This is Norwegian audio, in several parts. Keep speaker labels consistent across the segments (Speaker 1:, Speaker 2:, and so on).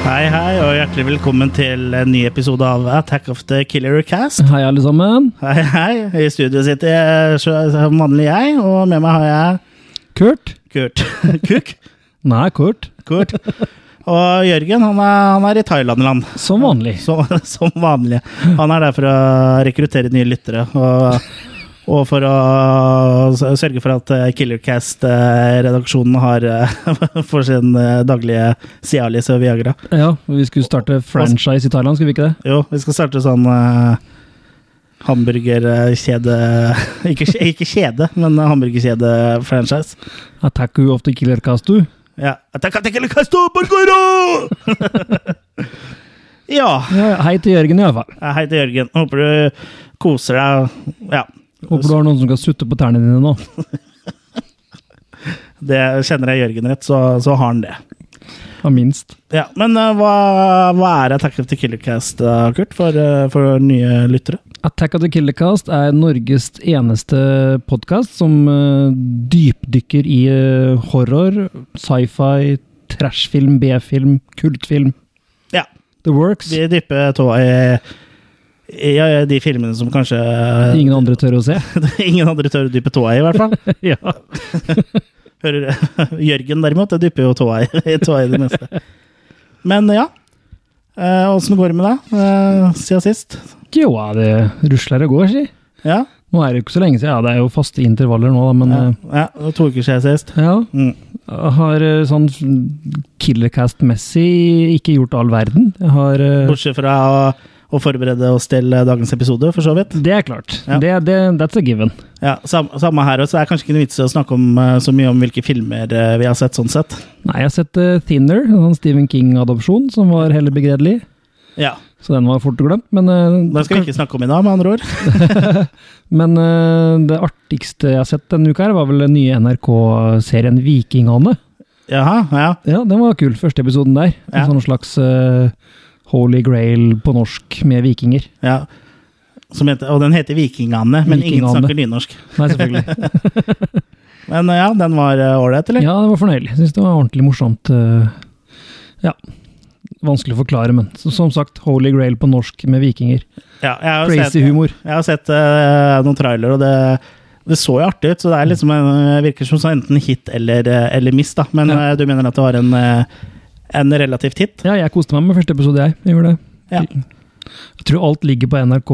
Speaker 1: Hei, hei, og hjertelig velkommen til en ny episode av Attack of the Killer Cast.
Speaker 2: Hei, alle sammen.
Speaker 1: Hei, hei. I studio sitter jeg som vanlig, jeg, og med meg har jeg
Speaker 2: Kurt?
Speaker 1: Kurt. Kuk?
Speaker 2: Nei, Kurt.
Speaker 1: Kurt. Og Jørgen, han er, han er i Thailand-land.
Speaker 2: Som vanlig.
Speaker 1: Som, som vanlig. Han er der for å rekruttere nye lyttere. og... Og for å s- sørge for at eh, Killercast-redaksjonen har eh, for sin eh, daglige Cialis og Viagra.
Speaker 2: Ja, vi skulle starte franchise i Thailand, skulle vi ikke det?
Speaker 1: Jo, vi skal starte sånn uh, hamburgerkjede ikke, kje- ikke kjede, men hamburgerkjede-franchise.
Speaker 2: Attack you of the killer cast, du.
Speaker 1: Ja. Attacca tequila casto burgero! ja.
Speaker 2: Ja, hei til Jørgen, iallfall.
Speaker 1: Hei til Jørgen. Håper du koser deg. Ja.
Speaker 2: Håper du har noen som kan sutte på tærne dine nå.
Speaker 1: Det Kjenner jeg Jørgen rett, så, så har han det.
Speaker 2: Ja, minst.
Speaker 1: Ja, Men eh, hva, hva er Attack of the Killer Cast, eh, Kurt, for, eh, for nye lyttere?
Speaker 2: Attack of the Killer Cast er Norges eneste podkast som eh, dypdykker i eh, horror, sci-fi, trashfilm, B-film, kultfilm.
Speaker 1: Ja.
Speaker 2: The Works.
Speaker 1: Vi dypper tåa i, i, i de filmene som kanskje
Speaker 2: Ingen andre tør å se.
Speaker 1: Ingen andre tør å dype tåa i, i hvert fall.
Speaker 2: ja.
Speaker 1: Hører, Jørgen derimot, det dypper jo tåa i, i tåa i det meste. Men ja. Åssen går det med deg eh, siden sist?
Speaker 2: Jo, ja, det rusler og går, si.
Speaker 1: Ja,
Speaker 2: Nå er det jo ikke så lenge siden, ja, det er jo faste intervaller nå, da, men
Speaker 1: ja, ja, det var to uker siden sist.
Speaker 2: eh, ja.
Speaker 1: Mm.
Speaker 2: Jeg har eh, sånn killercast-messig ikke gjort all verden. Jeg har eh,
Speaker 1: Bortsett fra å, å forberede oss til eh, dagens episode, for så vidt.
Speaker 2: Det er klart.
Speaker 1: Ja.
Speaker 2: Det, det, that's a given.
Speaker 1: Ja, sam, Samme her også. Det er kanskje ikke noe vits i å snakke om, eh, så mye om hvilke filmer eh, vi har sett, sånn sett.
Speaker 2: Nei, jeg har sett eh, Thinner, en sånn Stephen King-adopsjon, som var heller begredelig.
Speaker 1: Ja,
Speaker 2: Så den var fort glemt, men, eh,
Speaker 1: Den skal vi ikke snakke om i dag, med andre ord.
Speaker 2: men eh, det artigste jeg har sett denne uka, her var vel den nye NRK-serien Vikingane.
Speaker 1: Jaha, ja.
Speaker 2: Ja, den var kul, første episoden der.
Speaker 1: Ja.
Speaker 2: En sånn slags eh, Holy Grail på norsk med vikinger.
Speaker 1: ja. Som heter, og den heter Vikingane, men ingen
Speaker 2: Vikingane.
Speaker 1: snakker nynorsk.
Speaker 2: Nei, selvfølgelig.
Speaker 1: Men eh, ja, den var eh, ålreit, eller?
Speaker 2: Ja, det var fornøyelig. Jeg synes det var ordentlig morsomt. eh, Ja. Vanskelig å forklare, men så- som sagt, Holy Grail på norsk med vikinger.
Speaker 1: Ja, jeg har jo
Speaker 2: Crazy
Speaker 1: sett,
Speaker 2: humor.
Speaker 1: jeg har sett eh, noen trailer, og det, det så jo artig ut. Så det er liksom en, virker som sånn enten hit eller, eh, eller miss, da. Men
Speaker 2: Ja.
Speaker 1: eh, du mener at det var en, eh, en relativt hit?
Speaker 2: Ja, jeg koste meg med første episode, jeg. jeg gjorde det.
Speaker 1: Ja.
Speaker 2: Jeg tror alt ligger på NRK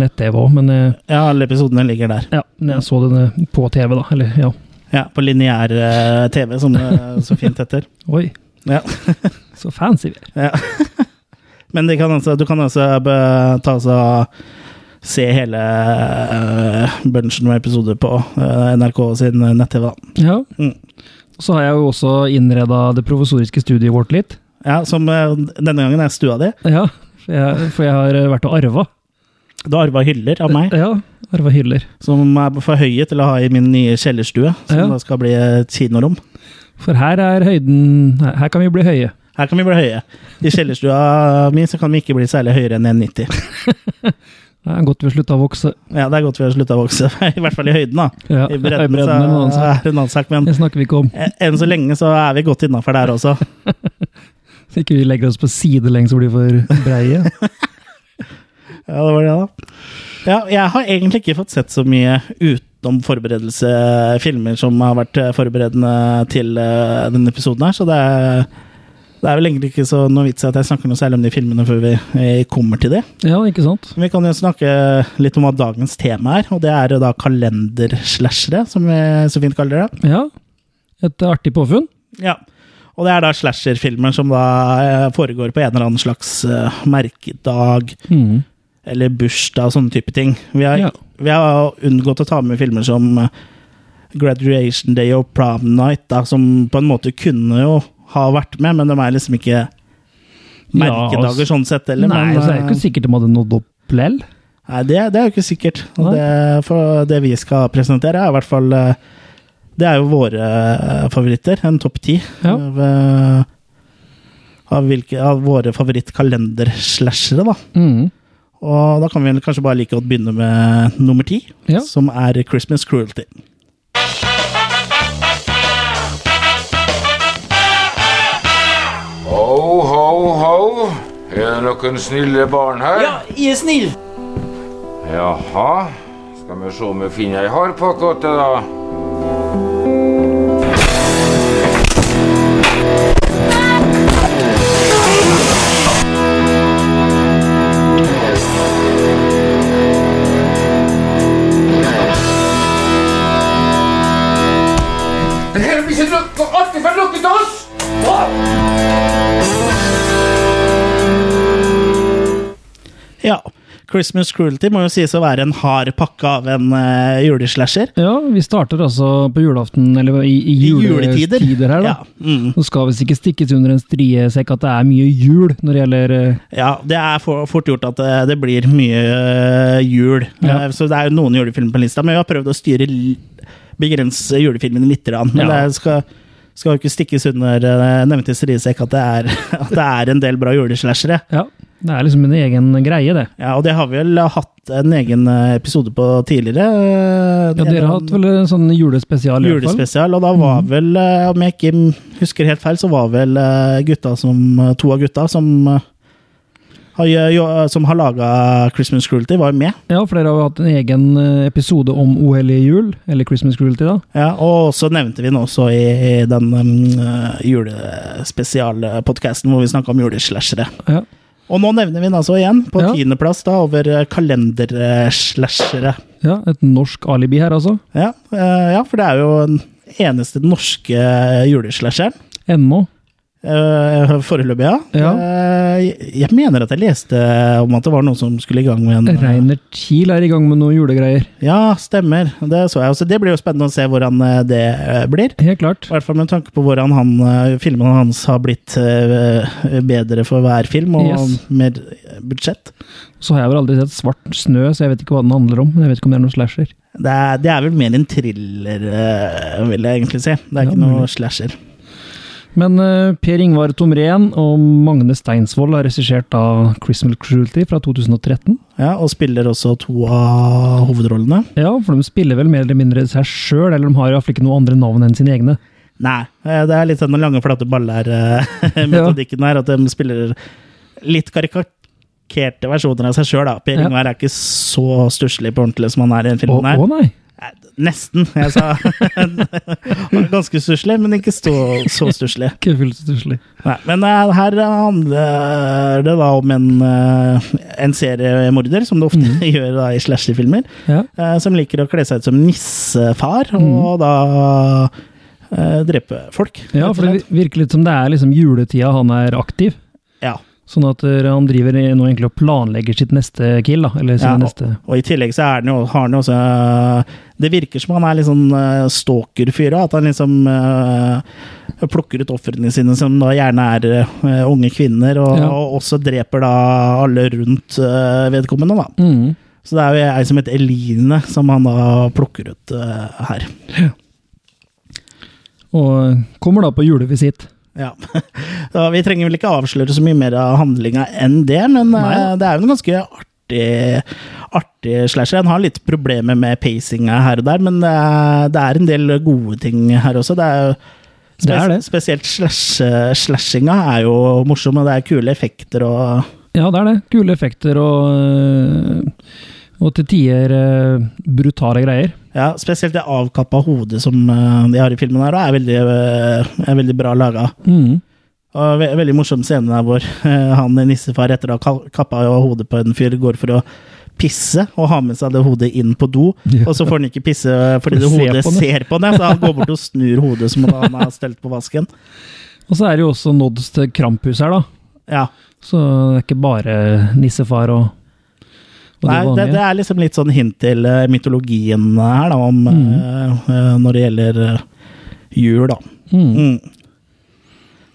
Speaker 2: nett-TV òg, men eh,
Speaker 1: Ja, alle episodene ligger der.
Speaker 2: ja, men jeg så den eh, på TV, da. Eller, ja.
Speaker 1: Ja, På lineær eh, TV, som det så fint heter.
Speaker 2: Oi.
Speaker 1: Ja.
Speaker 2: så fancy vi er.
Speaker 1: Ja. Men de kan altså, du kan altså be, ta altså Se hele uh, bunchen med episoder på eh, NRK sin nett-TV, da.
Speaker 2: Ja.
Speaker 1: Mm.
Speaker 2: Så har jeg jo også innreda det provisoriske studiet vårt litt.
Speaker 1: Ja, som eh, denne gangen er stua di.
Speaker 2: Ja, for jeg, for jeg har eh, vært og arva.
Speaker 1: Du arva hyller av meg.
Speaker 2: Ja, arva hyller.
Speaker 1: Som er for høye til å ha i min nye kjellerstue, som
Speaker 2: Ja.
Speaker 1: da skal bli eh, et kinorom.
Speaker 2: For her er høyden her- Her kan vi bli høye.
Speaker 1: Her kan vi bli høye. I kjellerstua mi så kan vi ikke bli særlig høyere enn 1,90.
Speaker 2: Det er godt vi har slutta å vokse.
Speaker 1: Ja, det er godt vi har slutta å vokse, i hvert fall i høyden, da.
Speaker 2: Ja,
Speaker 1: I bredden,
Speaker 2: er en annen
Speaker 1: så
Speaker 2: sak.
Speaker 1: er det en annen sak, men eh,
Speaker 2: Det snakker vi ikke om.
Speaker 1: enn så lenge så er vi godt innafor der også.
Speaker 2: Så ikke vi legger oss på sidelengs og blir for breie.
Speaker 1: Ja, det var det, da. Ja, jeg har egentlig ikke fått sett så mye utenom forberedelse, filmer som har vært eh, forberedende til eh, denne episoden her, så det er, det er vel egentlig ikke så noe vits i at jeg snakker noe særlig om de filmene før vi eh, kommer til de.
Speaker 2: Ja, ikke sant?
Speaker 1: Men Vi kan jo snakke litt om hva dagens tema er, og det er jo da kalenderslashere, som vi så fint kaller det.
Speaker 2: Ja. Et artig påfunn.
Speaker 1: Ja. Og det er da slasherfilmer som da eh, foregår på en eller annen slags eh, merkedag,
Speaker 2: Mhm.
Speaker 1: eller bursdag og sånne type ting. Vi har,
Speaker 2: Ja.
Speaker 1: vi har unngått å ta med filmer som eh, Graduation Day og Prom Night, da, som på en måte kunne jo ha vært med, men de er liksom ikke merkedager
Speaker 2: altså-
Speaker 1: sånn sett heller.
Speaker 2: Nei,
Speaker 1: men,
Speaker 2: så er det
Speaker 1: eh,
Speaker 2: ikke sikkert de hadde nådd opp lell.
Speaker 1: nei, det, det er jo ikke sikkert. Og
Speaker 2: Nei.
Speaker 1: det, for det vi skal presentere, er i hvert fall eh, Det er jo våre eh, favoritter. En topp ti
Speaker 2: Ja.
Speaker 1: av, eh, av, hvilke, av våre favorittkalender-slashere, da.
Speaker 2: Mhm.
Speaker 1: Og da kan vi vel kanskje bare like godt begynne med nummer ti,
Speaker 2: Ja.
Speaker 1: som er Christmas Cruelty.
Speaker 3: Ho, ho, ho, Er det noen snille barn her?
Speaker 1: Ja, jeg er snill!
Speaker 3: Jaha. Skal vi se om vi finner ei hardpakke til da. Det her blir ikke noe artig for noen av oss!
Speaker 1: Ja. Christmas Cruelty må jo sies å være en hard pakke av en eh, juleslasher.
Speaker 2: Ja, vi starter altså på julaften, eller i, i
Speaker 1: I
Speaker 2: juletider her, da.
Speaker 1: Ja. Mm.
Speaker 2: Nå skal visst ikke stikkes under en striesekk at det er mye jul når det gjelder eh,
Speaker 1: ja, det er for, fort gjort at det, det blir mye eh, jul.
Speaker 2: Ja.
Speaker 1: Eh, så det er jo noen julefilmer på lista, men vi har prøvd å styre l- begrense julefilmene litt. grann, Men
Speaker 2: Ja.
Speaker 1: det skal, skal jo ikke stikkes under eh, nevnte striesekk at, det er- at det er en del bra juleslashere.
Speaker 2: Ja, det er liksom en egen greie, det.
Speaker 1: Ja, og det har vi vel hatt en egen eh, episode på tidligere. eh,
Speaker 2: Ja, Dere har hatt vel en sånn julespesial? i hvert fall. Mhm.
Speaker 1: Julespesial, og da var vel, eh, om jeg ikke husker helt feil, så var vel eh, gutta som, eh, to av gutta som eh, har, eh, jo, som har laga Christmas Cruelty, var jo med.
Speaker 2: Ja, for dere har jo hatt en egen eh, episode om OL i jul, eller Christmas Cruelty, da.
Speaker 1: Ja, og så nevnte vi den også i, i den um, julespesialpodkasten hvor vi snakka om juleslashere.
Speaker 2: Ja.
Speaker 1: Og nå nevner vi den altså igjen, på
Speaker 2: Ja.
Speaker 1: tiendeplass da, over eh, kalenderslashere.
Speaker 2: ja, et norsk alibi her, altså.
Speaker 1: Ja, eh, ja, for det er jo den eneste norske juleslasheren.
Speaker 2: Ennå.
Speaker 1: Eh, Foreløpig, ja.
Speaker 2: Ja.
Speaker 1: Eh, Jeg jeg mener at jeg leste om at det var noen som skulle i gang med en
Speaker 2: Reinert Kiel er i gang med noe julegreier.
Speaker 1: Ja, stemmer. Det så jeg også. Det blir jo spennende å se hvordan eh, det eh, blir.
Speaker 2: Helt klart.
Speaker 1: I hvert fall med tanke på hvordan han, eh, filmene hans har blitt eh, bedre for hver film, og
Speaker 2: Yes.
Speaker 1: mer budsjett.
Speaker 2: Så har jeg vel aldri sett Svart snø, så jeg vet ikke hva den handler om. men Jeg vet ikke om det er noen slasher.
Speaker 1: Det er, det er vel mer en thriller, eh, vil jeg egentlig si. Det er
Speaker 2: Ja,
Speaker 1: ikke noe slasher.
Speaker 2: Men eh, Per Ingvar Tomren og Magne Steinsvold har regissert av Christmas Cruelty fra 2013.
Speaker 1: Ja, og spiller også to av hovedrollene.
Speaker 2: Ja, for de spiller vel mer eller mindre seg sjøl, eller de har iallfall ikke noen andre navn enn sine egne.
Speaker 1: Nei, eh, det er litt den lange, flate baller-metodikken her. At de spiller litt karikerte versjoner av seg sjøl. Per
Speaker 2: Ja.
Speaker 1: Ingvar er ikke så stusslig på ordentlig som han er i den
Speaker 2: Å,
Speaker 1: filmen. her.
Speaker 2: å nei!
Speaker 1: Eh, Nesten, jeg sa. Han er Ganske stusslig, men ikke så, så stusslig.
Speaker 2: Ikke fullt så stusslig.
Speaker 1: Nei, Men eh, her handler det da om en, eh, en seriemorder, som det ofte
Speaker 2: Mm.
Speaker 1: gjør da i slasherfilmer
Speaker 2: Ja.
Speaker 1: eh, som liker å kle seg ut som nissefar,
Speaker 2: Mm.
Speaker 1: og da eh, drepe folk. rett
Speaker 2: ja,
Speaker 1: og
Speaker 2: for det
Speaker 1: slett.
Speaker 2: virker litt som det er liksom juletida han er aktiv.
Speaker 1: ja.
Speaker 2: Sånn at eh, han driver i- nå egentlig og planlegger sitt neste kill, da. Eller
Speaker 1: Ja,
Speaker 2: sine neste
Speaker 1: Og i tillegg så er han jo, har han jo også eh, Det virker som han er litt sånn eh, stalker-fyr, og at han liksom eh, plukker ut ofrene sine, som da gjerne er eh, unge kvinner, og,
Speaker 2: Ja.
Speaker 1: og også dreper da alle rundt eh, vedkommende, da.
Speaker 2: mm.
Speaker 1: Så det er jo ei som heter Eline, som han da plukker ut eh, her.
Speaker 2: Og eh, kommer da på julevisitt.
Speaker 1: Ja. Så vi trenger vel ikke avsløre så mye mer av handlinga enn det, men
Speaker 2: Nei.
Speaker 1: eh, det er jo en ganske artig, artig slasher. Han har litt problemer med pacinga her og der, men det er, det er en del gode ting her også. Det er jo
Speaker 2: Det er det.
Speaker 1: Spesielt slash, slashinga er jo morsom, og det er kule effekter og
Speaker 2: Ja, det er det. Kule effekter og, eh, og til tider eh, brutale greier.
Speaker 1: ja, Spesielt det avkappa hodet som eh, de har i filmen her, er veldig, eh, er veldig bra laga.
Speaker 2: Mm.
Speaker 1: Og ve veldig morsom scene der hvor eh, han nissefar etter å ha ka- kappa av hodet på en fyr, går for å pisse og har med seg det hodet inn på do.
Speaker 2: Ja.
Speaker 1: Og så får han ikke pisse eh, fordi det
Speaker 2: Se
Speaker 1: hodet
Speaker 2: på den.
Speaker 1: ser på den, så han går bort og snur hodet som om han har stelt på vasken.
Speaker 2: Og så er det jo også nods til Krampus her, da.
Speaker 1: Ja.
Speaker 2: Så det er ikke bare nissefar og, og
Speaker 1: Nei,
Speaker 2: det
Speaker 1: det, det
Speaker 2: vanlige.
Speaker 1: er liksom litt sånn hint til eh, mytologien her, da, om, eh, eh, når det gjelder eh, jul, da.
Speaker 2: Mm.
Speaker 1: Mm.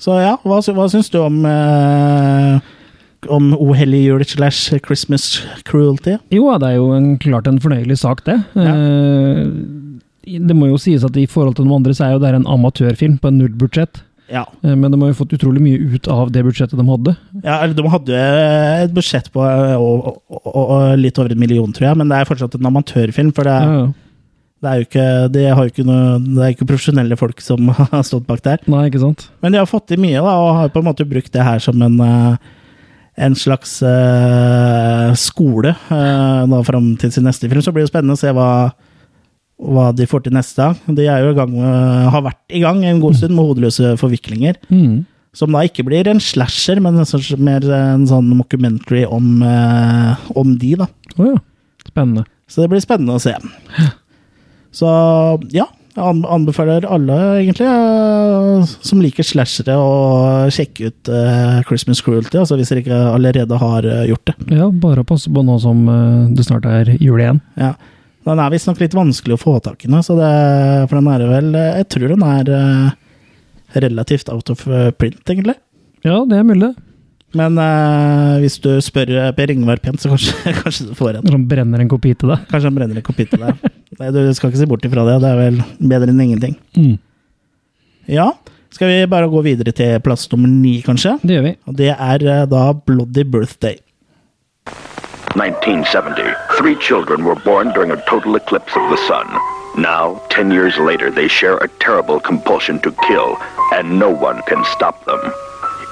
Speaker 1: Så ja, hva, sy- hva syns du om eh, om O hellige jul slash Christmas cruelty?
Speaker 2: Jo, det er jo en, klart en fornøyelig sak, det. Eh, det må jo sies at i forhold til de andre, så er jo det her en amatørfilm på en nullbudsjett.
Speaker 1: Ja.
Speaker 2: Eh, men de har jo fått utrolig mye ut av det budsjettet de hadde.
Speaker 1: Ja, eller De hadde et budsjett på eh, og, og, og, og litt over en million, tror jeg, men det er fortsatt en amatørfilm. For det,
Speaker 2: Ja, ja.
Speaker 1: det er jo ikke, de har jo ikke noe, det er ikke profesjonelle folk som har stått bak der.
Speaker 2: Nei, ikke sant?
Speaker 1: Men de har fått til mye, da, og har på en måte brukt det her som en eh, en slags eh, skole eh, nå fram til sin neste film. Så blir det spennende å se hva, hva de får til neste gang. De er jo i gang med, har vært i gang en god stund med hodeløse forviklinger.
Speaker 2: Mm.
Speaker 1: Som da ikke blir en slasher, men en slags- mer en sånn mockumentary om, eh, om de, da.
Speaker 2: Å ja. Spennende.
Speaker 1: Så det blir spennende å se. Så ja, jeg an- anbefaler alle, egentlig, eh, som liker slashere, å sjekke ut eh, Christmas Cruelty, altså hvis dere ikke allerede har eh, gjort det.
Speaker 2: Ja, bare passe på nå som eh, det snart er jul igjen.
Speaker 1: Ja. Den er visstnok litt vanskelig å få tak i nå, så det, for den er vel eh, Jeg tror den er eh, relativt out of eh, print, egentlig.
Speaker 2: Ja, det er mulig.
Speaker 1: Men eh, hvis du spør eh, Per Ingvar pent, så kanskje, kanskje du får en.
Speaker 2: Når han brenner en kopi til deg.
Speaker 1: Kanskje han brenner et kapittel der. Nei, du skal ikke se bort ifra det. Det er vel bedre enn ingenting.
Speaker 2: Mm.
Speaker 1: Ja, skal vi bare gå videre til plass nummer ni, kanskje?
Speaker 2: Det gjør vi.
Speaker 1: Og det er eh, da Bloody Birthday.
Speaker 4: 1970, three children were born during a total eclipse of the sun. Now, ten years later, they share a terrible compulsion to kill, and no one can stop them.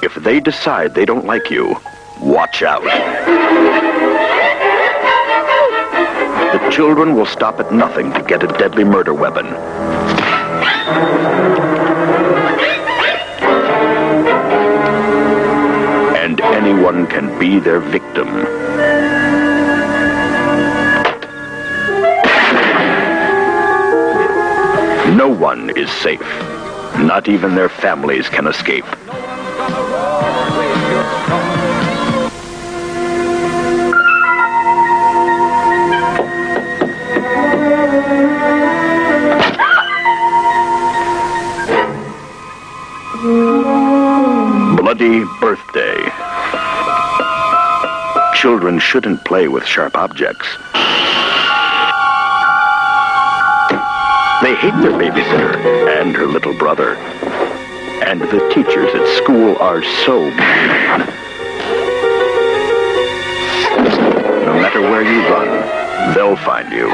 Speaker 4: If they decide they don't like you, watch out. The children will stop at nothing to get a deadly murder weapon. And anyone can be their victim. No one is safe. Not even their families can escape. Bloody Birthday. Children shouldn't play with sharp objects. They hate their babysitter and her little brother. And the teachers at school are so mean. No matter where you run, they'll find you.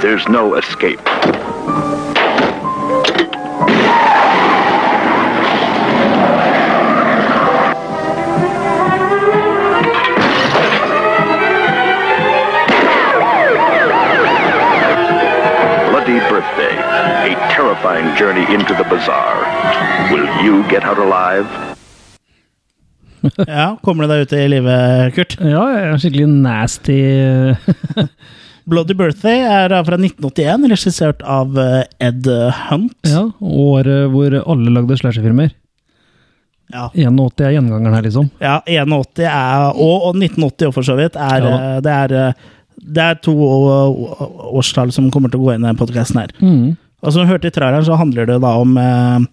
Speaker 4: There's no escape. Bloody Birthday, a terrifying journey into the bizarre. Will you get out alive?
Speaker 1: Ja, Kommer du deg ut i livet, Kurt?
Speaker 2: Ja, jeg er skikkelig nasty eh,
Speaker 1: Bloody Birthday er da fra 1981, regissert av eh, Ed Hunt.
Speaker 2: Ja, året hvor alle lagde slasherfilmer.
Speaker 1: Ja.
Speaker 2: 81 er gjengangeren her, liksom.
Speaker 1: Ja, 81 er, og, og 1980 også, for så vidt. Er,
Speaker 2: Ja.
Speaker 1: eh, det, er, eh, det er to å- å- årstall som kommer til å gå inn i denne podkasten her.
Speaker 2: Hmm.
Speaker 1: Og som vi hørte i traileren, så handler det da om, eh,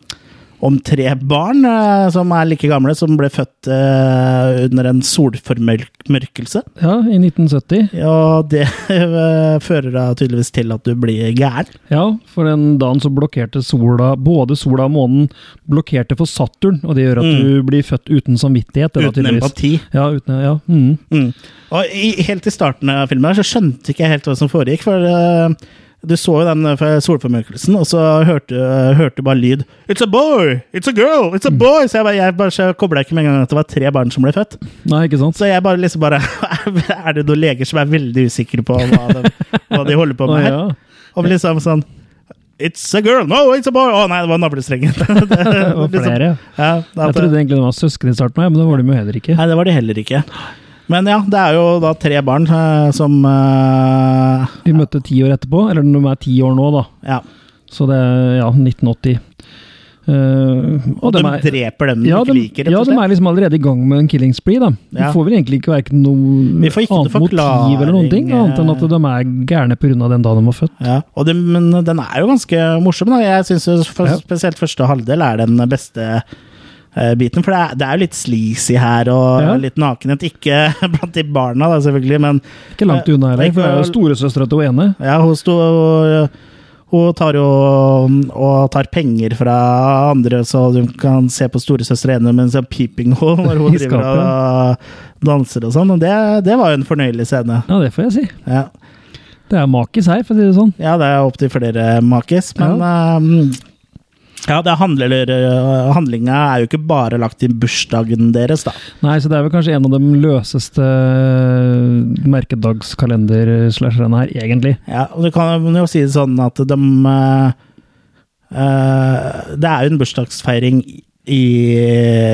Speaker 1: om tre barn eh, som er like gamle, som ble født eh, under en solformørkelse.
Speaker 2: Ja, i 1970.
Speaker 1: Og det eh, fører da tydeligvis til at du blir gæren.
Speaker 2: Ja, for den dagen så blokkerte sola Både sola og månen blokkerte for Saturn, og det gjør at du blir født uten samvittighet. det
Speaker 1: Mm.
Speaker 2: da,
Speaker 1: Uten
Speaker 2: tydeligvis.
Speaker 1: empati.
Speaker 2: Ja, uten, ja. Mm.
Speaker 1: Mm. Og i, helt i starten av filmen her, så skjønte ikke jeg helt hva som foregikk. For eh, du så jo den eh, fra solformørkelsen, og så hørte eh, hørte du bare lyd. It's a boy! It's a girl! It's a boy! Så jeg, bare- jeg, bare- så jeg kobla ikke med en gang at det var tre barn som ble født.
Speaker 2: Nei, ikke sant?
Speaker 1: Så jeg bare liksom bare Er det noen leger som er veldig usikre på hva de, hva de holder på
Speaker 2: Å,
Speaker 1: med her?
Speaker 2: ja.
Speaker 1: Og liksom sånn It's a girl! No, it's a boy! Å nei, det var navlestrengen. Det-
Speaker 2: Det var
Speaker 1: liksom-
Speaker 2: flere.
Speaker 1: Ja, at-
Speaker 2: Jeg trodde egentlig de var søsken i starten, men det var de jo heller ikke.
Speaker 1: Nei, det var det heller ikke. Men ja, det er jo da tre barn eh, som eh,
Speaker 2: De møtte ti år etterpå, eller de er ti år nå, da.
Speaker 1: Ja.
Speaker 2: Så det er ja, 1980. Eh,
Speaker 1: Og de,
Speaker 2: dem er-
Speaker 1: dreper dem de
Speaker 2: ja,
Speaker 1: ikke
Speaker 2: de,
Speaker 1: liker, rett
Speaker 2: ja,
Speaker 1: og
Speaker 2: de
Speaker 1: slett.
Speaker 2: er liksom allerede i gang med en killing spree. da. De
Speaker 1: Ja.
Speaker 2: får vel egentlig ikke verken noe
Speaker 1: Vi får ikke noe
Speaker 2: annet motiv eller noen ting,
Speaker 1: forklaring,
Speaker 2: annet enn
Speaker 1: eh.
Speaker 2: at de er gærne pga. den dagen de var født.
Speaker 1: Ja, og det- men den er jo ganske morsom. Da. Jeg syns
Speaker 2: Ja.
Speaker 1: spesielt første halvdel er den beste eh, biten. For det er, det er jo litt sleazy her, og
Speaker 2: Ja.
Speaker 1: litt nakenhet. Ikke blant de barna, da, selvfølgelig, men
Speaker 2: Ikke langt
Speaker 1: Nei,
Speaker 2: unna heller, for det er jo storesøstera til hun ene.
Speaker 1: ja, hun sto hun tar jo og tar penger fra andre, så du kan se på storesøster ene mens hun piping hun, når hun
Speaker 2: I
Speaker 1: driver
Speaker 2: skapet.
Speaker 1: og danser og sånn. Og det, det var jo en fornøyelig scene.
Speaker 2: Ja, det får jeg si.
Speaker 1: Ja.
Speaker 2: Det er makis her, for å si det sånn.
Speaker 1: Ja, det er opptil flere makis, men ehm, ja, det handler, eh, handlinga er jo ikke bare lagt til bursdagen deres, da.
Speaker 2: Nei, så det er vel kanskje en av de løseste eh, merkedagskalender-slasherne her, egentlig.
Speaker 1: Ja, og Du kan jo si det sånn at de eh, eh, Det er jo en bursdagsfeiring i,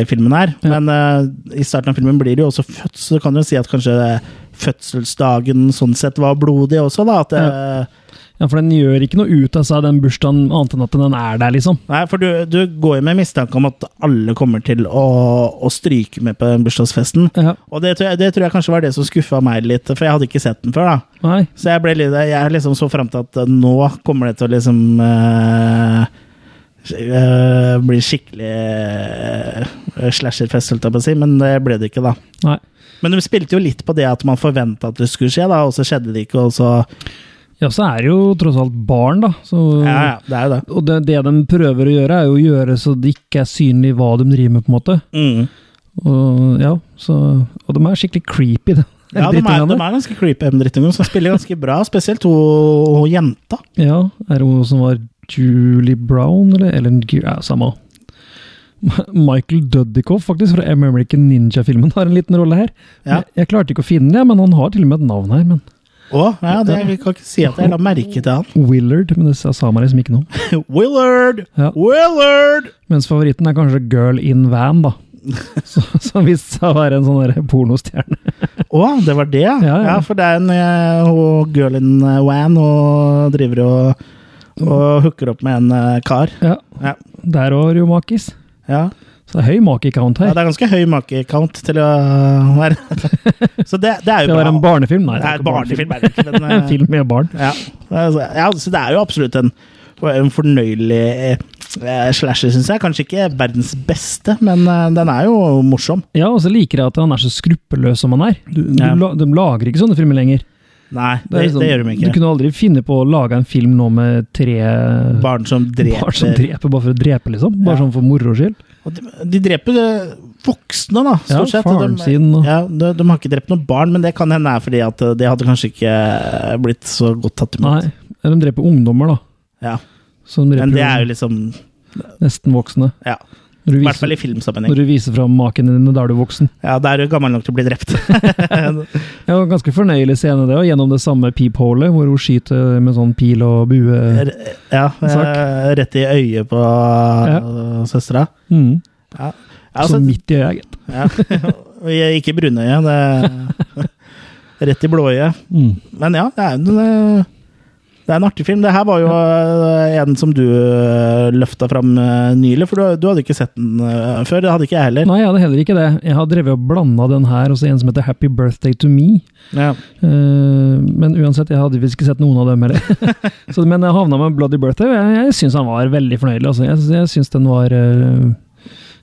Speaker 1: i filmen her,
Speaker 2: Ja.
Speaker 1: men eh, i starten av filmen blir det jo også født, så du kan jo si at kanskje eh, fødselsdagen sånn sett var blodig også, da. At, eh,
Speaker 2: Ja, For den gjør ikke noe ut av seg, den bursdagen, annet enn at den er der, liksom.
Speaker 1: Nei, for du, du går jo med mistanke om at alle kommer til å, å stryke med på den bursdagsfesten.
Speaker 2: Ja.
Speaker 1: Og det tror, jeg, det tror jeg kanskje var det som skuffa meg litt, for jeg hadde ikke sett den før. da.
Speaker 2: Nei.
Speaker 1: Så jeg ble litt, jeg liksom så fram til at eh, nå kommer det til å liksom eh, eh, bli skikkelig eh, slasherfest, holdt jeg på å si, men det ble det ikke, da.
Speaker 2: Nei.
Speaker 1: Men de spilte jo litt på det at man forventa at det skulle skje, da, og så skjedde det ikke, og så
Speaker 2: Ja, så er det jo tross alt barn, da. Så,
Speaker 1: Ja, ja, det er jo det.
Speaker 2: Og det, det de prøver å gjøre, er jo å gjøre så det ikke er synlig hva de driver med, på en måte.
Speaker 1: Mm.
Speaker 2: Og ja, så Og de er skikkelig creepy, da.
Speaker 1: Ja, de er, de
Speaker 2: drittungene.
Speaker 1: er ganske creepy, de drittungene, som spiller ganske bra. Spesielt hun hun jenta.
Speaker 2: Ja, er det hun som var Julie Brown, eller Ellen Gear? Ja, samme. Michael Dudikoff, faktisk, fra American Ninja-filmen, har en liten rolle her.
Speaker 1: Ja.
Speaker 2: Jeg, jeg klarte ikke å finne det, men han har til og med et navn her. men
Speaker 1: Å, ja, det, vi kan ikke si at jeg la merke til han.
Speaker 2: Willard, men det sa sa meg liksom ikke noe.
Speaker 1: Willard!
Speaker 2: Ja.
Speaker 1: Willard!
Speaker 2: Mens favoritten er kanskje Girl in Van, da. Så- Som viste seg å være en sånn der pornostjerne.
Speaker 1: Å, det var det, ja. ja,
Speaker 2: Ja, ja.
Speaker 1: for det er en eh, hun girl in eh, van og driver og, og hooker opp med en eh, kar.
Speaker 2: Ja,
Speaker 1: Ja.
Speaker 2: Der var jo makis.
Speaker 1: Ja.
Speaker 2: Så det er høy make-count
Speaker 1: ja,
Speaker 2: her.
Speaker 1: Det er ganske høy makecount til å være Så det, det er
Speaker 2: Det
Speaker 1: jo
Speaker 2: var
Speaker 1: bra.
Speaker 2: en barnefilm? Nei,
Speaker 1: det er
Speaker 2: ikke
Speaker 1: en barnefilm, er det ikke? Men,
Speaker 2: En
Speaker 1: eh,
Speaker 2: film med barn.
Speaker 1: Ja, altså, ja, så det er jo absolutt en, en fornøyelig eh, slasher, syns jeg. Kanskje ikke verdens beste, men eh, den er jo morsom.
Speaker 2: Ja, og så liker jeg at han er så skruppelløs som han er. Du, du,
Speaker 1: Ja.
Speaker 2: la- de lager ikke sånne filmer lenger.
Speaker 1: Nei, det,
Speaker 2: Det
Speaker 1: det,
Speaker 2: er liksom-
Speaker 1: gjør de
Speaker 2: Du
Speaker 1: ikke.
Speaker 2: kunne aldri finne på å lage en film nå med tre
Speaker 1: Barn som dreper.
Speaker 2: barn som dreper bare for å drepe, liksom. Bare
Speaker 1: Ja.
Speaker 2: sånn for moro skyld.
Speaker 1: Og de, de dreper eh, voksne, da,
Speaker 2: Ja,
Speaker 1: stort sett.
Speaker 2: faren
Speaker 1: de,
Speaker 2: sin og-
Speaker 1: ja, de, de har ikke drept noen barn, men det kan hende er fordi at eh, det hadde kanskje ikke eh, blitt så godt tatt imot.
Speaker 2: Nei, de dreper ungdommer, da.
Speaker 1: Ja.
Speaker 2: Så de dreper
Speaker 1: Men det er
Speaker 2: jo
Speaker 1: jo liksom
Speaker 2: nesten voksne.
Speaker 1: Ja,
Speaker 2: Når du
Speaker 1: i hvert fall
Speaker 2: viser,
Speaker 1: i filmsammenheng.
Speaker 2: når du viser fram maken din, da er du voksen.
Speaker 1: Ja, Da er du gammel nok til å bli drept.
Speaker 2: Det var en ganske fornøyelig scene, det, og gjennom det samme peepholet, hvor hun skyter med sånn pil og bue.
Speaker 1: Ja,
Speaker 2: Sak.
Speaker 1: eh, Rett i øyet på ja. søstera.
Speaker 2: Mm.
Speaker 1: Ja. Altså,
Speaker 2: så midt i øyet, gitt.
Speaker 1: ja. Og jeg- Ikke brunøyet, det Rett i blåøyet.
Speaker 2: Mm.
Speaker 1: Men ja, det er, en, eh, det er en artig film. Det her var jo eh, en som du eh, løfta fram eh, nylig, for du, du hadde ikke sett den eh, før. Det hadde ikke jeg heller.
Speaker 2: Nei, jeg hadde heller ikke det. Jeg har drevet og blanda den her og så en som heter Happy Birthday to Me.
Speaker 1: Ja.
Speaker 2: Eh, men uansett, jeg hadde visst ikke sett noen av dem heller. så, men jeg havna med Bloody Birthday, og jeg, jeg syns han var veldig fornøyelig. Altså. Jeg, jeg syns den var eh,
Speaker 1: Den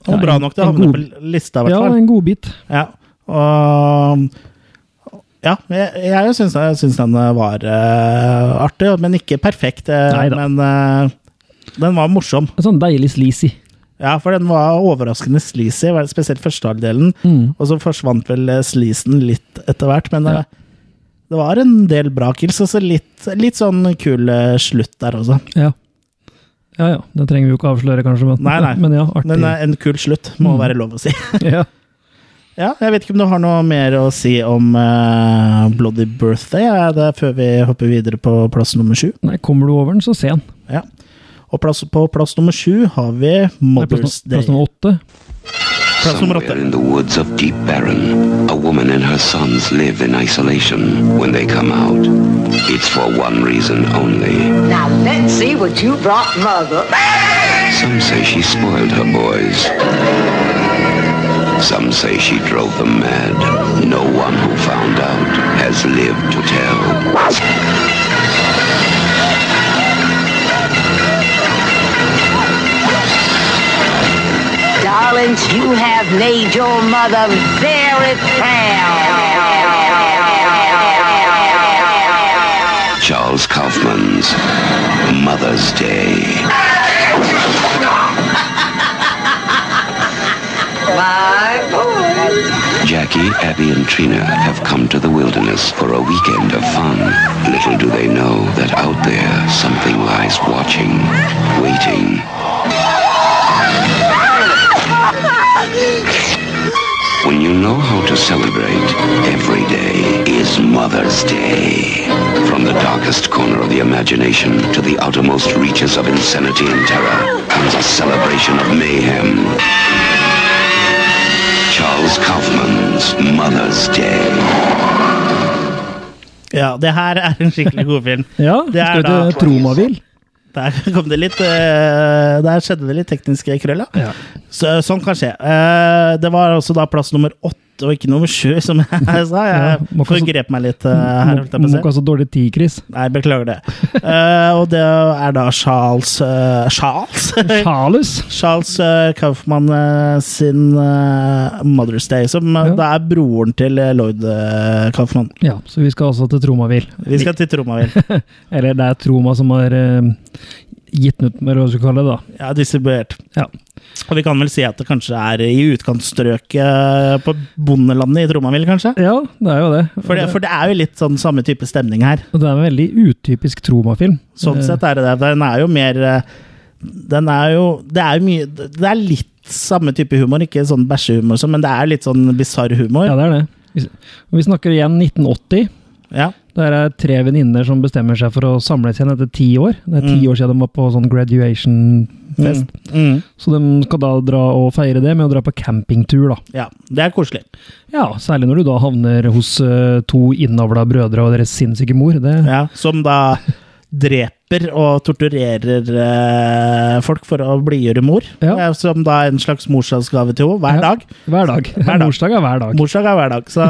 Speaker 1: var
Speaker 2: ja,
Speaker 1: bra
Speaker 2: en-
Speaker 1: nok til å
Speaker 2: en
Speaker 1: havne
Speaker 2: god-
Speaker 1: på lista, i hvert
Speaker 2: Ja,
Speaker 1: fall.
Speaker 2: en godbit.
Speaker 1: Ja, og ja, jeg, jeg syns, jeg syns den var eh, artig, men ikke perfekt. eh,
Speaker 2: Neida.
Speaker 1: men eh, den var morsom.
Speaker 2: En sånn deilig sleazy.
Speaker 1: Ja, for den var overraskende sleazy, var- spesielt første halvdelen.
Speaker 2: Mm.
Speaker 1: Og så forsvant vel eh, sleazen litt etter hvert, men eh,
Speaker 2: Ja.
Speaker 1: det var en del bra kills. Og så litt, litt sånn kul eh, slutt der også.
Speaker 2: Ja. ja ja, det trenger vi jo ikke avsløre, kanskje, men,
Speaker 1: Nei, nei.
Speaker 2: men ja, artig.
Speaker 1: Men eh, en kul slutt må
Speaker 2: Mm.
Speaker 1: være lov å si.
Speaker 2: ja.
Speaker 1: Ja, jeg vet ikke om du har noe mer å si om eh, Bloody Birthday ja, det er før vi hopper videre på plass nummer sju.
Speaker 2: Nei, kommer du over den, så se den.
Speaker 1: Ja. Og plass, på plass nummer sju har vi
Speaker 2: Nei,
Speaker 1: Mother's
Speaker 2: Plass,
Speaker 1: Day.
Speaker 2: plass nummer åtte.
Speaker 1: Plass nummer
Speaker 5: Somewhere
Speaker 1: åtte.
Speaker 5: in the woods of Deep Barren, a woman and her sons live in isolation. When they come out, it's for one reason only.
Speaker 6: Now let's see what you brought mother.
Speaker 5: Some say she spoiled her boys. Some say she drove them mad. No one who found out has lived to tell.
Speaker 6: Darlings, you have made your mother very proud.
Speaker 5: Charles Kaufman's Mother's Day.
Speaker 6: My boy.
Speaker 5: Jack Becky, Abby, and Trina have come to the wilderness for a weekend of fun. Little do they know that out there something lies watching, waiting. When you know how to celebrate, every day is Mother's Day. From the darkest corner of the imagination to the outermost reaches of insanity and terror comes a celebration of mayhem. Charles Kaufman's Mother's Day.
Speaker 1: Ja, det her er en skikkelig god film.
Speaker 2: Ja,
Speaker 1: det er
Speaker 2: skal
Speaker 1: da-
Speaker 2: til Tromavil.
Speaker 1: Der kom det litt eh, Der skjedde det litt tekniske krøll, ja.
Speaker 2: Ja.
Speaker 1: Så, sånn kan skje. Eh, det var også da plass nummer åtte og ikke nummer sju, som jeg sa. Jeg
Speaker 2: Ja, må ikke-
Speaker 1: forgrep meg litt eh, her. holdt jeg på å
Speaker 2: Må
Speaker 1: si.
Speaker 2: ikke ha så dårlig tid, Chris.
Speaker 1: Nei, beklager det. Eh, og det er da Charles eh, Charles?
Speaker 2: Charles.
Speaker 1: Charles eh, Kaufmann eh, sin eh, Mother's Day, som eh,
Speaker 2: Ja.
Speaker 1: da er broren til eh, Lloyd eh, Kaufmann.
Speaker 2: Ja, så vi skal altså til Tromavil.
Speaker 1: Vi skal til Tromavil.
Speaker 2: Eller det er Troma som har eh, gitt den ut med hva du skal kalle det, da.
Speaker 1: Ja, distribuert.
Speaker 2: Ja.
Speaker 1: Og vi kan vel si at det kanskje er i utkantstrøket eh, på bondelandet i Tromavil, kanskje?
Speaker 2: ja, det er jo det.
Speaker 1: For det, for det er jo litt sånn samme type stemning her.
Speaker 2: Og det er en veldig utypisk Troma-film.
Speaker 1: Sånn
Speaker 2: Eh,
Speaker 1: sett er det det. Den er jo mer eh, Den er jo Det er jo mye Det er litt samme type humor, ikke sånn bæsjehumor, og sånn, men det er litt sånn bisarr humor.
Speaker 2: Ja, det er det. Vi, vi snakker igjen 1980.
Speaker 1: Ja.
Speaker 2: Der er tre venninner som bestemmer seg for å samles igjen etter ti år. Det er ti år siden de var på sånn graduation-fest.
Speaker 1: Mm.
Speaker 2: Så de skal da dra og feire det med å dra på campingtur, da.
Speaker 1: ja. Det er koselig.
Speaker 2: Ja, særlig når du da havner hos eh, to innavla brødre og deres sinnssyke mor. Det,
Speaker 1: Ja. Som da dreper og torturerer eh, folk for å blidgjøre mor.
Speaker 2: Ja.
Speaker 1: Eh, Som da er en slags morsdagsgave til henne hver
Speaker 2: Ja.
Speaker 1: dag.
Speaker 2: Hver dag.
Speaker 1: Hver dag.
Speaker 2: Morsdag er hver dag.
Speaker 1: Morsdag er hver dag. Så,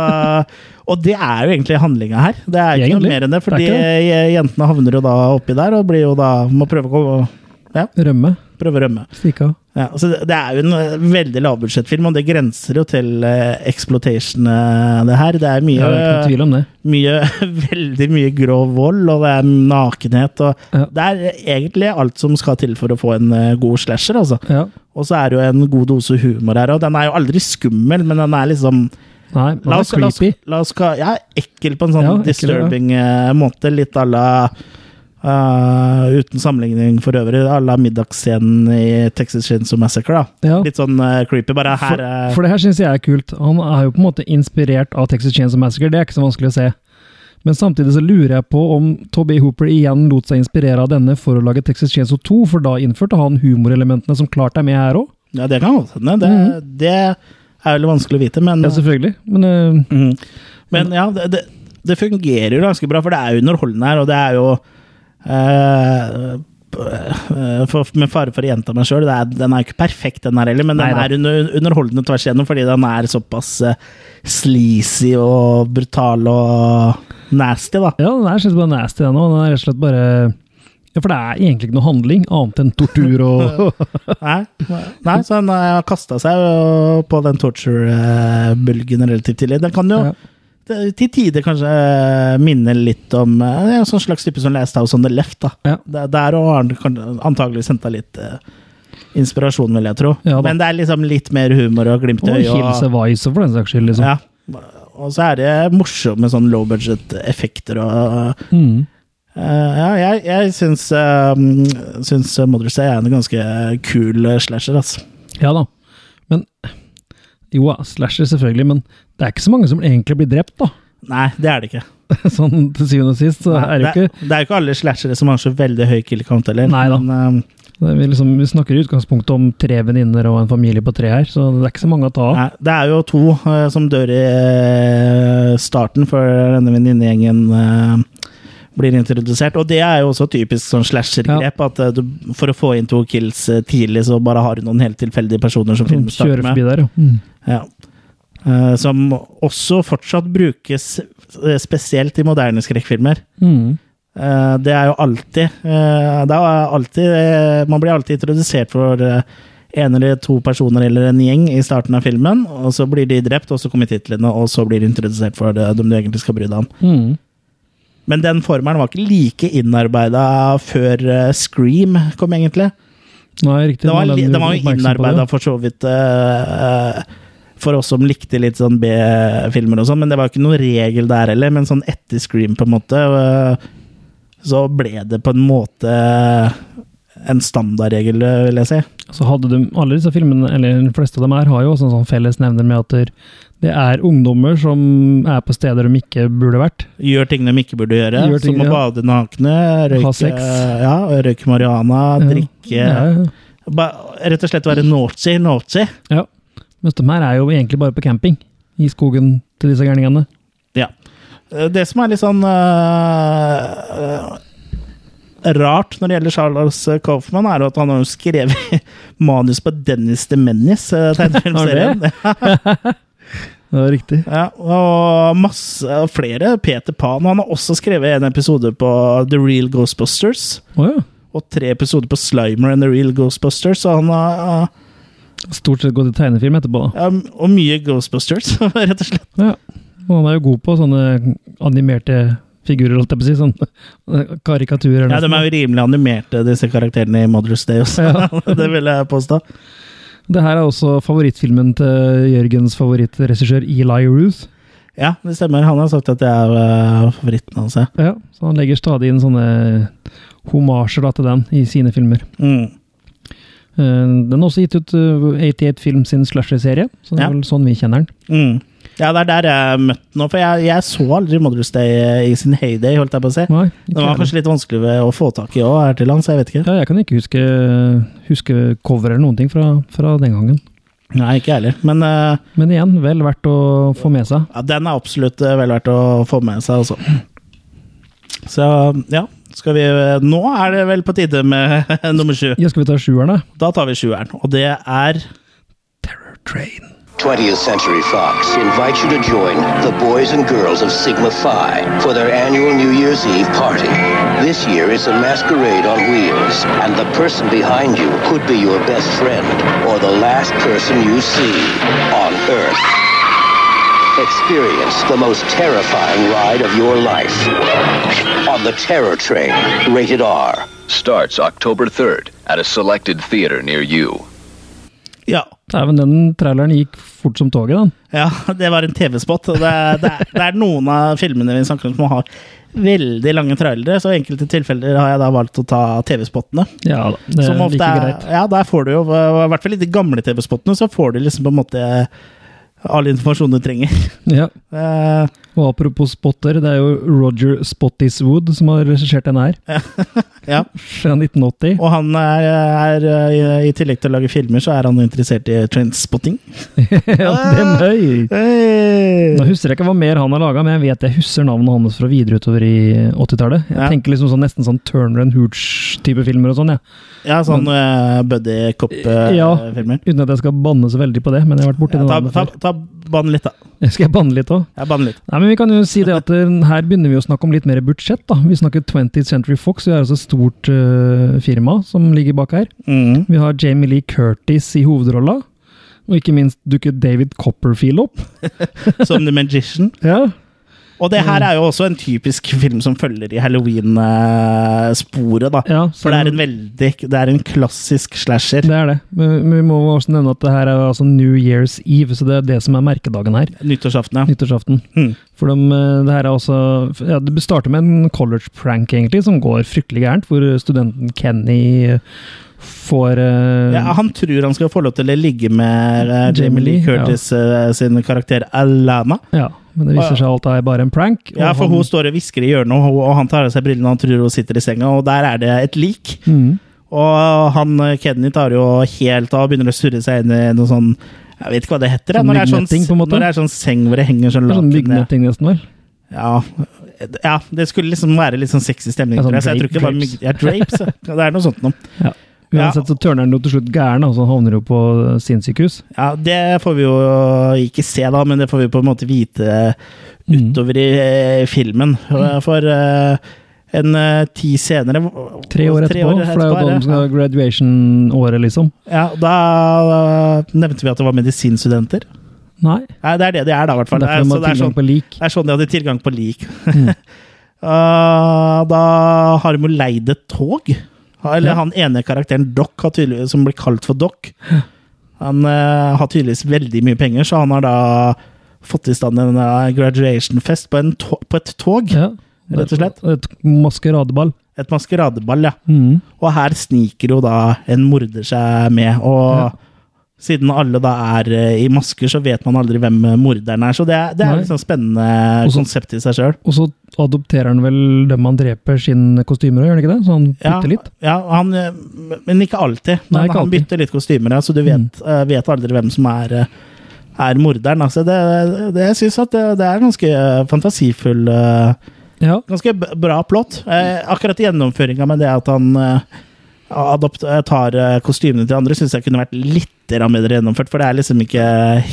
Speaker 1: og det er jo egentlig handlinga her. Det er ikke
Speaker 2: Egentlig.
Speaker 1: noe mer enn det,
Speaker 2: Det er
Speaker 1: fordi eh, jentene havner jo da oppi der og blir jo da, må prøve å, komme- ja,
Speaker 2: Rømme.
Speaker 1: prøve å rømme.
Speaker 2: Stikke av.
Speaker 1: Ja, så det det er jo en eh, veldig lavbudsjettfilm, og det grenser jo til eh, exploitation, eh, det her. Det er
Speaker 2: Ja,
Speaker 1: mye,
Speaker 2: det er ikke noen tvil om det.
Speaker 1: mye veldig mye grov vold, og det er nakenhet, og
Speaker 2: Ja.
Speaker 1: det er eh, egentlig alt som skal til for å få en eh, god slasher, altså.
Speaker 2: Ja.
Speaker 1: Og så er det jo en god dose humor her, og den er jo aldri skummel, men den er liksom
Speaker 2: Nei, men
Speaker 1: La
Speaker 2: det
Speaker 1: oss,
Speaker 2: er
Speaker 1: la oss,
Speaker 2: creepy.
Speaker 1: la oss ka- Ja, ekkel på en sånn
Speaker 2: Ja, ekkel,
Speaker 1: disturbing eh, måte. Litt à la eh, Uten sammenligning for øvrig, à la middagsscenen i Texas Chainsaw Massacre. da
Speaker 2: Ja.
Speaker 1: Litt sånn eh, creepy. Bare her
Speaker 2: For,
Speaker 1: eh,
Speaker 2: for det her syns jeg er kult. Han er jo på en måte inspirert av Texas Chainsaw Massacre, det er ikke så vanskelig å se. Men samtidig så lurer jeg på om Toby Hooper igjen lot seg inspirere av denne for å lage Texas Chainsaw 2, for da innførte han humorelementene som klart er med her òg.
Speaker 1: Ja, det kan godt hende. Det, det er veldig vanskelig å vite, men
Speaker 2: Mm. Ja, selvfølgelig. Men eh,
Speaker 1: Mhm. Men ja, det, det, det fungerer jo ganske bra, for det er jo underholdende her, og det er jo eh, eh, for, Med fare for å gjenta meg sjøl, den er jo ikke perfekt, den her heller, men den
Speaker 2: Neida.
Speaker 1: er under, underholdende tvers igjennom fordi den er såpass eh, sleazy og brutal og nasty, da.
Speaker 2: ja, den her syns jeg bare er nasty, den òg. Den er rett og slett bare ja, For det er egentlig ikke noe handling, annet enn tortur og
Speaker 1: Nei, nei så den har kasta seg jo på den torture-bølgen relativt tidlig. Den kan jo
Speaker 2: Ja.
Speaker 1: det- til tider kanskje eh, minne litt om eh, en sånn slags type som Last House on the Left. da.
Speaker 2: Ja.
Speaker 1: Der- Der og har han kan- antagelig henta litt eh, inspirasjon, vil jeg tro.
Speaker 2: Ja da.
Speaker 1: Men det er liksom litt mer humor og glimt
Speaker 2: Og
Speaker 1: i
Speaker 2: Hilse
Speaker 1: øyet. og-
Speaker 2: Weiser, for den saks skyld, liksom.
Speaker 1: Ja. Og så er det morsomme sånn low budget-effekter og
Speaker 2: Mm.
Speaker 1: Eh, ja, jeg, jeg syns, uh, syns Mother's Day er en ganske kul eh, slasher, altså.
Speaker 2: Ja da. Men Jo, ja, slasher selvfølgelig, men det er ikke så mange som egentlig blir drept, da.
Speaker 1: Nei, det er det ikke.
Speaker 2: Sånn til syvende og sist, så er det jo ikke
Speaker 1: det, er jo ikke alle slashere som har så veldig høy kill count heller.
Speaker 2: Nei da.
Speaker 1: Men, eh,
Speaker 2: det er vi, liksom, vi snakker i utgangspunktet om tre venninner og en familie på tre her, så det er ikke så mange å ta av.
Speaker 1: nei, det er jo to eh, som dør i eh, starten før denne venninnegjengen eh, blir introdusert. Og det er jo også typisk sånn slasher-grep. At eh, du, for å få inn to kills eh, tidlig, så bare har du noen helt tilfeldige personer som
Speaker 2: Som
Speaker 1: filmen starter
Speaker 2: kjører
Speaker 1: med.
Speaker 2: forbi Sånn der, ja. Mm.
Speaker 1: Ja. Eh, som også fortsatt brukes eh, spesielt i moderne skrekkfilmer.
Speaker 2: Mm.
Speaker 1: Eh, det er jo alltid eh, Det er alltid eh, Man blir alltid introdusert for eh, en eller to personer eller en gjeng i starten av filmen, og så blir de drept, og så kommer titlene, og så blir de introdusert for eh, dem du egentlig skal bry deg om.
Speaker 2: Mm.
Speaker 1: Men den formelen var ikke like innarbeida før eh, Scream kom, egentlig.
Speaker 2: Nei, riktig.
Speaker 1: Det var,
Speaker 2: nå er
Speaker 1: li-
Speaker 2: den
Speaker 1: den var jo
Speaker 2: oppmerksom på det.
Speaker 1: innarbeida for så vidt eh, eh, for oss som likte litt sånn B-filmer og sånn, men det var jo ikke noen regel der heller. Men sånn etter Scream, på en måte, øh, så ble det på en måte eh, en standardregel, vil jeg si.
Speaker 2: Så hadde de, alle disse filmene, eller de fleste av dem her, har jo også en sånn fellesnevner med at der- det er ungdommer som er på steder de ikke burde vært.
Speaker 1: Gjør ting de ikke burde gjøre,
Speaker 2: Gjør ting,
Speaker 1: som å
Speaker 2: ja.
Speaker 1: bade nakne, røyke,
Speaker 2: Ha sex.
Speaker 1: Ja, røyke marihuana,
Speaker 2: Ja.
Speaker 1: drikke
Speaker 2: Ja, ja.
Speaker 1: Ba- Rett og slett være naughty, naughty.
Speaker 2: ja. Mens de her er jo egentlig bare på camping i skogen til disse gærningene.
Speaker 1: Ja. Eh, Det som er litt sånn eh, eh, rart når det gjelder Charles Kaufman, er jo at han har jo skrevet manus på Dennis the Menace, eh, tegnefilmserien.
Speaker 2: Ja, riktig.
Speaker 1: ja, og masse og flere. Peter Pan. Han har også skrevet en episode på The Real Ghostbusters.
Speaker 2: Å ja.
Speaker 1: Og tre episoder på Slimer and The Real Ghostbusters. Så han har,
Speaker 2: Stort sett gått i tegnefilm etterpå, da.
Speaker 1: ja, og mye Ghostbusters, rett og slett.
Speaker 2: Ja. Og han er jo god på sånne animerte figurer, holdt jeg på å si. Sånn karikaturer.
Speaker 1: Ja, de
Speaker 2: nesten.
Speaker 1: er jo rimelig animerte, disse karakterene i Mother's Day også. det vil jeg påstå.
Speaker 2: sånn. Det her er også favorittfilmen til Jørgens favorittregissør Eli Ruth.
Speaker 1: Ja, det stemmer. Han har sagt at det er øh, favoritten hans. ja.
Speaker 2: Ja, så han legger stadig inn sånne homasjer da, til den i sine filmer.
Speaker 1: Mm.
Speaker 2: Eh, Den er også gitt ut eh, 88 Film sin slasher-serie, så det er
Speaker 1: Ja.
Speaker 2: vel sånn vi kjenner den.
Speaker 1: Mm. Ja, det er der jeg møtte den nå, for jeg, jeg så aldri Mother's Day eh, i sin heyday, holdt jeg på å si.
Speaker 2: Nei, ikke
Speaker 1: Den var
Speaker 2: heller.
Speaker 1: kanskje litt vanskelig ved å få tak i òg, her til lands, jeg vet ikke.
Speaker 2: ja, jeg kan ikke huske, huske cover eller noen ting fra, fra den gangen.
Speaker 1: Nei, ikke jeg heller. Men øh,
Speaker 2: Men igjen, vel verdt å få med seg.
Speaker 1: ja, den er absolutt øh, vel verdt å få med seg, altså. Så ja, skal vi eh, Nå er det vel på tide med nummer sju.
Speaker 2: Ja, skal vi ta sjueren, da?
Speaker 1: Da tar vi sjueren, og det er
Speaker 2: Terror Train.
Speaker 7: 20th Century Fox invites you to join the boys and girls of Sigma Phi for their annual New Year's Eve party. This year it's a masquerade on wheels, and the person behind you could be your best friend or the last person you see on Earth. Experience the most terrifying ride of your life on the Terror Train, rated R.
Speaker 8: Starts October 3rd at a selected theater near you.
Speaker 1: Ja.
Speaker 2: Dæven, den traileren gikk fort som toget, den.
Speaker 1: Ja, det var en TV-spot. og Det, er- det, er- det er noen av filmene vi snakker om som har veldig lange trailere, så i enkelte tilfeller har jeg da valgt å ta TV-spottene.
Speaker 2: Ja da, det er
Speaker 1: Som ofte
Speaker 2: like
Speaker 1: er,
Speaker 2: greit.
Speaker 1: ja, der får du jo, i hvert fall i de gamle TV-spottene, så får du liksom på en måte all informasjon du trenger.
Speaker 2: Ja.
Speaker 1: Eh,
Speaker 2: Og apropos spotter, det er jo Roger Spottiswood som har regissert den her.
Speaker 1: ja.
Speaker 2: Fra 1980.
Speaker 1: Og han er, er i tillegg til å lage filmer, så er han interessert i trainspotting.
Speaker 2: ja, den høy!
Speaker 1: Hey!
Speaker 2: Nå husker jeg ikke hva mer han har laga, men jeg vet jeg husker navnet hans fra videre utover i 80-tallet. Jeg
Speaker 1: Ja.
Speaker 2: tenker liksom sånn, nesten sånn Turner and Hooch-type filmer og sånn, jeg.
Speaker 1: Ja, sånn eh, buddy
Speaker 2: Ja.
Speaker 1: cop-filmer.
Speaker 2: Uten at jeg skal banne så veldig på det, men jeg har vært borti det
Speaker 1: ta
Speaker 2: navnet
Speaker 1: ta,
Speaker 2: før.
Speaker 1: ta bann litt, da.
Speaker 2: Skal jeg banne litt òg?
Speaker 1: Jeg banner litt.
Speaker 2: Nei, men vi kan jo si det at eh, her begynner vi å snakke om litt mer budsjett, da. Vi snakker 20th Century Fox, vi er altså et stort eh, firma som ligger bak her.
Speaker 1: Mm.
Speaker 2: Vi har Jamie Lee Curtis i hovedrolla. Og ikke minst dukker David Copperfield opp.
Speaker 1: Som The Magician.
Speaker 2: Ja.
Speaker 1: Og det
Speaker 2: Mm.
Speaker 1: her er jo også en typisk film som følger i halloween-sporet, da.
Speaker 2: Ja,
Speaker 1: For det er en veldig Det er en klassisk slasher.
Speaker 2: Det er det. Men men vi må også nevne at det her er altså New Year's Eve, så det er det som er merkedagen her.
Speaker 1: Nyttårsaften, ja.
Speaker 2: Nyttårsaften.
Speaker 1: Mm.
Speaker 2: For de, eh, det her er også ja, Det starter med en college prank, egentlig, som går fryktelig gærent, hvor studenten Kenny eh, får eh,
Speaker 1: Ja, han tror han skal få lov til å ligge med eh, Jamie
Speaker 2: Jamie
Speaker 1: Lee
Speaker 2: Lee,
Speaker 1: Curtis eh, sin karakter Alana.
Speaker 2: ja, Men det
Speaker 1: Å, ja.
Speaker 2: viser seg alt er bare en prank.
Speaker 1: Ja,
Speaker 2: og
Speaker 1: for
Speaker 2: han-
Speaker 1: hun står og hvisker i hjørnet, og, og han tar av seg brillene og tror hun sitter i senga, og der er det et lik.
Speaker 2: Mhm.
Speaker 1: Og han eh, Kenny tar jo helt av og begynner å surre seg inn i noe sånn Jeg vet ikke hva det heter, ja,
Speaker 2: Sånn
Speaker 1: når, det er
Speaker 2: myggnetting, på
Speaker 1: sånn,
Speaker 2: en måte?
Speaker 1: når det er sånn seng hvor det henger sånn
Speaker 2: Det er
Speaker 1: laken
Speaker 2: sånn
Speaker 1: ned.
Speaker 2: myggnetting, nesten, vel?
Speaker 1: Ja, ja, det skulle liksom være litt sånn sexy stemning.
Speaker 2: Ja, sånn
Speaker 1: tror jeg, så jeg tror
Speaker 2: drape-
Speaker 1: ikke det var mygg... Ja, drapes. ja. Ja, Det er noe sånt noe.
Speaker 2: Ja.
Speaker 1: Ja.
Speaker 2: Uansett så tørner han jo til slutt gæren, altså, og så havner jo på eh, sinnssykehus.
Speaker 1: Ja, det får vi jo ikke se, da, men det får vi på en måte vite
Speaker 2: Hmm.
Speaker 1: utover i eh, filmen. For eh, en eh, ti senere
Speaker 2: Tre år etterpå, for det er jo da de skal ha graduation-året, liksom.
Speaker 1: Ja, da eh, nevnte vi at det var medisinstudenter.
Speaker 2: Nei.
Speaker 1: Nei, det er det det er, da, i hvert fall. Det er,
Speaker 2: Derfor de
Speaker 1: så
Speaker 2: har
Speaker 1: det er
Speaker 2: tilgang
Speaker 1: sånn
Speaker 2: på lik.
Speaker 1: Det er sånn de hadde tilgang på lik.
Speaker 2: Mm.
Speaker 1: Eh, da har de jo leid et tog. Eller
Speaker 2: Ja.
Speaker 1: han ene karakteren Doc, har tydeligvis- som blir kalt for Doc. Han eh, har tydeligvis veldig mye penger, så han har da fått i stand en eh, graduation-fest på, en to- på et tog.
Speaker 2: Ja.
Speaker 1: Rett og slett.
Speaker 2: Et maskeradeball. Hmm.
Speaker 1: Et maskeradeball, ja. Og her sniker jo da en morder seg med. Og siden alle da er eh, i masker, så vet man aldri hvem eh, morderen er. Så det, er- det
Speaker 2: Nei.
Speaker 1: er liksom spennende
Speaker 2: Og så-
Speaker 1: konsept i seg sjøl.
Speaker 2: Og så adopterer han vel dem han dreper, sine kostymer, gjør han ikke det? Så han bytter litt.
Speaker 1: Ja, han, eh, men ikke alltid.
Speaker 2: Nei, ikke
Speaker 1: han
Speaker 2: alltid. Mm.
Speaker 1: bytter litt kostymer, ja, så du vet, eh, vet aldri hvem som er, eh, er morderen. Altså, det, det, jeg syns at det, det er ganske eh, fantasifull eh,
Speaker 2: Ja.
Speaker 1: Ganske b- bra plott. Eh, akkurat gjennomføringa med det at han eh, adopt, eh, tar eh, kostymene til andre, syns jeg kunne vært litt grann bedre gjennomført, for det er liksom ikke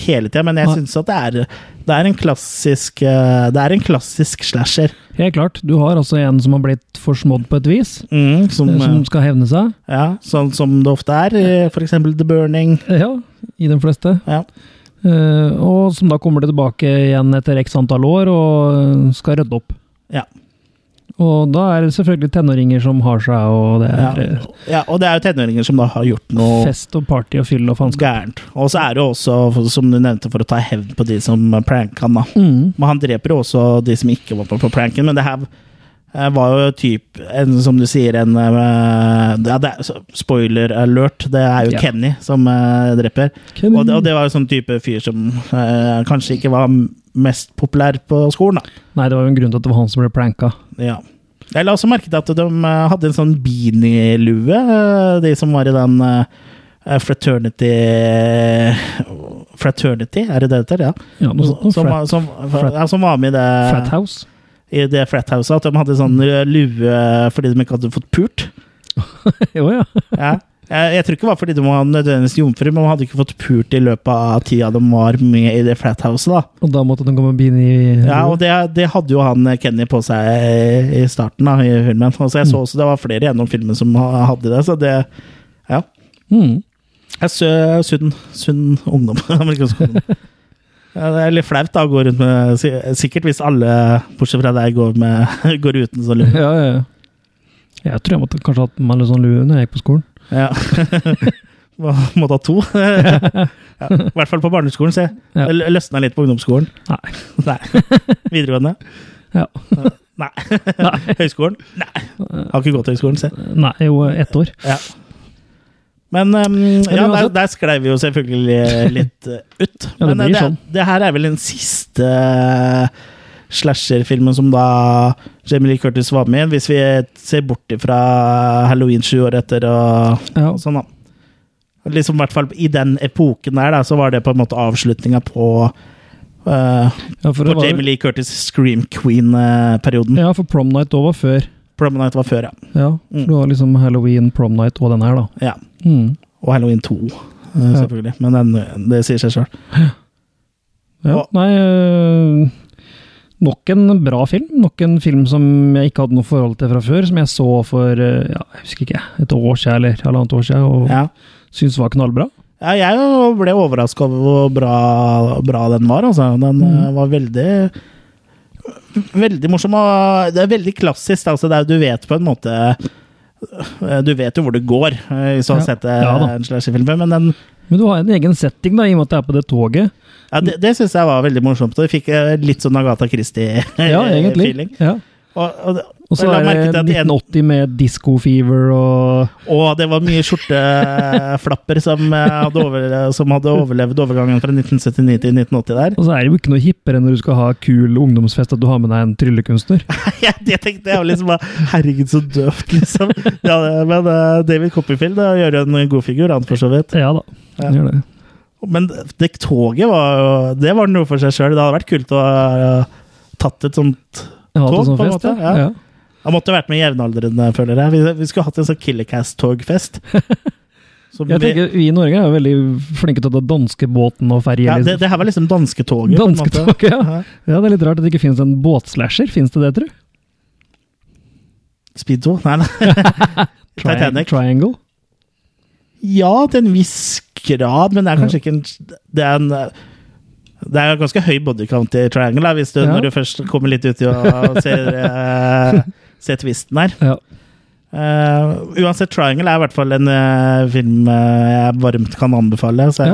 Speaker 1: hele tida. Men jeg
Speaker 2: Nei.
Speaker 1: syns at det er, det er en klassisk eh, Det er en klassisk slasher.
Speaker 2: Helt klart. Du har altså en som har blitt forsmådd på et vis,
Speaker 1: Mm, som,
Speaker 2: eh, som
Speaker 1: eh,
Speaker 2: skal hevne seg.
Speaker 1: ja, sånn som det ofte er. eh, For eksempel The Burning.
Speaker 2: Eh, Ja, i de fleste.
Speaker 1: Ja.
Speaker 2: Eh, og som da kommer tilbake igjen etter x antall år og eh, skal rydde opp.
Speaker 1: Ja,
Speaker 2: Og da er det selvfølgelig tenåringer som har seg, og det
Speaker 1: ja.
Speaker 2: er eh,
Speaker 1: ja, og det er jo tenåringer som da har gjort noe
Speaker 2: fest og party og fyll og faenskap.
Speaker 1: gærent. Og så er det jo også, som du nevnte, for å ta hevn på de som pranka han, da.
Speaker 2: Mm.
Speaker 1: Men han dreper jo også de som ikke var på, på pranken, men det her eh, var jo typ en, som du sier, en eh, ja, det er, så- Spoiler alert, det er jo
Speaker 2: Ja.
Speaker 1: Kenny som eh, dreper.
Speaker 2: Kenny.
Speaker 1: Og det, og det var jo sånn type fyr som eh, kanskje ikke var m- mest populær på skolen, da.
Speaker 2: Nei, det var jo en grunn til at det var han som ble pranka.
Speaker 1: Ja. Jeg la også merke til at de eh, hadde en sånn beanie-lue, eh, de som var i den eh, fraternity Fraternity, er det det det heter? Ja.
Speaker 2: Ja, noe sånt.
Speaker 1: Som, var-
Speaker 2: Frat,
Speaker 1: som, ja, som var med i det
Speaker 2: frat House.
Speaker 1: i det flathuset at de hadde sånn lue fordi de ikke hadde fått pult.
Speaker 2: jo, ja.
Speaker 1: Ja. Jeg, jeg tror ikke det var fordi de var nødvendigvis jomfruer, men de hadde ikke fått pult i løpet av tida de var med i det flathuset. da.
Speaker 2: Og da måtte den komme beanie i
Speaker 1: Ja, og det, det hadde jo han eh, Kenny på seg eh, i starten da, i filmen. Altså,
Speaker 2: Mm.
Speaker 1: jeg så også det var flere gjennom filmen som ha- hadde det, så det Ja.
Speaker 2: mm.
Speaker 1: Jeg er sø, sunn, sunn ungdom. Amerikansk ungdom. Ja, det er litt flaut da, å gå rundt med Sikkert hvis alle, bortsett fra deg, går, med, går uten sånn lue.
Speaker 2: ja, ja, ja. Jeg tror jeg måtte kanskje hatt meg litt sånn lue når jeg gikk på skolen.
Speaker 1: Ja. Må må ta to. ja. I hvert fall på barneskolen, se.
Speaker 2: Ja.
Speaker 1: Det l- Løsna litt på ungdomsskolen.
Speaker 2: Nei.
Speaker 1: Nei. Videregående?
Speaker 2: Ja.
Speaker 1: Nei. Høyskolen? Nei. Har ikke gått til høyskolen, se.
Speaker 2: Nei, jo, ett år.
Speaker 1: Ja. Men um, ja, der,
Speaker 2: uansett-
Speaker 1: der sklei vi jo selvfølgelig litt uh, ut.
Speaker 2: Ja, det
Speaker 1: Men uh,
Speaker 2: blir
Speaker 1: det,
Speaker 2: sånn.
Speaker 1: det her er vel den siste eh, slasherfilmen som da Jamie Lee Curtis var med i, hvis vi ser bort ifra Halloween sju år etter og
Speaker 2: Ja.
Speaker 1: og sånn da. Liksom i hvert fall I den epoken der, da, så var det på en måte avslutninga på, eh,
Speaker 2: Ja, for
Speaker 1: på
Speaker 2: det var,
Speaker 1: Jamie Lee Curtis' Scream Queen-perioden.
Speaker 2: ja, for prom night òg var før.
Speaker 1: Prom Night var før, ja.
Speaker 2: Ja, for
Speaker 1: Mm.
Speaker 2: du har liksom halloween, prom night og den her, da.
Speaker 1: ja.
Speaker 2: Mm.
Speaker 1: Og Halloween 2, eh, selvfølgelig. Men den, det sier seg sjøl.
Speaker 2: Ja,
Speaker 1: Og-
Speaker 2: nei øh, Nok en bra film. Nok en film som jeg ikke hadde noe forhold til fra før, som jeg så for øh, ja, jeg husker ikke, et år siden eller halvannet år siden, og
Speaker 1: Ja.
Speaker 2: syntes var knallbra.
Speaker 1: Ja, jeg jo ble overraska over hvor bra, bra den var. Altså. Den
Speaker 2: Mhm.
Speaker 1: eh, var veldig Veldig morsom. Og det er veldig klassisk. Altså, det er, du vet på en måte eh, Du vet jo hvor det går, eh, hvis du har
Speaker 2: Ja.
Speaker 1: sett eh,
Speaker 2: Ja da.
Speaker 1: en slasherfilm. Men den,
Speaker 2: Men du har en egen setting, da, i og med at det er på det toget.
Speaker 1: ja, det, det syns jeg var veldig morsomt. Og jeg fikk eh, litt sånn Agatha
Speaker 2: Ja, egentlig.
Speaker 1: Christie-feeling.
Speaker 2: Ja.
Speaker 1: og, og,
Speaker 2: Og så
Speaker 1: jeg la
Speaker 2: er
Speaker 1: merke til
Speaker 2: det
Speaker 1: at en-
Speaker 2: 1980 med disco fever og
Speaker 1: Og det var mye skjorteflapper som, eh, hadde overle- som hadde overlevd overgangen fra 1979 til 1980 der.
Speaker 2: Og så er det jo ikke noe hippere enn når du skal ha kul ungdomsfest at du har med deg en tryllekunstner.
Speaker 1: ja, det tenkte jeg var liksom bare, Herregud, så døvt, liksom. Ja, det- men eh, David Copperfield eh, gjør jo en god figur, han for så vidt.
Speaker 2: Ja da.
Speaker 1: Ja.
Speaker 2: Gjør det.
Speaker 1: Men det toget var jo Det var noe for seg sjøl. Det hadde vært kult å ha eh, tatt et sånt
Speaker 2: Jeg har hatt
Speaker 1: Tog,
Speaker 2: en sånn
Speaker 1: på en
Speaker 2: fest,
Speaker 1: måte, ja. Han måtte vært med jevnaldrende, føler jeg. Vi, vi skulle hatt en sånn Killercast-togfest. Som
Speaker 2: Jeg
Speaker 1: vi-
Speaker 2: tenker, Vi i Norge er jo veldig flinke til å ta danskebåten og ferje.
Speaker 1: ja,
Speaker 2: liksom.
Speaker 1: det, det her var liksom dansketoget. på en måte.
Speaker 2: Dansketog, ja. ja. Det er litt rart at det ikke finnes en båtslasher. Fins det det, tror du?
Speaker 1: Speed 2? Nei, nei.
Speaker 2: Tri-
Speaker 1: Titanic.
Speaker 2: Triangle.
Speaker 1: Ja, til en viss grad, men det er kanskje ikke en Det er en det er jo ganske høy body count i Triangle, da, hvis du,
Speaker 2: Ja.
Speaker 1: når du først kommer litt uti og ser, eh, ser twisten her.
Speaker 2: Ja.
Speaker 1: Eh, Eh, uansett, Triangle er i hvert fall en eh, film eh, jeg varmt kan anbefale. Så,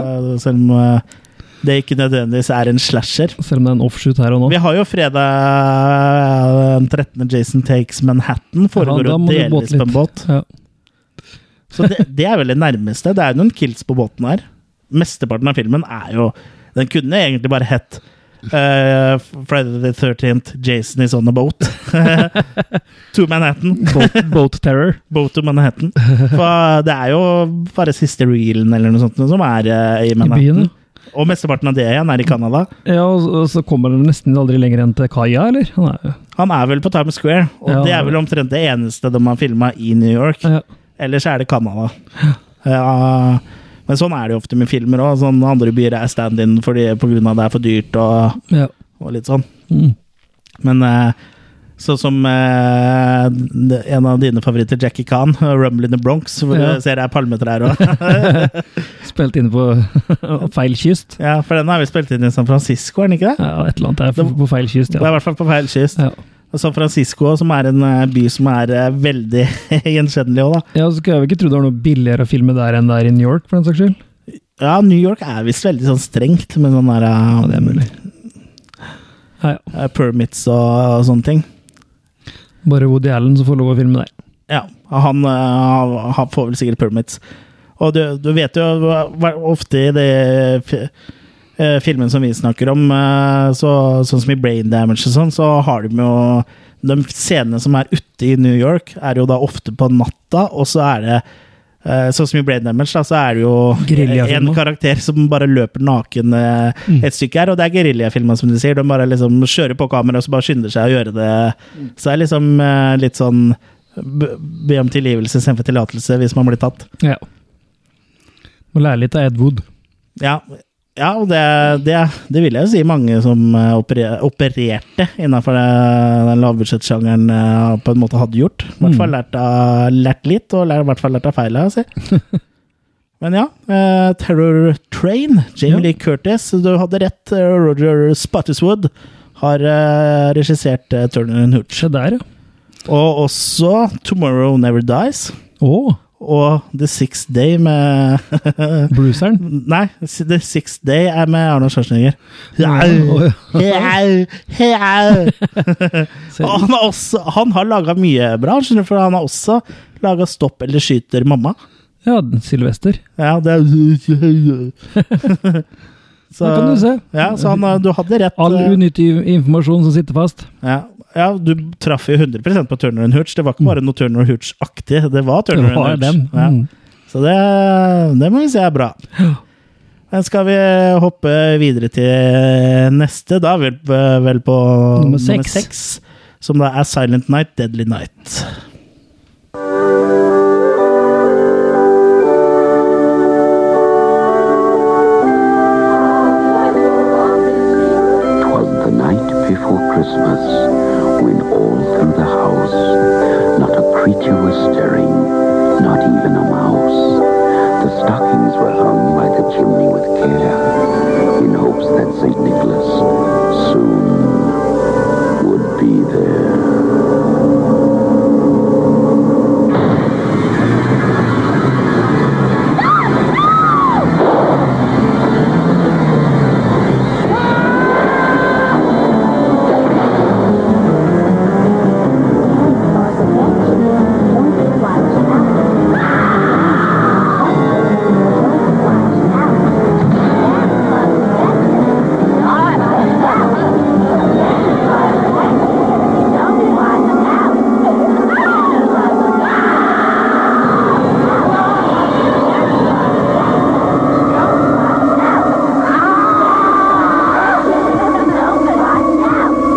Speaker 1: Selv om eh, det ikke nødvendigvis er en slasher.
Speaker 2: Selv om det er en offshoot her og nå.
Speaker 1: Vi har jo fredag den 13. Jason Takes Manhattan. Foregår
Speaker 2: Ja, da
Speaker 1: jo
Speaker 2: må du båte
Speaker 1: delvis på en
Speaker 2: litt.
Speaker 1: båt.
Speaker 2: Ja.
Speaker 1: Så det, det er vel det nærmeste. Det er jo noen kills på båten her. Mesteparten av filmen er jo Den kunne egentlig bare hett eh, Friday the 13th, Jason is on a boat. to Manhattan.
Speaker 2: Boat, boat terror.
Speaker 1: Boat to Manhattan. For det er jo bare siste reelen eller noe sånt som er eh, i Manhattan.
Speaker 2: byen,
Speaker 1: Og mesteparten av det igjen er i Canada.
Speaker 2: Ja, og så- og så kommer han nesten aldri lenger enn til kaia, eller? Han er jo
Speaker 1: Han er vel på Times Square, og
Speaker 2: Ja.
Speaker 1: det er vel omtrent det eneste de har filma i New York.
Speaker 2: ja.
Speaker 1: Ellers er det Canada. Ja, men sånn er det jo ofte med filmer òg. Sånn andre byer er stand-in fordi på grunn av det er for dyrt og,
Speaker 2: ja.
Speaker 1: og litt sånn.
Speaker 2: Mm.
Speaker 1: Men eh, sånn som eh, d- en av dine favoritter, Jackie Khan, 'Rumble in the Bronx', hvor
Speaker 2: Ja.
Speaker 1: du ser det er palmetrær òg.
Speaker 2: Spilt inne på feil kyst.
Speaker 1: ja, for den har vi spilt inn i San Francisco, er den ikke det?
Speaker 2: Ja, et eller annet der på feil kyst,
Speaker 1: Det er i
Speaker 2: ja.
Speaker 1: hvert fall på feil kyst.
Speaker 2: ja.
Speaker 1: Og San Francisco, som er en eh, by som er eh, veldig gjenkjennelig òg, da.
Speaker 2: Ja, så skulle jeg vel ikke tro det var noe billigere å filme der enn der i New York, for den saks skyld.
Speaker 1: Ja, New York er visst veldig sånn strengt med sånn der eh,
Speaker 2: Ja, det er mulig. Nei, ja.
Speaker 1: eh, permits og, og sånne ting.
Speaker 2: Bare Woody Allen som får lov å filme der.
Speaker 1: Ja, han, eh, han får vel sikkert permits. Og du, du vet jo hva- hva- ofte i det fi- eh, filmen som vi snakker om, eh, så, sånn som i Brain Damage og sånn, så har de jo De scenene som er ute i New York, er jo da ofte på natta, og så er det eh, Sånn som i Brain Damage, da, så er det jo
Speaker 2: Guerillafilmer.
Speaker 1: en karakter som bare løper naken eh, et stykke her, og det er geriljafilmer, som du sier. De bare liksom kjører på kamera og så bare skynder seg å gjøre det. Så det er liksom eh, litt sånn be be om tilgivelse istedenfor tillatelse hvis man blir tatt.
Speaker 2: Ja. Må lære litt av Ed Wood.
Speaker 1: Ja, ja og det, det, det vil jeg jo si mange som eh, opere- opererte innafor den lavbudsjettsjangeren eh, på en måte hadde gjort. I hvert fall lært, av, lært litt, og lær- i hvert fall lært av feila si. Men ja, eh, Terror Train, Jamie
Speaker 2: Ja.
Speaker 1: Lee Curtis, du hadde rett. eh, Roger Spottiswood har eh, regissert eh, Turner and Hooch.
Speaker 2: Se der, ja.
Speaker 1: Og også Tomorrow Never Dies.
Speaker 2: Å,
Speaker 1: Og The Sixth Day med
Speaker 2: Bruceren.
Speaker 1: Nei, The Sixth Day er med Arnold Schwarzenegger.
Speaker 2: Å,
Speaker 1: Au,
Speaker 2: ja.
Speaker 1: au, au.
Speaker 2: Se-
Speaker 1: Og Han, har også- han har laga mye bra, skjønner du, for han har også laga 'Stopp eller skyter mamma'.
Speaker 2: Ja, Sylvester.
Speaker 1: Ja, det er Så,
Speaker 2: Da kan du se.
Speaker 1: Ja, så han, har- du hadde rett.
Speaker 2: All
Speaker 1: eh,
Speaker 2: unyttig informasjon som sitter fast.
Speaker 1: Ja, ja du traff jo 100 på Turner and Hooch. Det var ikke bare noe Turner and Hooch-aktig. Det var
Speaker 2: Det
Speaker 1: Turner and
Speaker 2: var
Speaker 1: Hooch.
Speaker 2: den.
Speaker 1: Ja.
Speaker 2: Mm.
Speaker 1: Så det, det må vi si er bra. Men skal vi hoppe videre til neste, da? er Vi er vel på
Speaker 2: Nummer seks.
Speaker 1: Som da er Silent Night, Deadly Night.
Speaker 5: Twas the night before Christmas when all through the house not a creature was stirring, not even a mouse. The stockings were hung by the chimney with care in hopes that St. Nicholas soon would be there.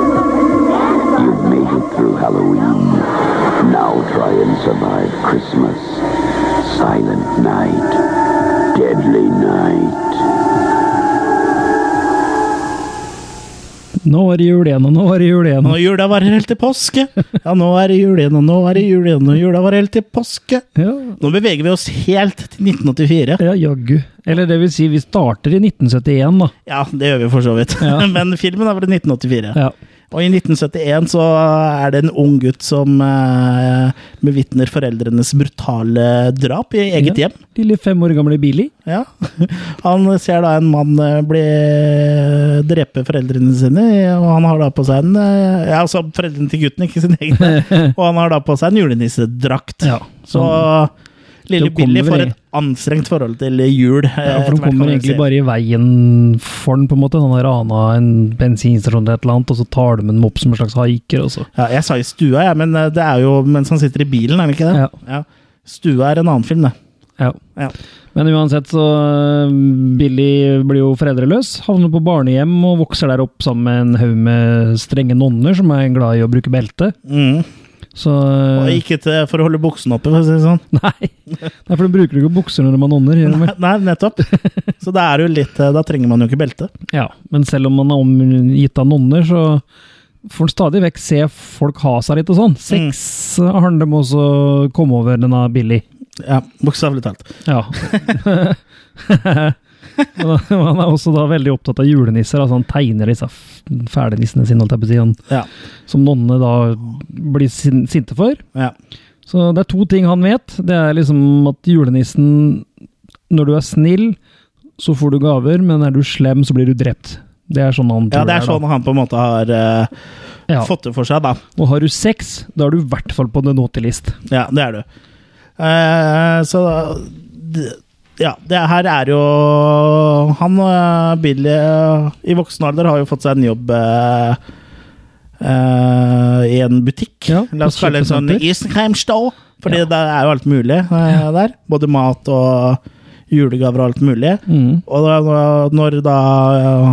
Speaker 5: You've made it through Halloween. Now try and survive Christmas. Silent night. Deadly night.
Speaker 2: Nå er det jul igjen, og nå er det jul igjen.
Speaker 1: Og jula varer helt til påske. Ja, nå er det jul igjen, og nå er det jul igjen, og jula varer helt til påske.
Speaker 2: Ja,
Speaker 1: Nå beveger vi oss helt til 1984.
Speaker 2: ja jaggu. Eller det vil si, vi starter i 1971, da.
Speaker 1: Ja, det gjør vi for så vidt.
Speaker 2: Ja.
Speaker 1: Men filmen er fra 1984.
Speaker 2: Ja.
Speaker 1: Og i 1971 så er det en ung gutt som eh, bevitner foreldrenes brutale drap i eget
Speaker 2: Ja.
Speaker 1: hjem.
Speaker 2: Lille fem år gamle Billy.
Speaker 1: Ja. Han ser da en mann eh, bli drepe foreldrene sine, og han har da på seg en eh, Ja, altså foreldrene til gutten, ikke sin egen. Og han har da på seg en julenissedrakt.
Speaker 2: Ja,
Speaker 1: Så lille
Speaker 2: Det kommer
Speaker 1: Billy
Speaker 2: vel
Speaker 1: får
Speaker 2: eng-
Speaker 1: et anstrengt forhold til jul. eh,
Speaker 2: Ja, for de kommer egentlig bare i veien for den, på en måte. Sånn Han har rana en bensinstasjon eller et eller annet, og så tar de den opp som en slags haiker. altså. og så-
Speaker 1: Ja, jeg sa i stua, jeg, men eh, det er jo mens han sitter i bilen, er det ikke det?
Speaker 2: Ja.
Speaker 1: Stua er en annen film, det.
Speaker 2: Ja.
Speaker 1: Ja.
Speaker 2: Men uansett, så øh, Billy blir jo foreldreløs. Havner på barnehjem og vokser der opp sammen med en haug med strenge nonner som er glad i å bruke belte.
Speaker 1: Mm.
Speaker 2: Så
Speaker 1: Og ikke til for å holde buksene oppe, for å si det sånn.
Speaker 2: Nei. Nei, for de bruker jo ikke bukser når de har nonner. Gjør de?
Speaker 1: Nei, nettopp. Så da er det jo litt eh, Da trenger man jo ikke belte.
Speaker 2: Ja, men selv om man er omgitt av nonner, så får man stadig vekk se folk ha seg litt og sånn. Sex mm. har de også kommet over denne Billy.
Speaker 1: Ja, Bokstavelig talt.
Speaker 2: Ja. Men han er også da veldig opptatt av julenisser. altså Han tegner disse f- fæle nissene sine, holdt jeg på å si, han-
Speaker 1: Ja.
Speaker 2: som nonnene da blir sin sinte for.
Speaker 1: ja.
Speaker 2: Så det er to ting han vet. Det er liksom at julenissen Når du er snill, så får du gaver, men er du slem, så blir du drept. Det er sånn han
Speaker 1: Ja,
Speaker 2: tror
Speaker 1: det er
Speaker 2: da.
Speaker 1: sånn han på en måte har eh,
Speaker 2: Ja.
Speaker 1: fått det for seg, da.
Speaker 2: Og har du sex, da er du i hvert fall på the naughty list.
Speaker 1: Ja, det er du. Eh, så d- Ja, det her er jo Han eh, Billy eh, i voksen alder har jo fått seg en jobb eh, eh, i en butikk.
Speaker 2: Ja,
Speaker 1: La oss
Speaker 2: på et
Speaker 1: kalle det en sånn
Speaker 2: kjøpesenter.
Speaker 1: Isenheimstall, fordi
Speaker 2: Ja.
Speaker 1: det er jo alt mulig eh, der. Både mat og julegaver og alt mulig.
Speaker 2: Mm.
Speaker 1: Og da, når da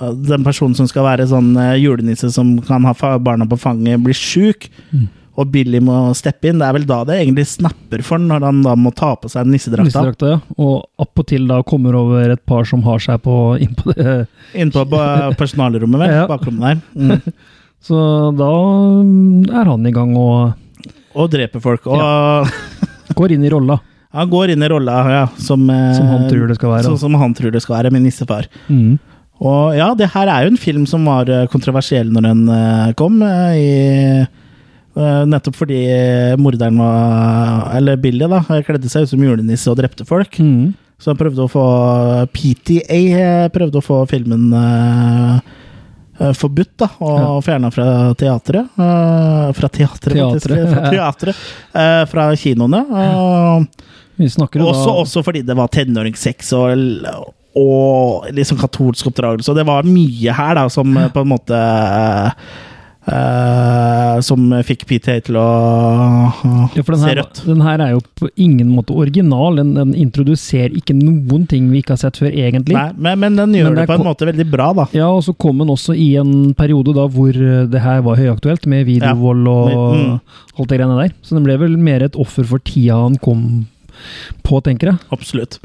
Speaker 1: eh, den personen som skal være sånn eh, julenisse som kan ha fa- barna på fanget, blir sjuk,
Speaker 2: Mm.
Speaker 1: og Billy må steppe inn, det er vel da det egentlig snapper for han, når han da må ta på seg nissedrakta
Speaker 2: Nissedrakta, ja. Og appåtil da kommer over et par som har seg på inn på det.
Speaker 1: inne på ba- personalrommet, vel?
Speaker 2: Ja.
Speaker 1: Bakrommet der. Mm.
Speaker 2: Så da mm, er han i gang og
Speaker 1: Og dreper folk. Og
Speaker 2: går inn i rolla.
Speaker 1: han går inn i rolla ja, som, eh,
Speaker 2: Som han tror det skal være, altså. da.
Speaker 1: Sånn som han tror det skal være, med nissefar.
Speaker 2: Mm.
Speaker 1: Og ja, det her er jo en film som var eh, kontroversiell når den eh, kom. eh, I, eh, nettopp fordi morderen var Eller Billy, da. Kledde seg ut som julenisse og drepte folk.
Speaker 2: Mm.
Speaker 1: Så han prøvde å få PTA eh, prøvde å få filmen eh, eh, forbudt, da. Og
Speaker 2: Ja.
Speaker 1: fjerna fra teatret. eh, fra teatret, faktisk.
Speaker 2: Teatret,
Speaker 1: Fra,
Speaker 2: ja.
Speaker 1: teatret, eh, fra kinoene. og-
Speaker 2: Vi snakker jo
Speaker 1: også,
Speaker 2: da
Speaker 1: også fordi det var tenåringssex og, og liksom katolsk oppdragelse. Og det var mye her da, som eh, på en måte eh, Som fikk PTA til å eh,
Speaker 2: ja, for den,
Speaker 1: se
Speaker 2: her,
Speaker 1: rødt.
Speaker 2: den her er jo på ingen måte original. Den, den introduserer ikke noen ting vi ikke har sett før, egentlig.
Speaker 1: Nei, men, men den
Speaker 2: Men
Speaker 1: gjør
Speaker 2: det
Speaker 1: det
Speaker 2: er
Speaker 1: på en
Speaker 2: ko-
Speaker 1: måte veldig bra, da.
Speaker 2: Ja, og så kom den også i en periode da hvor eh, det her var høyaktuelt, med videovold og
Speaker 1: Mm.
Speaker 2: alt det greiene der. Så den ble vel mer et offer for tida han kom på, tenker jeg.
Speaker 1: Absolutt.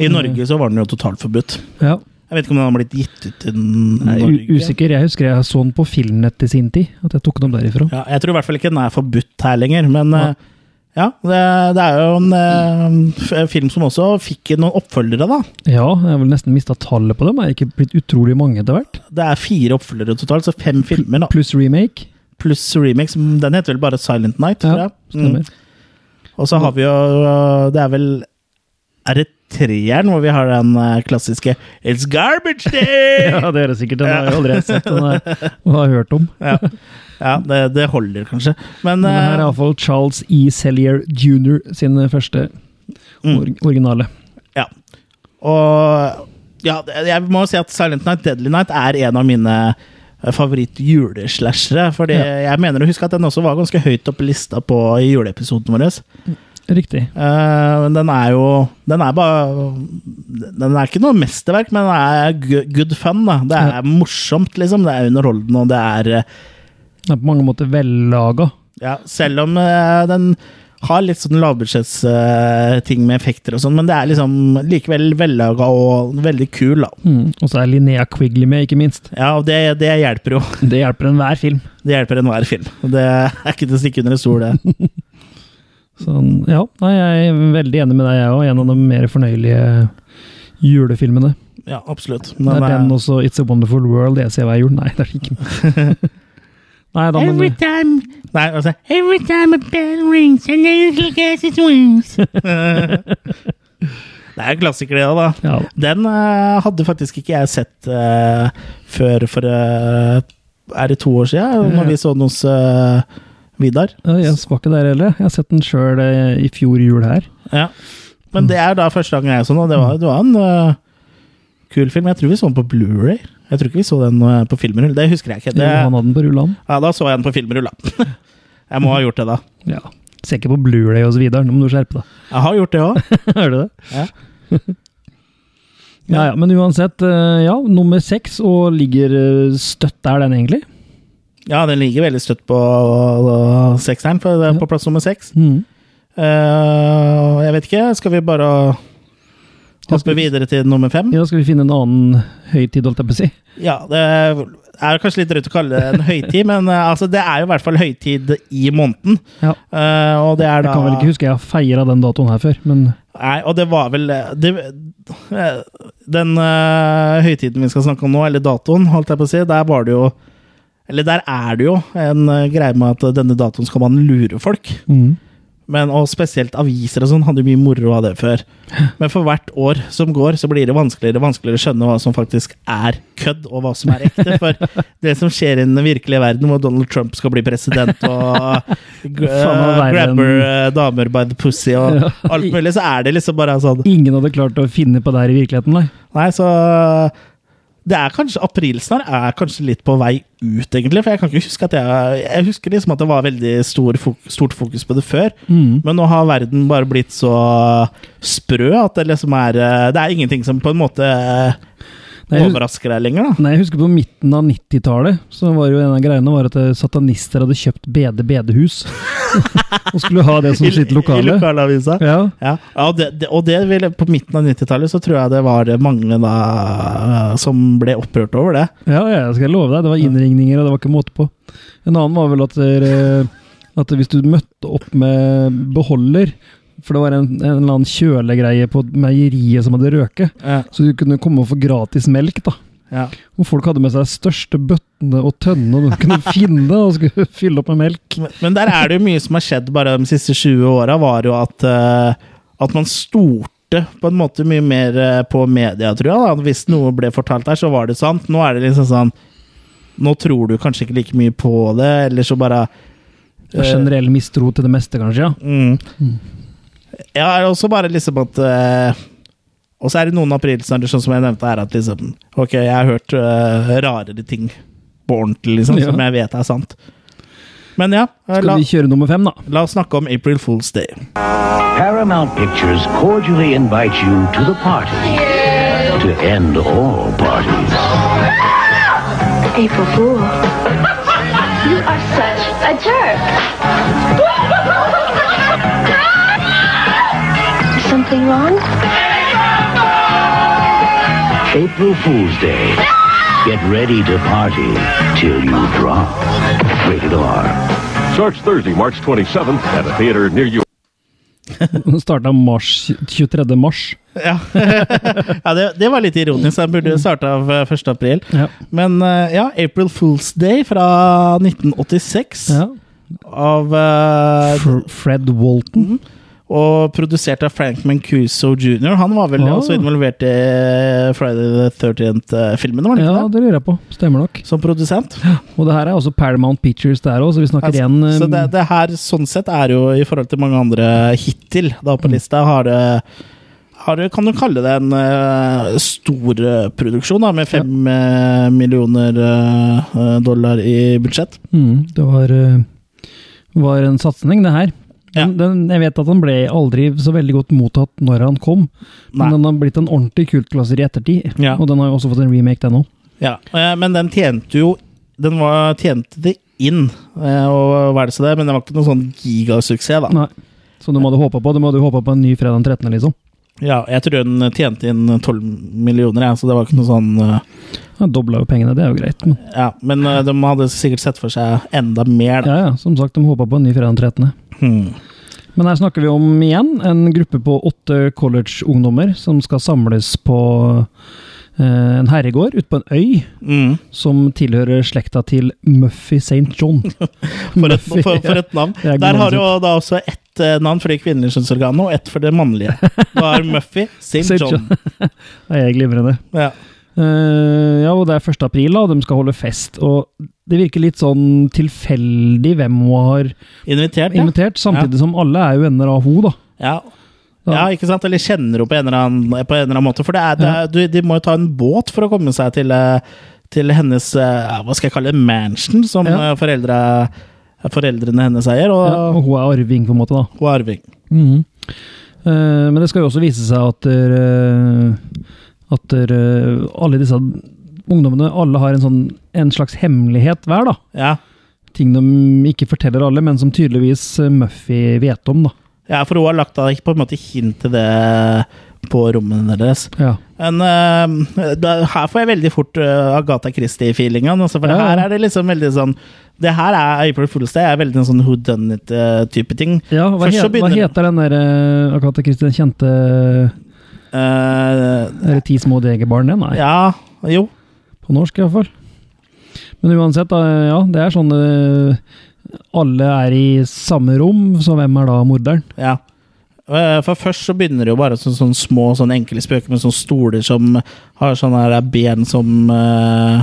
Speaker 1: I Norge så var den jo totalforbudt.
Speaker 2: Ja.
Speaker 1: Jeg vet ikke om den har blitt gitt ut til
Speaker 2: Jeg er u-
Speaker 1: Norge.
Speaker 2: usikker. Jeg husker jeg så den på Filmnett i sin tid, at jeg tok den opp derifra.
Speaker 1: Ja, jeg tror i hvert fall ikke den er forbudt her lenger, men
Speaker 2: Nei.
Speaker 1: eh, ja, det, det er jo en eh, f- film som også fikk noen oppfølgere, da.
Speaker 2: Ja, jeg har vel nesten mista tallet på dem. Er det ikke blitt utrolig mange etter hvert?
Speaker 1: Det er fire oppfølgere totalt, så fem filmer da,
Speaker 2: Pluss remake.
Speaker 1: pluss remix. Den heter vel bare Silent Night, tror
Speaker 2: Ja,
Speaker 1: jeg.
Speaker 2: stemmer.
Speaker 1: Mm. Og så har vi jo øh, Det er vel Er det treeren hvor vi har den øh, klassiske It's garbage day!
Speaker 2: Ja, det er det sikkert. Den har jeg aldri sett den har jeg har hørt om.
Speaker 1: ja, ja det, det holder kanskje. Men,
Speaker 2: Men det her er
Speaker 1: øh,
Speaker 2: iallfall Charles E. Sellier jr. sin første
Speaker 1: Mm.
Speaker 2: or originale.
Speaker 1: ja. Og ja, det- jeg må si at Silent Night, Deadly Night er en av mine øh, favoritt-juleslashere. Fordi jeg mener å huske at den også var ganske høyt oppe på lista på i juleepisoden vår.
Speaker 2: Riktig.
Speaker 1: Eh, men den er jo Den er bare Den er ikke noe mesterverk, men den er gu- good fun. da Det er
Speaker 2: Ja.
Speaker 1: morsomt, liksom. Det er underholdende, og det er eh,
Speaker 2: Den er på mange måter vellaga.
Speaker 1: ja, Selv om eh, den har litt sånn lavbudsjettsting med effekter og sånn, men det er liksom likevel vellaga og veldig kul, da.
Speaker 2: Mm. Og så er Linnea Quigley med, ikke minst.
Speaker 1: Ja, og det, det hjelper jo.
Speaker 2: Det hjelper enhver film.
Speaker 1: Det hjelper enhver film. Det er ikke til å stikke under en stol, det.
Speaker 2: Så ja, nei, jeg er veldig enig med deg, jeg òg. En av de mer fornøyelige julefilmene.
Speaker 1: Ja, absolutt.
Speaker 2: Det
Speaker 1: Men,
Speaker 2: er den
Speaker 1: eh,
Speaker 2: også It's a Wonderful World jeg ser hver jul. Nei, det er det ikke. Nei, da, men
Speaker 1: Every time Nei, altså Every time a bell rings and then look at its wings. det er en klassiker, det òg, da.
Speaker 2: Ja.
Speaker 1: Den eh, hadde faktisk ikke jeg sett eh, før for eh, Er det to år siden? Når vi så den hos eh, Vidar.
Speaker 2: Ja, Jeg var ikke der heller. Jeg har sett den sjøl i fjor jul her.
Speaker 1: Ja. Men det er da første gangen jeg så den, og det var, det var en eh, kul film. Jeg tror vi så den på Blu-ray. Jeg tror ikke vi så den eh, på filmrull. Det husker jeg ikke. Det,
Speaker 2: Han hadde den på rullene.
Speaker 1: ja, da så jeg den på filmrull, da. Jeg må ha gjort det, da.
Speaker 2: Ja. Ser ikke på Blu-ray hos Vidar, nå må du skjerpe deg.
Speaker 1: Jeg har gjort det òg.
Speaker 2: Hører du det?
Speaker 1: Ja.
Speaker 2: Ja, ja, Men uansett, eh, ja, nummer seks, og ligger eh, støtt der, den egentlig.
Speaker 1: Ja, den ligger veldig støtt på sekseren, for det er på plass nummer seks.
Speaker 2: Mhm.
Speaker 1: Eh, jeg vet ikke, skal vi bare hoppe videre til nummer fem?
Speaker 2: Ja, Skal vi finne en annen høytid, holdt jeg på å si?
Speaker 1: Ja, det er kanskje litt drøyt å kalle det en høytid, men eh, altså, det er jo i hvert fall høytid i måneden.
Speaker 2: Ja.
Speaker 1: Eh, og det er
Speaker 2: Jeg
Speaker 1: da
Speaker 2: kan vel ikke huske jeg har feira den datoen her før, men
Speaker 1: Nei, og det var vel eh, det, eh, Den eh, høytiden vi skal snakke om nå, eller datoen, holdt jeg på å si, der var det jo Eller der er det jo en eh, greie med at denne datoen skal man lure folk.
Speaker 2: Mhm.
Speaker 1: Men, og spesielt aviser og sånn hadde jo mye moro av det før. Men for hvert år som går, så blir det vanskeligere og vanskeligere å skjønne hva som faktisk er kødd, og hva som er ekte. For det som skjer i den virkelige verden, hvor Donald Trump skal bli president og g-
Speaker 2: Faen, han er verre enn-
Speaker 1: grabber eh, damer by the pussy og
Speaker 2: Ja.
Speaker 1: alt mulig, så er det liksom bare sånn
Speaker 2: ingen hadde klart å finne på det her i virkeligheten, nei.
Speaker 1: Nei, så det er kanskje, Aprilsnarr er kanskje litt på vei ut, egentlig. For jeg kan ikke huske at jeg Jeg husker liksom at det var veldig stor fok- stort fokus på det før.
Speaker 2: Mm.
Speaker 1: Men nå har verden bare blitt så sprø at det liksom er eh, Det er ingenting som på en måte eh,
Speaker 2: Nei, jeg hus-
Speaker 1: overrasker deg lenger, da.
Speaker 2: Nei, jeg husker på midten av 90-tallet, så var jo en av greiene var at eh, satanister hadde kjøpt bede bedehus. og skulle ha det som sitt
Speaker 1: I
Speaker 2: lokale.
Speaker 1: lokalavisa.
Speaker 2: Ja.
Speaker 1: Ja, ja og, det, det, og det ville, på midten av 90-tallet så tror jeg det var mange da eh, som ble opprørt over det.
Speaker 2: ja, ja, jeg skal love deg. Det var innringninger, og det var ikke måte på. En annen var vel at, dere, eh, at hvis du møtte opp med beholder For det var en, en eller annen kjølegreie på meieriet som hadde røket.
Speaker 1: Ja.
Speaker 2: Så du kunne komme og få gratis melk, da.
Speaker 1: Ja.
Speaker 2: Og folk hadde med seg de største bøttene og tønnene de kunne finne, og skulle fylle opp med melk.
Speaker 1: Men- Men der er det jo mye som har skjedd bare de siste 20 åra, var jo at, eh, at man storte på en måte mye mer eh, på media, tror jeg. Da. Hvis noe ble fortalt der, så var det sant. Nå er det liksom sånn Nå tror du kanskje ikke like mye på det, eller så bare Eh.
Speaker 2: Og Generell mistro til det meste, kanskje. ja.
Speaker 1: mm. Ja, det er også bare liksom at eh, Og så er det noen aprilsnarrer, sånn som jeg nevnte her, at liksom Ok, jeg har hørt eh, rarere ting på ordentlig, liksom,
Speaker 2: Ja.
Speaker 1: som jeg vet er sant. Men ja, eh,
Speaker 2: Skal
Speaker 1: la,
Speaker 2: vi kjøre nummer fem, da?
Speaker 1: la oss snakke om April Fool's Day.
Speaker 7: Paramount Pictures cordially invite you to the party. To end all parties.
Speaker 9: April Fool. you are such a jerk. Is something wrong?
Speaker 7: April Fool's Day. Get ready to party till you drop. Rated R.
Speaker 10: Starts Thursday, March 27th at a theater near you.
Speaker 1: Mm.
Speaker 2: Den starta mars, 23. mars.
Speaker 1: Ja, ja det, det var litt ironisk. Jeg burde starta av eh, 1. april.
Speaker 2: Mm. Ja.
Speaker 1: Men eh, ja, April Fool's Day fra 1986 av eh,
Speaker 2: Fr Fred Walton.
Speaker 1: Mm, Og produsert av Frank Mancuso jr. Han var vel
Speaker 2: Ah.
Speaker 1: også involvert i eh, Friday the 13th-filmene, var han
Speaker 2: Ja,
Speaker 1: ikke det?
Speaker 2: det lurer jeg på. Stemmer nok.
Speaker 1: Som produsent.
Speaker 2: Og det her er også Paramount Pictures der òg, så vi snakker
Speaker 1: Altså,
Speaker 2: igjen eh,
Speaker 1: så det, det her sånn sett er jo i forhold til mange andre hittil da på lista, har det har, det- kan du kalle det en eh, stor eh, produksjon da, med fem eh, millioner eh, dollar i budsjett?
Speaker 2: mm, Det var, eh, var en satsing, det her.
Speaker 1: Ja.
Speaker 2: Den, den, jeg vet at han ble aldri så veldig godt mottatt når han kom,
Speaker 1: Nei.
Speaker 2: men den har blitt en ordentlig kultklassiker i ettertid.
Speaker 1: Ja.
Speaker 2: Og den har jo også fått en remake, den òg.
Speaker 1: Ja, eh, men den tjente jo Den var, tjente det inn, eh, og hva er det så det, men det var ikke noen sånn gigasuksess, da.
Speaker 2: Som de hadde håpa på. De hadde jo håpa på en ny fredag den 13., liksom.
Speaker 1: Ja, jeg tror den tjente inn 12 millioner, jeg, så det var ikke noe sånn eh,
Speaker 2: Ja, Dobla jo pengene, det er jo greit. Men,
Speaker 1: Ja, men eh, de hadde sikkert sett for seg enda mer, da.
Speaker 2: ja, ja, som sagt, de håpa på en ny fredag den 13.
Speaker 1: Hmm.
Speaker 2: Men her snakker vi om igjen en gruppe på åtte college-ungdommer som skal samles på eh, en herregård ute på en øy
Speaker 1: Mm.
Speaker 2: som tilhører slekta til Muffy St. John.
Speaker 1: For et, for, for et navn.
Speaker 2: Det er god
Speaker 1: Der har du
Speaker 2: navn,
Speaker 1: jo da også ett eh, navn for det kvinnelige kjønnsorganet, og ett for det mannlige. Du har Muffy St.
Speaker 2: St.
Speaker 1: John.
Speaker 2: Det er glimrende.
Speaker 1: Ja.
Speaker 2: Eh, ja, og det er 1. april, da, og de skal holde fest. Og det virker litt sånn tilfeldig hvem hun har
Speaker 1: Invitert, ja.
Speaker 2: invitert, samtidig som alle er jo venner av hun da.
Speaker 1: ja. Ja, ikke sant? Eller kjenner hun på en eller annen, på en eller annen måte. For det er, det er, du, de må jo ta en båt for å komme seg til, eh, til hennes eh, ja, Hva skal jeg kalle det? Mansion, som
Speaker 2: Ja.
Speaker 1: eh, foreldre, eh, foreldrene hennes eier. Og,
Speaker 2: Ja, og hun er arving, på en måte, da.
Speaker 1: og arving.
Speaker 2: Mhm. Eh, men det skal jo også vise seg at eh, at eh, alle disse ungdommene alle har en, sånn, en slags hemmelighet hver. da.
Speaker 1: Ja.
Speaker 2: Ting de ikke forteller alle, men som tydeligvis eh, Muffy vet om. da.
Speaker 1: ja, for hun har lagt da på en måte hint til det på rommene deres.
Speaker 2: Ja.
Speaker 1: Men eh, da, her får jeg veldig fort eh, Agatha Christie-feelingen. Altså, for
Speaker 2: Ja, ja.
Speaker 1: her er det liksom veldig sånn Det her er April Fool's Day, er veldig en sånn who done it-type ting.
Speaker 2: hva,
Speaker 1: Først så
Speaker 2: he, hva
Speaker 1: begynner-
Speaker 2: heter den der eh, Agatha Christie, den kjente
Speaker 1: Eh,
Speaker 2: er det Ti små degerbarn? den? Nei,
Speaker 1: ja, jo.
Speaker 2: på norsk iallfall. Men uansett, da, ja, det er sånn eh, Alle er i samme rom, så hvem er da morderen?
Speaker 1: Ja. Eh, For først så begynner det jo bare sånn, sånn små, sånn enkle spøker med sånne stoler som har sånne her ben som eh,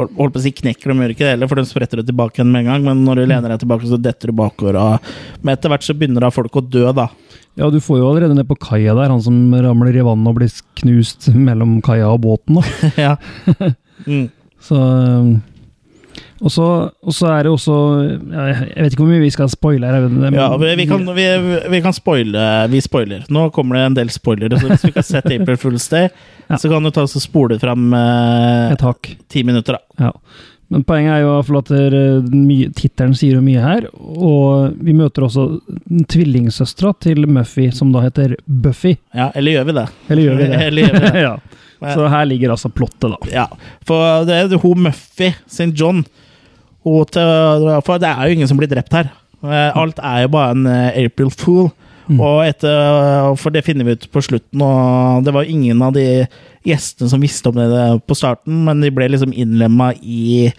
Speaker 1: hold- Holdt på å si knekker, de gjør ikke det heller, for de spretter det tilbake igjen med en gang. Men når du lener deg tilbake, så detter du bakover. Og, men etter hvert så begynner da folk å dø, da.
Speaker 2: Ja, du får jo allerede ned på kaia der, han som ramler i vannet og blir knust mellom kaia og båten. Da.
Speaker 1: ja. Mm.
Speaker 2: Så, eh, og, så, og så er det også ja, Jeg vet ikke hvor mye vi skal spoile her. men-
Speaker 1: Ja, vi, vi, kan, vi, vi kan spoile. Vi spoiler. Nå kommer det en del spoilere. Så hvis du ikke har sett April Fool's Day,
Speaker 2: Ja.
Speaker 1: så kan du ta og så spole fram eh,
Speaker 2: Et hakk.
Speaker 1: ti minutter, da.
Speaker 2: Ja. Men poenget er jo i hvert fall at der, eh, mye- tittelen sier jo mye her. Og vi møter også tvillingsøstera til Muffy, som da heter Buffy.
Speaker 1: Ja, eller gjør vi det?
Speaker 2: Eller gjør vi det?
Speaker 1: Eller gjør vi det?
Speaker 2: ja. Så her ligger altså plottet, da.
Speaker 1: Ja. For det er jo hun Muffy St. John hun til, For det er jo ingen som blir drept her. Eh, Alt er jo bare en eh, April Fool.
Speaker 2: Mm.
Speaker 1: Og etter, eh, for det finner vi ut på slutten, og det var jo ingen av de gjestene som visste om det på starten, men de ble liksom innlemma i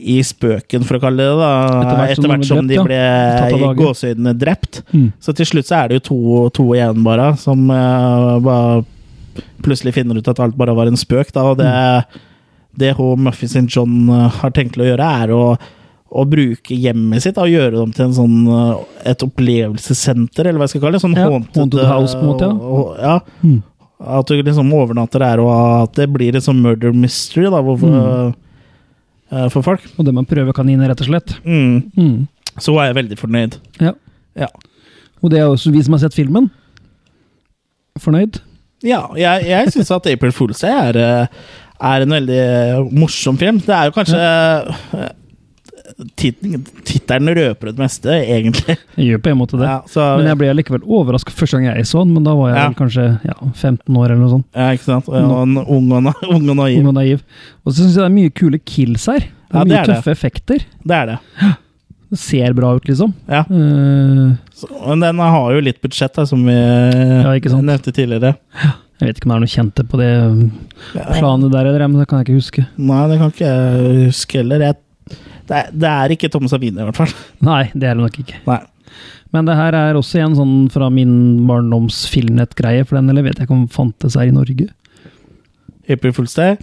Speaker 1: i spøken, for å kalle det det.
Speaker 2: Etter
Speaker 1: da.
Speaker 2: hvert som
Speaker 1: Etter hvert som,
Speaker 2: de
Speaker 1: de ble
Speaker 2: ble drept, ja. Tatt av
Speaker 1: i
Speaker 2: dage.
Speaker 1: gåseøynene drept.
Speaker 2: Mm.
Speaker 1: Så til slutt så er det jo to, to igjen, bare, som eh, bare plutselig finner ut at alt bare var en spøk. Da, og det, det hun Muffy St. John eh, har tenkt til å gjøre, er å, å bruke hjemmet sitt da, og gjøre dem til en sånn, eh, et opplevelsessenter, eller hva jeg skal kalle det. Sånn
Speaker 2: Ja,
Speaker 1: haunted, eh,
Speaker 2: haunted house, på en måte, ja. Mm.
Speaker 1: og- og- ja. At du liksom overnatter der, og at det blir et sånn murder mystery da, hvor,
Speaker 2: Mm.
Speaker 1: eh, for folk.
Speaker 2: Og det med prøvekaniner, rett og slett.
Speaker 1: Mm.
Speaker 2: Mm.
Speaker 1: Så var jeg veldig fornøyd.
Speaker 2: Ja.
Speaker 1: Ja.
Speaker 2: Og det er også vi som har sett filmen. Fornøyd?
Speaker 1: Ja, jeg, jeg syns at April Fools Day er, eh, er en veldig eh, morsom film. Det er jo kanskje eh, tit- Tittelen røper det meste, egentlig.
Speaker 2: Jeg gjør på en måte det.
Speaker 1: Ja, så,
Speaker 2: Men jeg ble allikevel overraska første gang jeg så den, men da var jeg
Speaker 1: Ja.
Speaker 2: vel kanskje ja, 15 år eller noe sånt.
Speaker 1: ja, ikke sant? Og en ung og, na ung og naiv.
Speaker 2: Ung og naiv. Og så syns jeg det er mye kule kills her. Det er
Speaker 1: Ja, det er
Speaker 2: mye
Speaker 1: det.
Speaker 2: tøffe effekter.
Speaker 1: Det er det.
Speaker 2: Det ser bra ut, liksom.
Speaker 1: Ja.
Speaker 2: Eh,
Speaker 1: Så, men den har jo litt budsjett, da, som vi eh,
Speaker 2: Ja, ikke sant?
Speaker 1: nevnte tidligere.
Speaker 2: jeg vet ikke om det er noe kjente på det planet der, eller, men det kan jeg ikke huske.
Speaker 1: Nei, det kan ikke jeg huske heller. Jeg, det, er, det er ikke Thomas Sabine, i hvert fall.
Speaker 2: Nei, det er det nok ikke.
Speaker 1: Nei.
Speaker 2: Men det her er også en sånn fra min barndoms filmnettgreie, for den eller vet jeg ikke om fantes her i Norge.
Speaker 1: April Fools Day?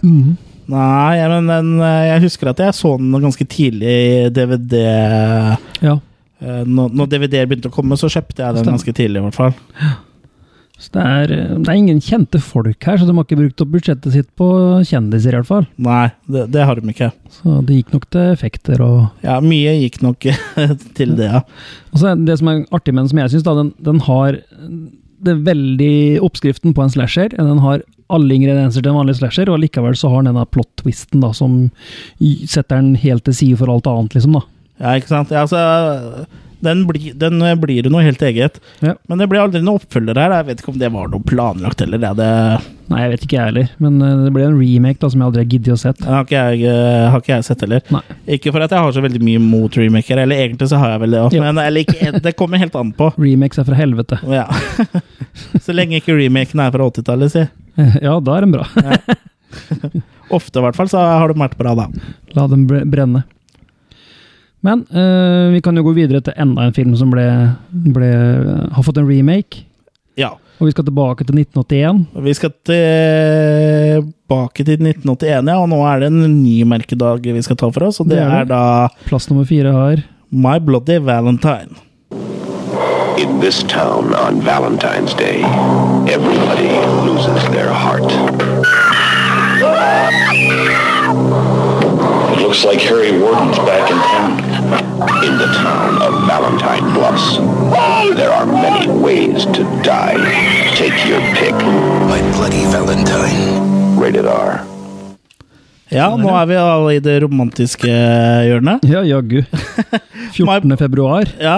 Speaker 1: Nei, jeg- men den, eh, jeg husker at jeg så den ganske tidlig i DVD.
Speaker 2: Ja,
Speaker 1: Eh, Når, når DVD-er begynte å komme, så kjøpte jeg den
Speaker 2: Stemmer.
Speaker 1: ganske tidlig. i hvert fall.
Speaker 2: Så det er, det er ingen kjente folk her, så de har ikke brukt opp budsjettet sitt på kjendiser, i hvert fall.
Speaker 1: Nei, det, det har de ikke.
Speaker 2: Så det gikk nok til effekter og
Speaker 1: Ja, Mye gikk nok til det, ja.
Speaker 2: Og så er det som er artig med den, som jeg syns, den, den har det er veldig oppskriften på en slasher. Den har alle ingredienser til en vanlig slasher, og likevel så har den denne plot-twisten da, som y- setter den helt til side for alt annet, liksom. da.
Speaker 1: ja ikke sant? Ja, altså, den, bli, den eh, blir jo noe helt eget.
Speaker 2: Ja.
Speaker 1: Men det ble aldri noen oppfølger her. da. Jeg vet ikke om det var noe planlagt heller. ja, Det,
Speaker 2: Nei, jeg vet ikke jeg heller, men eh, det ble en remake da, som jeg aldri har giddet å sett.
Speaker 1: det har, ikke jeg, eh, har ikke jeg sett heller.
Speaker 2: Nei.
Speaker 1: Ikke for at jeg har så veldig mye mot remaker, eller egentlig så har jeg vel det. også,
Speaker 2: Jo.
Speaker 1: Men eller, ikke, det kommer helt an på.
Speaker 2: Remakes er fra helvete.
Speaker 1: Ja. Så lenge ikke remaken er fra 80-tallet, si.
Speaker 2: Ja, da er den bra.
Speaker 1: Ofte, i hvert fall, så har de vært bra, da.
Speaker 2: La dem bre- brenne. Men eh, vi kan jo gå videre til enda en film som ble, ble, eh, har fått en remake.
Speaker 1: Ja.
Speaker 2: Og vi skal tilbake til 1981.
Speaker 1: Vi skal tilbake til 1981, ja, og nå er det en ny merkedag vi skal ta for oss, og det,
Speaker 2: Det er det.
Speaker 1: er da
Speaker 2: Plass nummer fire har
Speaker 1: My Bloody Valentine.
Speaker 5: In this town on Valentine's Day, everybody loses their heart. Looks like Harry Warden's back in town. In the town of Valentine Bluffs, there are many ways to die. Take your pick. My bloody Valentine. Rated R.
Speaker 1: Ja,
Speaker 2: Sånn
Speaker 1: nå er vi alle i det romantiske hjørnet.
Speaker 2: Ja, jaggu. 14. februar.
Speaker 1: Ja,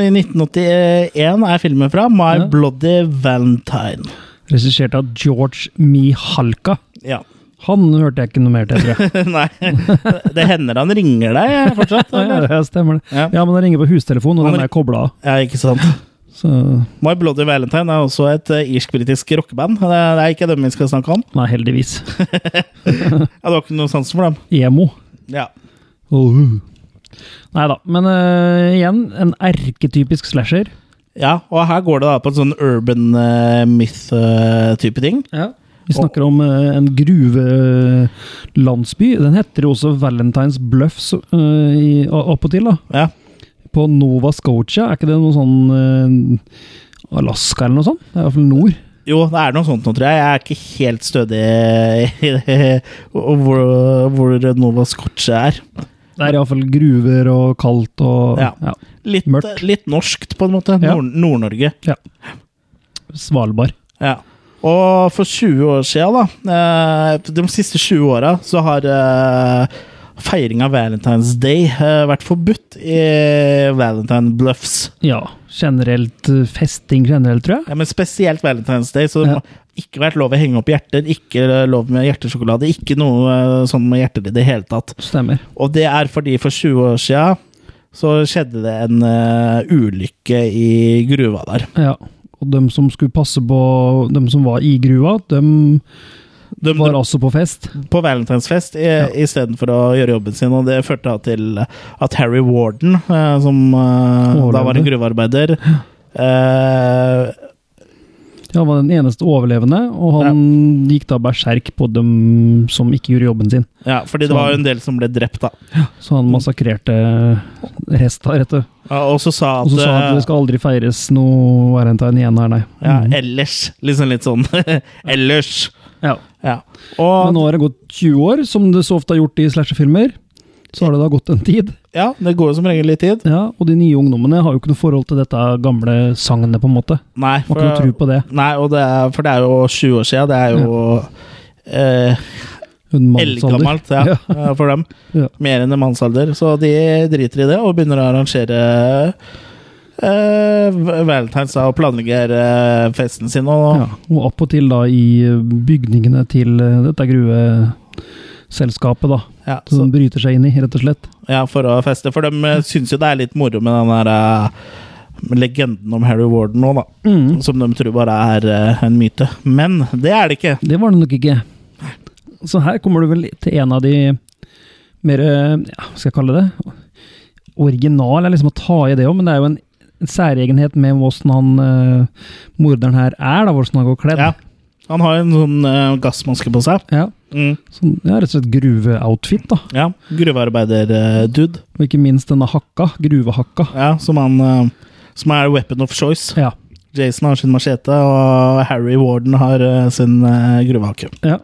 Speaker 1: i 1981 er filmen fra My
Speaker 2: Ja.
Speaker 1: Bloody Valentine.
Speaker 2: Regissert av George Mihalka.
Speaker 1: Ja.
Speaker 2: Han hørte jeg ikke noe mer til, tror jeg.
Speaker 1: Nei, det hender han ringer deg fortsatt.
Speaker 2: Ja,
Speaker 1: Eller?
Speaker 2: ja, stemmer det.
Speaker 1: Ja.
Speaker 2: Ja, men den ringer på hustelefonen, og
Speaker 1: Han
Speaker 2: den er kobla av.
Speaker 1: Ja, ikke sant.
Speaker 2: Så Nei,
Speaker 1: My Bloody Valentine er også et eh, irsk-britisk rockeband. Det er det er ikke dem vi skal snakke om.
Speaker 2: heldigvis.
Speaker 1: Ja, det var ikke noe sansen for dem.
Speaker 2: Emo.
Speaker 1: Ja.
Speaker 2: Nei da. Men eh, igjen, en erketypisk slasher.
Speaker 1: ja, og her går det da på en sånn urban eh, myth-type ting.
Speaker 2: Vi snakker om eh, en gruvelandsby. Den heter jo også Valentine's Bluffs uh, i, opp og til, da.
Speaker 1: Ja.
Speaker 2: På Nova Scotia. Er ikke det noe sånn eh, Alaska eller noe sånt? Det er i hvert fall nord.
Speaker 1: Jo, det er noe sånt nå, tror jeg. Jeg er ikke helt stødig i det, hvor, hvor Nova Scotia er.
Speaker 2: Det er iallfall gruver og kaldt og
Speaker 1: Ja.
Speaker 2: ja.
Speaker 1: Litt,
Speaker 2: Mørkt.
Speaker 1: litt norskt, på en måte.
Speaker 2: Ja.
Speaker 1: Nord- Nord-Norge.
Speaker 2: Svalbard.
Speaker 1: Ja. Og for 20 år siden, da, eh, de siste 20 åra, så har eh, feiring av Valentine's Day eh, vært forbudt i Valentine Bluffs.
Speaker 2: Ja, generelt eh, festing generelt, tror jeg.
Speaker 1: Ja, men spesielt Valentine's Day, så det
Speaker 2: Ja.
Speaker 1: må ikke vært lov å henge opp hjerter, ikke lov med hjertesjokolade, ikke noe eh, sånn med hjerter i det hele tatt.
Speaker 2: Stemmer.
Speaker 1: Og det er fordi for 20 år siden så skjedde det en eh, ulykke i gruva der.
Speaker 2: Ja. Og dem som skulle passe på dem som var i gruva, dem
Speaker 1: De,
Speaker 2: var også på fest.
Speaker 1: på valentinsfest i- istedenfor å gjøre jobben sin, og det førte da til at Harry Warden, eh, som eh, da var en gruvearbeider eh,
Speaker 2: Han var den eneste overlevende, og han gikk da berserk på dem som ikke gjorde jobben sin.
Speaker 1: Ja, fordi det var jo en del som ble drept, da.
Speaker 2: Så
Speaker 1: Mm.
Speaker 2: han massakrerte resta, rett og
Speaker 1: Ja, Og så sa
Speaker 2: Og så sa han at
Speaker 1: at eh,
Speaker 2: det skal aldri feires noe valentine igjen her, nei.
Speaker 1: ja,
Speaker 2: Mhm.
Speaker 1: ellers. Liksom litt sånn ellers.
Speaker 2: ja.
Speaker 1: Ja.
Speaker 2: Men
Speaker 1: Og
Speaker 2: nå har det gått 20 år, som det så ofte har gjort i slasherfilmer. Så har det da gått en tid.
Speaker 1: ja, det går jo som regel litt tid.
Speaker 2: Ja, og de nye ungdommene har jo ikke noe forhold til dette gamle sagnet, på en måte.
Speaker 1: Nei,
Speaker 2: Må ikke noe tro på det.
Speaker 1: nei og det er, for det er jo 20 år siden. Det er jo eh,
Speaker 2: En mannsalder.
Speaker 1: Eldgammelt, ja, eh, for dem.
Speaker 2: Ja.
Speaker 1: Mer enn en mannsalder. Så de driter i det og begynner å arrangere eh, Valentine's Day og planlegger eh, festen sin. Og,
Speaker 2: Ja, og opp og til da i bygningene til eh, dette gruveselskapet, da.
Speaker 1: ja,
Speaker 2: Som
Speaker 1: så,
Speaker 2: de bryter seg inn i, rett og slett.
Speaker 1: ja, for å feste. For de eh, syns jo det er litt moro med den der eh, legenden om Harry Warden nå, da.
Speaker 2: Mm.
Speaker 1: Som de tror bare er eh, en myte. Men det er det ikke.
Speaker 2: Det var det nok ikke. Så her kommer du vel til en av de mer eh, ja, hva skal jeg kalle det? Original er liksom å ta i det òg, men det er jo en, en særegenhet med hvordan han eh, morderen her er, da, hvordan han går kledd.
Speaker 1: Ja. Han har jo en sånn eh, gassmaske på seg.
Speaker 2: Ja,
Speaker 1: Mm.
Speaker 2: sånn, ja, rett og slett gruveoutfit, da.
Speaker 1: Ja, Gruvearbeider-dude.
Speaker 2: Og ikke minst denne hakka, gruvehakka.
Speaker 1: Ja, som, han, eh, som er weapon of choice.
Speaker 2: Ja.
Speaker 1: Jason har sin machete, og Harry Warden har eh, sin uh, gruvehake.
Speaker 2: Ja.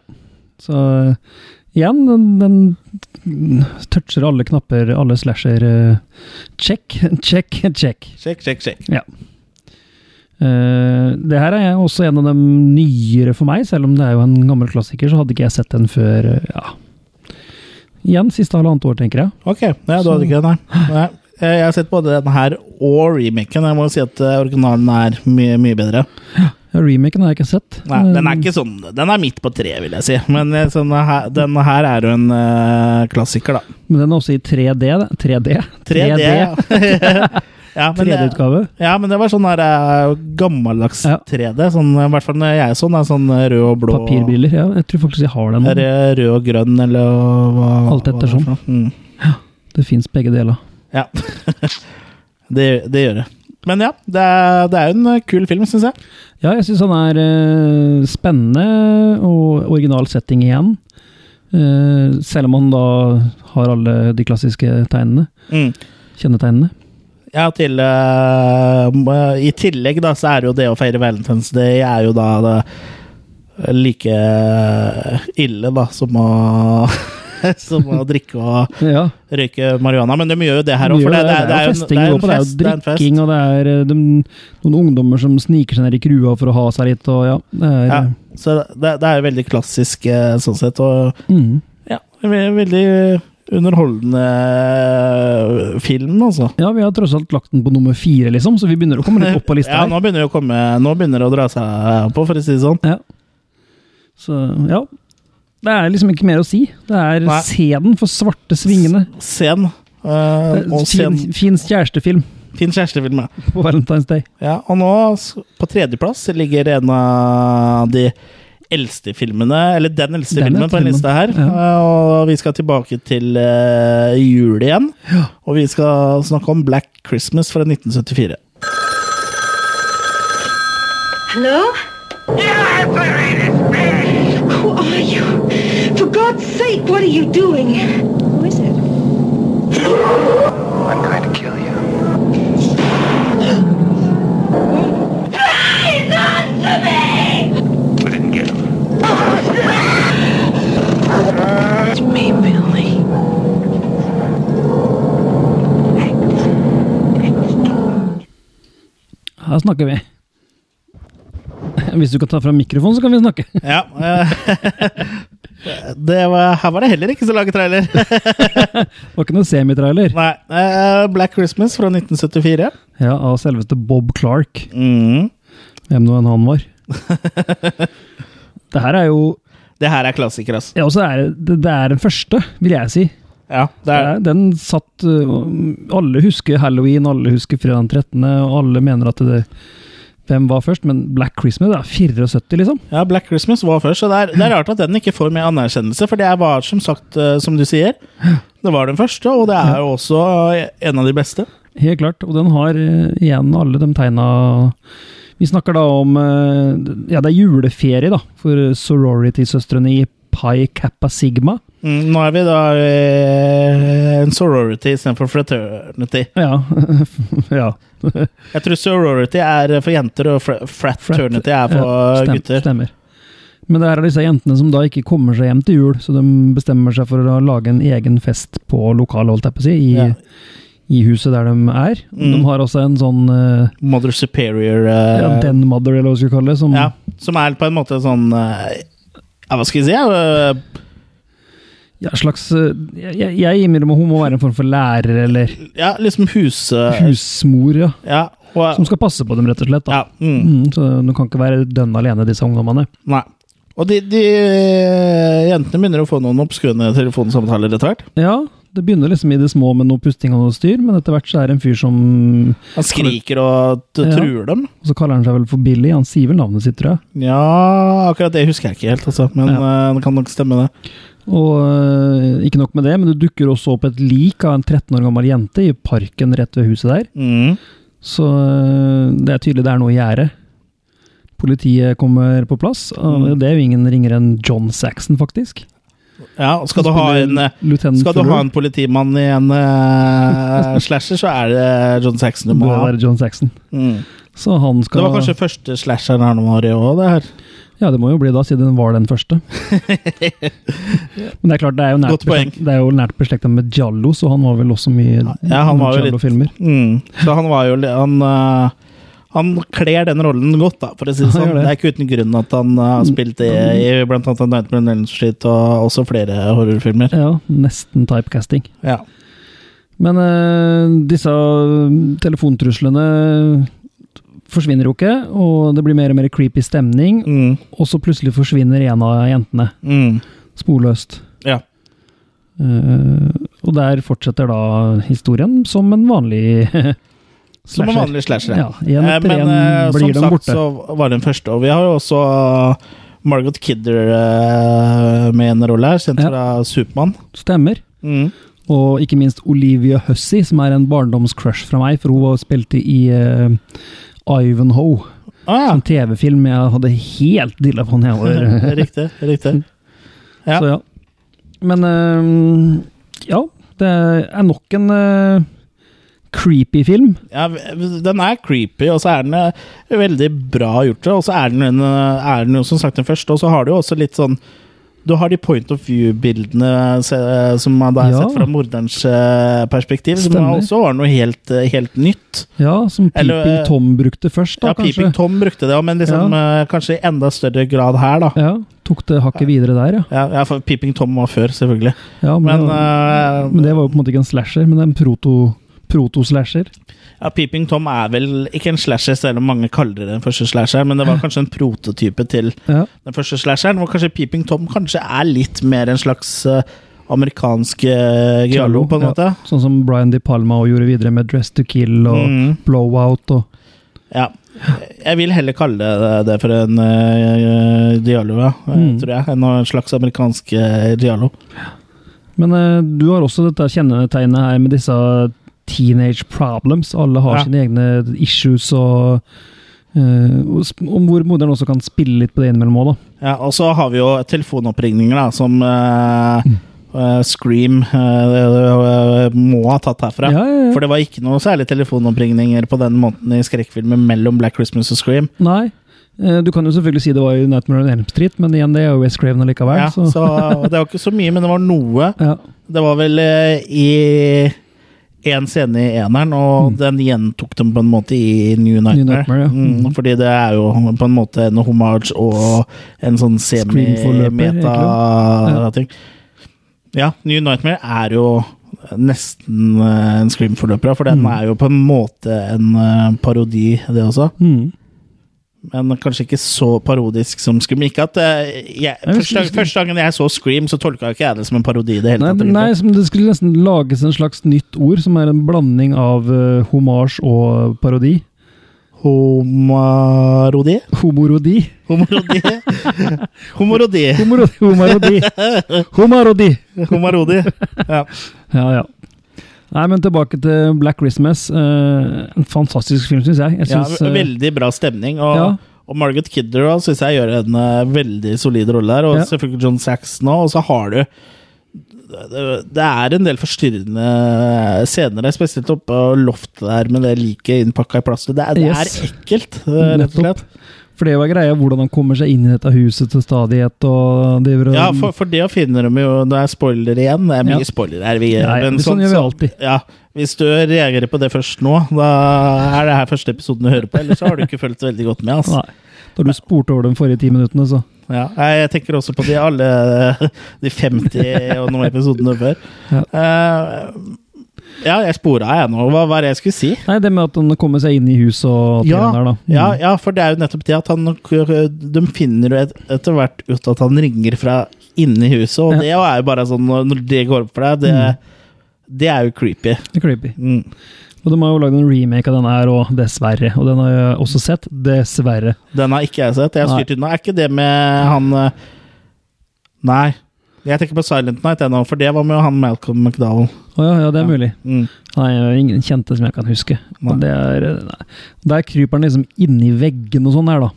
Speaker 2: Så eh, igjen, den, den toucher alle knapper, alle slasher. eh, Check, check, check.
Speaker 1: Sjekk, sjekk, sjekk.
Speaker 2: Ja. Eh, det her er jeg også en av de nyere for meg, selv om det er jo en gammel klassiker, så hadde ikke jeg sett den før eh, ja. Igjen siste halvannet år, tenker jeg.
Speaker 1: Ok, ja, du hadde ikke den her. Nei. Eh, Jeg har sett både den her og remaken. Jeg må jo si at eh, originalen er mye, mye bedre.
Speaker 2: Ja, remaken har jeg ikke sett.
Speaker 1: Nei, den er ikke sånn Den er midt på treet, vil jeg si. Men eh, sånn her, den her er jo en eh, klassiker, da.
Speaker 2: Men den er også i 3D. da. 3D?
Speaker 1: 3D. Ja, men det-
Speaker 2: 3D-utgave.
Speaker 1: Ja, men det var sånn der eh, gammeldags 3D. Sånn, I hvert fall når jeg så den, er sånn rød og blå.
Speaker 2: Papirbriller. Ja, jeg tror faktisk jeg har den.
Speaker 1: Er det rød og grønn, eller hva?
Speaker 2: Alt
Speaker 1: hva det er
Speaker 2: ettersom.
Speaker 1: for noe? Mm.
Speaker 2: Det fins begge deler.
Speaker 1: Ja. det, det gjør det. Men ja, det er, det er jo en eh, kul film, syns jeg.
Speaker 2: Ja, jeg syns han er eh, spennende og original setting igjen. Eh, selv om han da har alle de klassiske tegnene.
Speaker 1: Mm.
Speaker 2: Kjennetegnene.
Speaker 1: Ja, til eh, I tillegg da, så er jo det å feire Valentine's Day er jo da det like eh, ille da, som å som å drikke og
Speaker 2: Ja.
Speaker 1: røyke marihuana. Men de gjør jo det her
Speaker 2: De
Speaker 1: òg, for
Speaker 2: gjør
Speaker 1: det, det, er- det
Speaker 2: det,
Speaker 1: er jo en-
Speaker 2: festing
Speaker 1: det er en
Speaker 2: går på, det er
Speaker 1: fest.
Speaker 2: jo
Speaker 1: Det er en fest.
Speaker 2: drikking, og det er eh, dem- noen ungdommer som sniker seg ned i krua for å ha seg litt, og ja. Det er, eh,
Speaker 1: Ja, så det, det er jo veldig klassisk eh, sånn sett, og
Speaker 2: Mm.
Speaker 1: ja, ve- veldig underholdende film, altså.
Speaker 2: ja, vi har tross alt lagt den på nummer fire, liksom, så vi begynner å komme litt opp på lista
Speaker 1: Ja,
Speaker 2: her.
Speaker 1: nå begynner det å komme Nå begynner det å dra seg på, for å si det sånn.
Speaker 2: Ja. Så ja. Det er liksom ikke mer å si. Det er
Speaker 1: Nei.
Speaker 2: se den for svarte svingene.
Speaker 1: Sen. eh, og
Speaker 2: Fin,
Speaker 1: sen
Speaker 2: fin kjærestefilm
Speaker 1: fin kjærestefilm, ja.
Speaker 2: på Valentine's Day.
Speaker 1: ja. Og nå, s- på tredjeplass, ligger en av de eldste filmene, eller den eldste
Speaker 2: Den
Speaker 1: filmen
Speaker 2: eldste
Speaker 1: på en
Speaker 2: filmen,
Speaker 1: liste her.
Speaker 2: ja.
Speaker 1: Eh, Og vi skal tilbake til eh, jul igjen. Og vi skal snakke om Black Christmas fra 1974.
Speaker 9: Hello? Who are you? For God's sake, what are you doing? Who is it?
Speaker 11: I'm going to kill you.
Speaker 9: I didn't get him. It's me, Billy.
Speaker 2: Her snakker vi. Hvis du kan ta fram mikrofonen, så kan vi snakke.
Speaker 1: Ja. eh, det var, her var det heller ikke så lange trailer.
Speaker 2: Det var ikke noe semitrailer.
Speaker 1: Nei. eh, Black Christmas fra 1974.
Speaker 2: Ja, av selveste Bob Clark.
Speaker 1: Mm.
Speaker 2: Hvem nå enn han var. det her er jo
Speaker 1: Det her er klassiker, altså.
Speaker 2: ja, også er, det, det er den første, vil jeg si.
Speaker 1: Ja, det er,
Speaker 2: Den satt øh, Alle husker halloween, alle husker fredag den 13., og alle mener at det Hvem var først? Men Black Christmas det er 74, liksom.
Speaker 1: ja, Black Christmas var først, så det er, det er rart at den ikke får mer anerkjennelse. For det var som sagt, eh, som du sier, det var den første, og det er jo også eh, en av de beste.
Speaker 2: Helt klart. Og den har eh, igjen alle de tegna Vi snakker da om eh, Ja, det er juleferie, da, for sorority-søstrene i Pi Kappa Sigma.
Speaker 1: Mm, nå er vi da eh, en sorority istedenfor fraternity.
Speaker 2: Ja. ja.
Speaker 1: Jeg tror sorority er for jenter, og fra- fraternity er for
Speaker 2: Ja, stem-
Speaker 1: gutter.
Speaker 2: Stemmer. Men det her er disse jentene som da ikke kommer seg hjem til jul, så de bestemmer seg for å lage en egen fest på lokalet, holdt jeg på å si, i,
Speaker 1: Ja.
Speaker 2: i huset der de er.
Speaker 1: Mm.
Speaker 2: De har også en sånn eh,
Speaker 1: Mother Superior eh,
Speaker 2: ja, Den Mother, eller hva vi skal kalle det. Som,
Speaker 1: ja, Som er på en måte sånn eh, ja, Hva skal vi si? eh,
Speaker 2: ja, slags eh, Jeg, jeg innrømmer hun må være en form for lærer eller
Speaker 1: Ja, liksom hus...
Speaker 2: husmor, ja.
Speaker 1: ja, og,
Speaker 2: Som skal passe på dem, rett og slett. Da.
Speaker 1: ja, mm.
Speaker 2: Mm, så de kan ikke være dønn alene, disse ungdommene.
Speaker 1: Nei. Og de, de jentene begynner å få noen obskure telefonsamtaler etter hvert.
Speaker 2: Ja, det begynner liksom i det små med noe pusting og noe styr, men etter hvert så er det en fyr som
Speaker 1: Han skriker og t-
Speaker 2: Ja.
Speaker 1: truer dem.
Speaker 2: Og så kaller han seg vel for Billy, han sier vel navnet sitt, tror jeg.
Speaker 1: Ja, akkurat det husker jeg ikke helt, altså. Men eh, det kan nok stemme, det.
Speaker 2: Og øh, ikke nok med det, men det dukker også opp et lik av en 13 år gammel jente i parken rett ved huset der.
Speaker 1: Mm.
Speaker 2: Så øh, det er tydelig det er noe i gjære. Politiet kommer på plass, og
Speaker 1: Mm.
Speaker 2: det er jo ingen ringere enn John Saxon, faktisk.
Speaker 1: Ja, og skal du ha en eh,
Speaker 2: Lieutenant
Speaker 1: skal du
Speaker 2: Fuller.
Speaker 1: ha en politimann i en eh, slasher, så er det John Saxon du
Speaker 2: Det
Speaker 1: må
Speaker 2: må
Speaker 1: ha.
Speaker 2: være John Saxon.
Speaker 1: Mm.
Speaker 2: Så han skal
Speaker 1: Det var kanskje første slasheren her nå, Mario, også, det her.
Speaker 2: Ja, det må jo bli da, siden den var den første. Men det er klart, det er jo nært,
Speaker 1: Godt poeng.
Speaker 2: beslekt- det er jo nært beslekta med Giallo, så han var vel også mye
Speaker 1: Ja, han var jo litt-
Speaker 2: Giallo-filmer.
Speaker 1: Mm. Så han var jo li- Han, eh, han kler den rollen godt, da, for å si det
Speaker 2: Han
Speaker 1: sånn.
Speaker 2: gjør
Speaker 1: Det
Speaker 2: det.
Speaker 1: er ikke uten grunn at han eh, har spilt i, i blant annet Nightmare on Elm Street og også flere horrorfilmer.
Speaker 2: Ja, nesten typecasting.
Speaker 1: Ja.
Speaker 2: Men eh, disse mm, telefontruslene forsvinner jo ikke, og det blir mer og mer creepy stemning,
Speaker 1: Mm.
Speaker 2: og så plutselig forsvinner en av jentene,
Speaker 1: Mm.
Speaker 2: sporløst.
Speaker 1: ja.
Speaker 2: Eh, og der fortsetter da historien som en vanlig
Speaker 1: Som en
Speaker 2: Slasher.
Speaker 1: vanlig slasher.
Speaker 2: Ja, en
Speaker 1: Eh,
Speaker 2: etter
Speaker 1: Men
Speaker 2: en
Speaker 1: eh,
Speaker 2: blir
Speaker 1: som
Speaker 2: de
Speaker 1: sagt
Speaker 2: borte.
Speaker 1: så var den første. Og vi har jo også eh, Margot Kidder eh, med en rolle her, kjent
Speaker 2: Ja.
Speaker 1: fra Supermann. Mm.
Speaker 2: Stemmer. Og ikke minst Olivia Hussey, som er en barndomscrush fra meg, for hun var- spilte i eh, Ivanhoe.
Speaker 1: Ah,
Speaker 2: Som TV-film jeg hadde helt dilla på når jeg
Speaker 1: ja.
Speaker 2: var
Speaker 1: riktig. riktig. Ja.
Speaker 2: Så ja. Men eh, ja, det er nok en eh, creepy film.
Speaker 1: Ja, den er creepy, og så er den eh, veldig bra gjort. Og så er den, en, eh, er den jo som sagt den første, og så har du jo også litt sånn Du har de point of view-bildene se- som man da har
Speaker 2: Ja.
Speaker 1: sett fra morderens eh, perspektiv, som
Speaker 2: Stemmer.
Speaker 1: også var noe helt, eh, helt nytt.
Speaker 2: Ja, som Peeping
Speaker 1: Eller, eh,
Speaker 2: Tom brukte først, da,
Speaker 1: ja,
Speaker 2: kanskje.
Speaker 1: Peeping Tom brukte det, men liksom, eh, kanskje i enda større grad her, da.
Speaker 2: Ja, Tok det hakket videre der, ja.
Speaker 1: Ja, ja, for Peeping Tom var før, selvfølgelig.
Speaker 2: ja men,
Speaker 1: Men, eh,
Speaker 2: men det var jo på en måte ikke en slasher, men en proto- proto-slasher.
Speaker 1: Ja, Peeping Tom er vel ikke en slasher, selv om mange kaller det den første slasheren, men det var kanskje en prototype til
Speaker 2: Ja.
Speaker 1: den første slasheren, hvor kanskje Peeping Tom kanskje er litt mer en slags eh, amerikansk uh, giallo, på en måte.
Speaker 2: Ja, sånn som Brian De Palma og gjorde videre med Dress to Kill og
Speaker 1: Mm.
Speaker 2: Blowout og
Speaker 1: Ja. Jeg vil heller kalle det eh, det for en uh, giallo, ja, eh,
Speaker 2: Mm.
Speaker 1: tror jeg, enn en slags amerikansk eh, giallo.
Speaker 2: Men eh, du har også dette kjennetegnet her med disse teenage problems. Alle har
Speaker 1: Ja.
Speaker 2: sine egne issues og eh, og sp- om hvor moderen også kan spille litt på det innimellom òg, da.
Speaker 1: Ja, og så har vi jo telefonoppringninger da, som eh,
Speaker 2: Mm.
Speaker 1: eh, Scream eh, må ha tatt herfra.
Speaker 2: Ja, ja, ja.
Speaker 1: For det var ikke noe særlig telefonoppringninger på den måten i skrekkfilmer mellom Black Christmas og Scream.
Speaker 2: Nei. eh, Du kan jo selvfølgelig si det var i Nightmare on Elm Street, men igjen, det er jo West Craven allikevel.
Speaker 1: Ja, så.
Speaker 2: så.
Speaker 1: Det var ikke så mye, men det var noe.
Speaker 2: Ja.
Speaker 1: Det var vel eh, i én scene i eneren, og den gjentok dem på en måte i New Nightmare.
Speaker 2: Mm. Nightmare, ja.
Speaker 1: mm, fordi det er jo på en måte en homage og en sånn
Speaker 2: Scream-forløper, egentlig.
Speaker 1: semi-meta-ting. Ja, New Nightmare er jo nesten eh, en Scream-forløper, for den er jo på en måte en eh, parodi, det også.
Speaker 2: Mm.
Speaker 1: Men kanskje ikke så parodisk som Scream. Ikke at eh, jeg,
Speaker 2: Nei, men
Speaker 1: første,
Speaker 2: Scream-
Speaker 1: første gangen jeg så Scream, så tolka ikke jeg det som en parodi. i det hele
Speaker 2: Nei,
Speaker 1: tatt.
Speaker 2: nei
Speaker 1: egentlig.
Speaker 2: som det skulle nesten lages en slags nytt ord, som er en blanding av uh, homasj og parodi.
Speaker 1: Homarodi?
Speaker 2: Homorodi.
Speaker 1: Homorodi? Homorodi.
Speaker 2: Homorodi. Homarodi. Homarodi.
Speaker 1: Homarodi. Ja.
Speaker 2: Ja, ja. Nei, men tilbake til Black Christmas. Eh, en fantastisk film, syns jeg. jeg
Speaker 1: ja,
Speaker 2: synes, eh,
Speaker 1: veldig bra stemning. Og,
Speaker 2: Ja.
Speaker 1: og Margaret Kidder syns jeg gjør en eh, veldig solid rolle der. Og
Speaker 2: Ja.
Speaker 1: selvfølgelig John Saxon òg. Og så har du det- det er en del forstyrrende scener, der, spesielt oppe på loftet der med det liket innpakka i plast. Det, er- det
Speaker 2: Yes.
Speaker 1: er ekkelt, eh, rett og
Speaker 2: Nettopp.
Speaker 1: slett.
Speaker 2: For det var greia hvordan han kommer seg inn i dette huset til stadighet og driver og
Speaker 1: Ja, for, for det finner de jo Det er spoiler igjen. Det er mye
Speaker 2: Um, Ja.
Speaker 1: spoiler her. Vi,
Speaker 2: Ja, ja,
Speaker 1: men
Speaker 2: det sånn gjør vi alltid.
Speaker 1: Ja, hvis du reagerer på det først nå, da er det her første episoden du hører på. Ellers så har du ikke fulgt veldig godt med. Altså.
Speaker 2: Nei. Da du spurte over de forrige ti minuttene, så
Speaker 1: Ja, nei, jeg tenker også på de alle de 50 og noen episodene før.
Speaker 2: Ja.
Speaker 1: Eh, ja, jeg spora jeg nå. Hva var det jeg skulle si?
Speaker 2: Nei, det med at han kommer seg inn i huset og alt det
Speaker 1: Ja,
Speaker 2: der, da. Mm.
Speaker 1: ja, ja, for det er jo nettopp det at han nok- øh, De finner jo et, etter hvert ut at han ringer fra inni huset, og
Speaker 2: Ja. Mm.
Speaker 1: det er jo bare sånn når- Når det går opp for deg, det, det er jo creepy.
Speaker 2: Det er creepy.
Speaker 1: Mm.
Speaker 2: Og de har jo lagd en remake av den her òg, dessverre. Og den har jeg også sett. Dessverre.
Speaker 1: Den har ikke jeg sett. Jeg har styrt unna. Er ikke det med han eh, Nei. Jeg tenker på Silent Night, jeg nå, for det var med han Malcolm McDowell.
Speaker 2: Å ja, ja, det er mulig.
Speaker 1: Mm.
Speaker 2: Nei, jeg har ingen kjente som jeg kan huske.
Speaker 1: Nei.
Speaker 2: Og det er, eh, nei. Der kryper han liksom inni veggen og sånn her, da.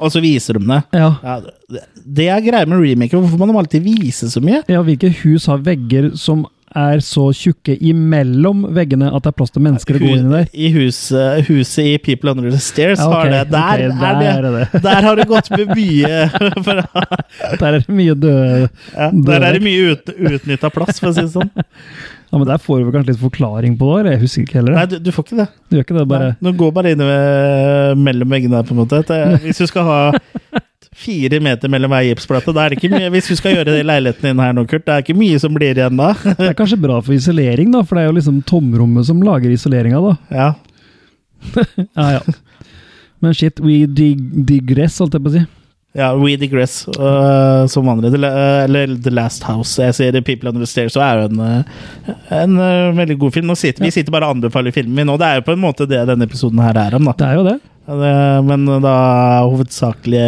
Speaker 1: Og så viser de det.
Speaker 2: Ja.
Speaker 1: Ja, det- det er greia med remaker. Hvorfor må de alltid vise så mye?
Speaker 2: Ja, hvilke hus har vegger som er så tjukke imellom veggene at det er plass til mennesker å gå inn i der?
Speaker 1: I huset, huset i People Under the Stairs
Speaker 2: Ja, ok,
Speaker 1: har det. Der, er
Speaker 2: ok,
Speaker 1: det.
Speaker 2: der er det.
Speaker 1: der har det gått med mye for,
Speaker 2: Der er det mye døde
Speaker 1: ja, Der er det mye ut, utnytta plass, for å si det sånn.
Speaker 2: Ja, men Der får vi kanskje litt forklaring på det? eller? Jeg husker ikke heller.
Speaker 1: Nei,
Speaker 2: det.
Speaker 1: du, du får ikke det.
Speaker 2: Du gjør ikke det, bare
Speaker 1: Nei, Du går bare inn ved, mellom veggene her, på en måte. Det- Hvis du skal ha fire meter mellom hver gipsplate, da er det ikke mye Hvis du skal gjøre det i leiligheten din her nå, Kurt, det er ikke mye som blir igjen da.
Speaker 2: Det er kanskje bra for isolering, da, for det er jo liksom tomrommet som lager isoleringa, da.
Speaker 1: Ja.
Speaker 2: Ja, ja. Men shit, we dig digress, holdt jeg på å si.
Speaker 1: Ja, We Digress, øh, som andre. The, La- øh, eller The Last House. Jeg ser People Under the Stairs, og er jo en, øh, en øh, veldig god film. Nå sitter, Vi sitter bare og anbefaler filmen, og det er jo på en måte det denne episoden her er om. da.
Speaker 2: Det er jo det.
Speaker 1: Ja, det- Men da hovedsakelig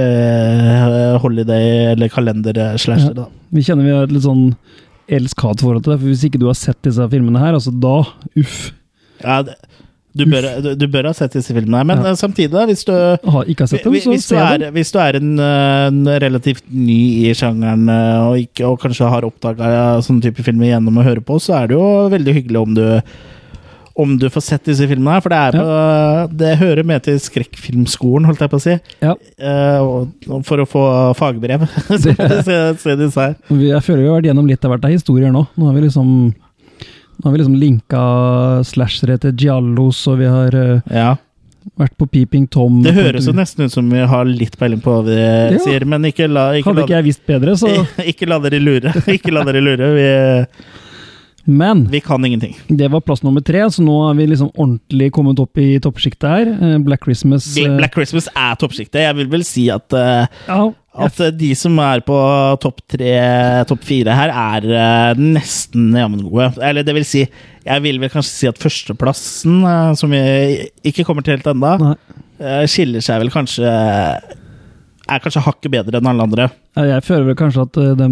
Speaker 1: øh, holiday- eller kalender-slasher, da.
Speaker 2: Vi kjenner vi har et litt sånn elsk-hat forhold til det, for hvis ikke du har sett disse filmene her, altså da, uff.
Speaker 1: Ja, det- du bør, du, du bør ha sett disse filmene, her, men
Speaker 2: Ja.
Speaker 1: øh, samtidig, da, hvis du
Speaker 2: Har, ikke har sett dem,
Speaker 1: Hvis-
Speaker 2: så
Speaker 1: hvis, du
Speaker 2: se
Speaker 1: er,
Speaker 2: dem.
Speaker 1: hvis du er en, eh, en relativt ny i sjangeren eh, og, ikke, og kanskje har oppdaga sånne type filmer gjennom å høre på, så er det jo veldig hyggelig om du om du får sett disse filmene her, for det er på, det hører med til skrekkfilmskolen, holdt jeg på å si.
Speaker 2: Ja.
Speaker 1: Eh, og, og for å få fagbrev. så må du se, se disse her.
Speaker 2: Vi, jeg føler vi har vært gjennom litt av hvert av historier nå. Nå har vi liksom, nå har vi liksom linka slashere til Giallos, og vi har eh,
Speaker 1: Ja.
Speaker 2: vært på Peeping Tom.
Speaker 1: Det høres jo nesten ut som vi har litt peiling på hva vi
Speaker 2: Ja.
Speaker 1: sier, men ikke la, ikke, Eh.
Speaker 2: Hadde
Speaker 1: la,
Speaker 2: ikke jeg visst bedre, så
Speaker 1: ikke la dere lure. Ikke la dere lure. Vi,
Speaker 2: Men
Speaker 1: vi kan ingenting.
Speaker 2: det var plass nummer tre, så nå er vi liksom ordentlig kommet opp i toppsjiktet her. Eh, Black Christmas eh,
Speaker 1: Black Christmas er toppsjiktet. Jeg vil vel si at, eh,
Speaker 2: Ja, jeg
Speaker 1: at eh, de som er på topp tre, topp fire her, er eh, nesten jammen gode. Eller det vil si, jeg vil vel kanskje si at førsteplassen, eh, som vi ikke kommer til helt ennå,
Speaker 2: Nei.
Speaker 1: eh, skiller seg vel kanskje eh, Er kanskje hakket bedre enn alle andre.
Speaker 2: Ja, Jeg føler vel kanskje at eh, de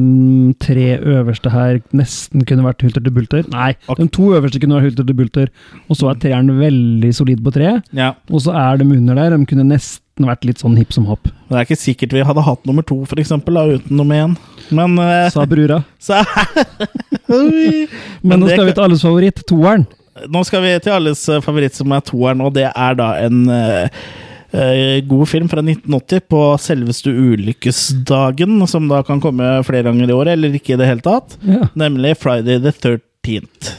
Speaker 2: tre øverste her nesten kunne vært hulter til bulter. Nei,
Speaker 1: Ok.
Speaker 2: de to øverste kunne vært hulter til bulter, og så er treeren veldig solid på tre.
Speaker 1: Ja.
Speaker 2: Og så er de under der, de kunne nesten vært litt sånn hipp som happ,
Speaker 1: Men det er ikke sikkert vi hadde hatt nummer to, for eksempel, da, uten nummer én. Men, eh,
Speaker 2: sa brura.
Speaker 1: så, Oi.
Speaker 2: Men, nå
Speaker 1: det
Speaker 2: skal vi til alles favoritt, toeren.
Speaker 1: Nå skal vi til alles eh, favoritt som er toeren, og det er da en eh, eh, god film fra 1980 på selveste ulykkesdagen, som da kan komme flere ganger i året, eller ikke i det hele tatt.
Speaker 2: Ja.
Speaker 1: Nemlig Friday the 13th.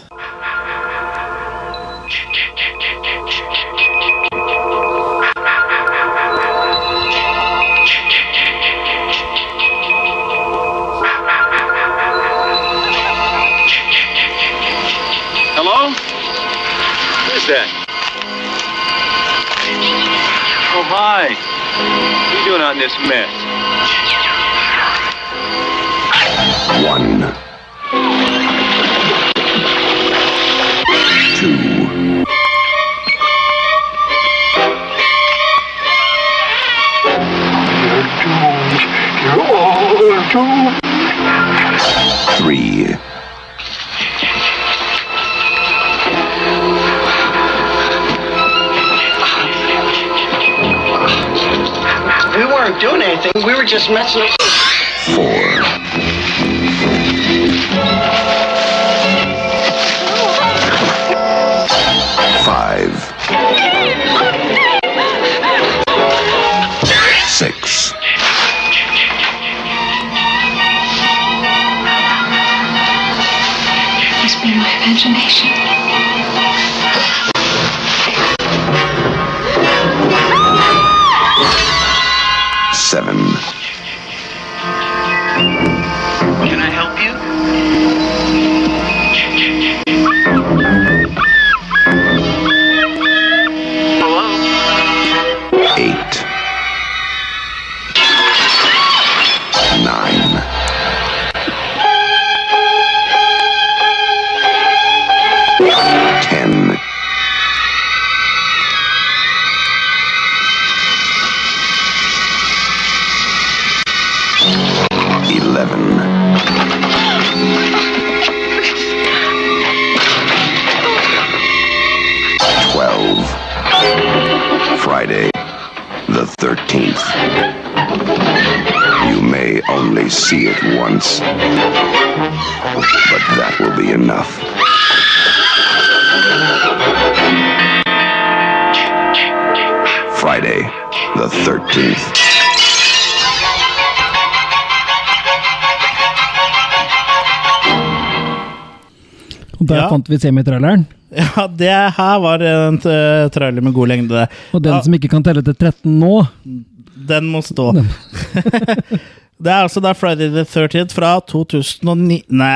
Speaker 8: Hello? Who is that? Oh, hi. What are you doing out in this mess?
Speaker 5: One. Two. Three.
Speaker 7: We weren't doing anything. We were just messing up.
Speaker 5: Four. Five. Six.
Speaker 9: Must be my imagination.
Speaker 5: Seven.
Speaker 8: Can I help you? Hello?
Speaker 5: Eight. Nine. Ten. Eleven. Twelve. Friday the 13th. You may only see it once, but that will be enough. Friday, the 13th.
Speaker 2: Og der
Speaker 1: Ja.
Speaker 2: fant vi semitraileren.
Speaker 1: Ja, det her var en eh, trailer med god lengde.
Speaker 2: Og den
Speaker 1: Ja.
Speaker 2: som ikke kan telle til 13 nå,
Speaker 1: Den må stå. det er altså da Friday the 13th fra 2009 Nei!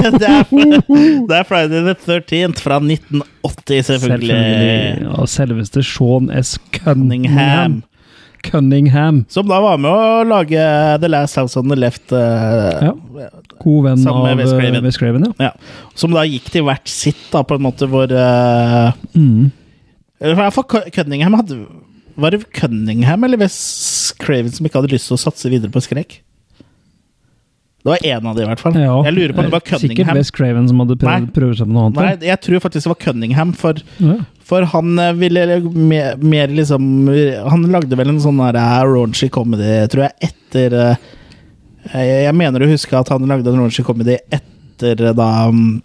Speaker 1: Det er, det er Friday the 13th fra 1980, selvfølgelig.
Speaker 2: selvfølgelig. Og selveste Sean S. Cunningham.
Speaker 1: Cunningham.
Speaker 2: Cunningham.
Speaker 1: Som da var med å lage The Last House on the Left. eh,
Speaker 2: Ja. God venn
Speaker 1: Sammen
Speaker 2: av
Speaker 1: med Wes Craven.
Speaker 2: eh, Wes Craven. Ja.
Speaker 1: ja. Som da gikk til hvert sitt, da, på en måte, hvor eh,
Speaker 2: Mm.
Speaker 1: eller I hvert fall Cu- Cunningham hadde Var det Cunningham eller Wes Craven som ikke hadde lyst til å satse videre på skrekk? Det var én av de, i hvert fall.
Speaker 2: Ja, Eh,
Speaker 1: jeg lurer på om det var
Speaker 2: Sikkert
Speaker 1: Cunningham.
Speaker 2: Wes Craven som hadde
Speaker 1: Nei.
Speaker 2: prøvd, prøvd seg på noe
Speaker 1: Nei,
Speaker 2: annet.
Speaker 1: jeg tror faktisk det var Cunningham, for,
Speaker 2: Ja.
Speaker 1: for han eh, ville mer, mer liksom Han lagde vel en sånn der, eh, raunchy comedy, tror jeg, etter eh, Jeg jeg mener å huske at han lagde en raunchy comedy etter eh, da um,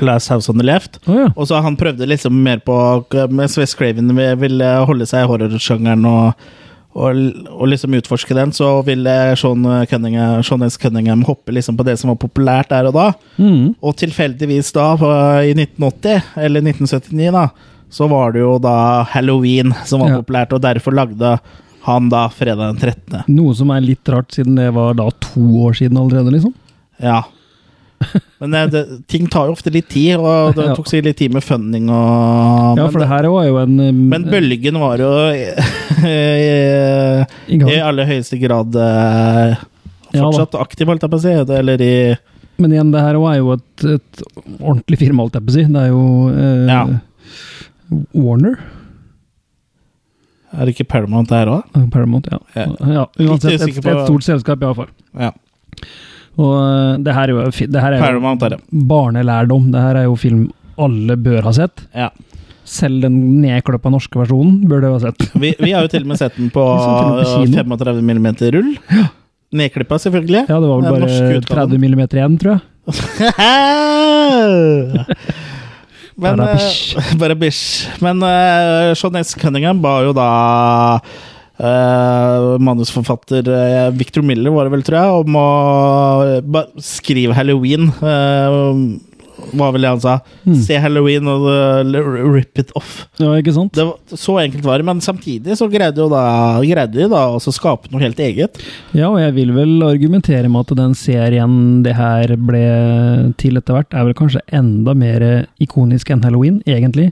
Speaker 1: Last House on the Left.
Speaker 2: Å ja.
Speaker 1: Og så han prøvde liksom mer på Mens Wes Craven vil- ville holde seg i horrorsjangeren og, og, og liksom utforske den, så ville Sean, eh, Cunningham, Sean S. Cunningham hoppe liksom på det som var populært der og da.
Speaker 2: Mm.
Speaker 1: Og tilfeldigvis da, på, i 1980, eller 1979, da, så var det jo da halloween som var
Speaker 2: Ja.
Speaker 1: populært, og derfor lagde han da fredag den 13.
Speaker 2: Noe som er litt rart, siden det var da to år siden allerede, liksom.
Speaker 1: Ja. Men eh, det, ting tar jo ofte litt tid, og det
Speaker 2: Ja.
Speaker 1: tok seg litt tid med funding og
Speaker 2: Ja,
Speaker 1: men
Speaker 2: for det her var jo en um,
Speaker 1: Men bølgen var jo i,
Speaker 2: I gang.
Speaker 1: aller høyeste grad eh,
Speaker 2: Ja, da.
Speaker 1: fortsatt aktiv, holdt jeg på å si. Det- Eller i
Speaker 2: Men igjen, det her også er jo et, et ordentlig firma, alt jeg på å si. Det er jo eh,
Speaker 1: Ja.
Speaker 2: Warner.
Speaker 1: Er det ikke Paramount der òg?
Speaker 2: Eh, Paramount, ja.
Speaker 1: Ja.
Speaker 2: ja
Speaker 1: Litt
Speaker 2: uansett, et,
Speaker 1: usikker på-
Speaker 2: et stort selskap, iallfall.
Speaker 1: Ja.
Speaker 2: Og eh, det her er jo, fi- det her er jo
Speaker 1: Paramount er det.
Speaker 2: barnelærdom. Det her er jo film alle bør ha sett.
Speaker 1: Ja.
Speaker 2: Selv den nedkløppa norske versjonen bør det ha sett.
Speaker 1: Vi, vi har jo til og med sett den på
Speaker 2: Vi så den til og
Speaker 1: 35 mm rull. Nedklippa, selvfølgelig. Eh,
Speaker 2: Ja, det var vel
Speaker 1: Den norske
Speaker 2: bare
Speaker 1: utgaven.
Speaker 2: 30 millimeter igjen, tror jeg.
Speaker 1: Men
Speaker 2: Bare
Speaker 1: eh,
Speaker 2: bish.
Speaker 1: Bare bish. Men eh, Sean S. Cunningham var jo da eh, manusforfatter eh, Victor Miller, var det vel, tror jeg, om å eh, ba, skrive halloween. eh, var vel det han sa.
Speaker 2: Hmm.
Speaker 1: Se halloween og eh, rip it off.
Speaker 2: Ja, ikke sant?
Speaker 1: Det var, så enkelt var det, men samtidig så greide, jo da, greide de da også å skape noe helt eget.
Speaker 2: Ja, og jeg vil vel argumentere med at den serien det her ble til etter hvert, er vel kanskje enda mer ikonisk enn Halloween, egentlig.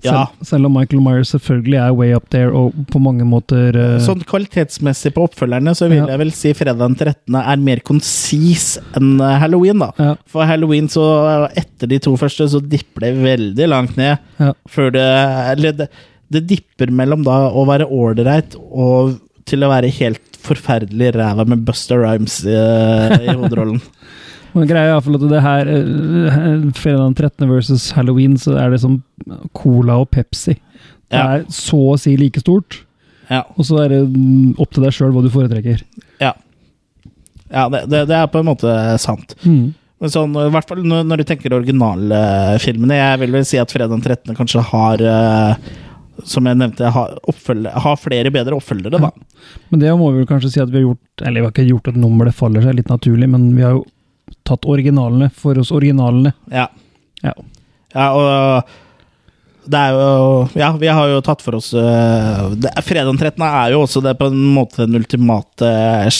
Speaker 1: Ja,
Speaker 2: Selv, selv om Michael Myers selvfølgelig er way up there, og på mange måter eh,
Speaker 1: Sånn kvalitetsmessig på oppfølgerne så vil
Speaker 2: Ja.
Speaker 1: jeg vel si fredag den 13. er mer konsis enn eh, halloween, da.
Speaker 2: Ja.
Speaker 1: For halloween, så eh, etter de to første, så dipper det veldig langt ned.
Speaker 2: Ja.
Speaker 1: Før det Eller det, det dipper mellom da å være ålreit og til å være helt forferdelig ræva med Buster Rhymes i, i hovedrollen.
Speaker 2: Men greia er iallfall at det her, eh, fredag den 13. versus Halloween, så er det som Cola og Pepsi. Det
Speaker 1: Ja.
Speaker 2: er så å si like stort,
Speaker 1: ja.
Speaker 2: og så er det mm, opp til deg sjøl hva du foretrekker.
Speaker 1: ja. ja det, det, det er på en måte sant.
Speaker 2: Mm.
Speaker 1: Men sånn, i hvert fall når, når du tenker originalfilmene. Jeg vil vel si at Fredag den 13. kanskje har eh, Som jeg nevnte, har, oppfølge, har flere bedre oppfølgere, da.
Speaker 2: Men det må vi vel kanskje si at vi har gjort Eller vi har ikke gjort et nummer det faller seg, litt naturlig, men vi har jo tatt originalene for oss originalene.
Speaker 1: Ja.
Speaker 2: Ja.
Speaker 1: ja og det er jo Ja, vi har jo tatt for oss eh, det, Fredag den 13. er jo også det på en måte den ultimate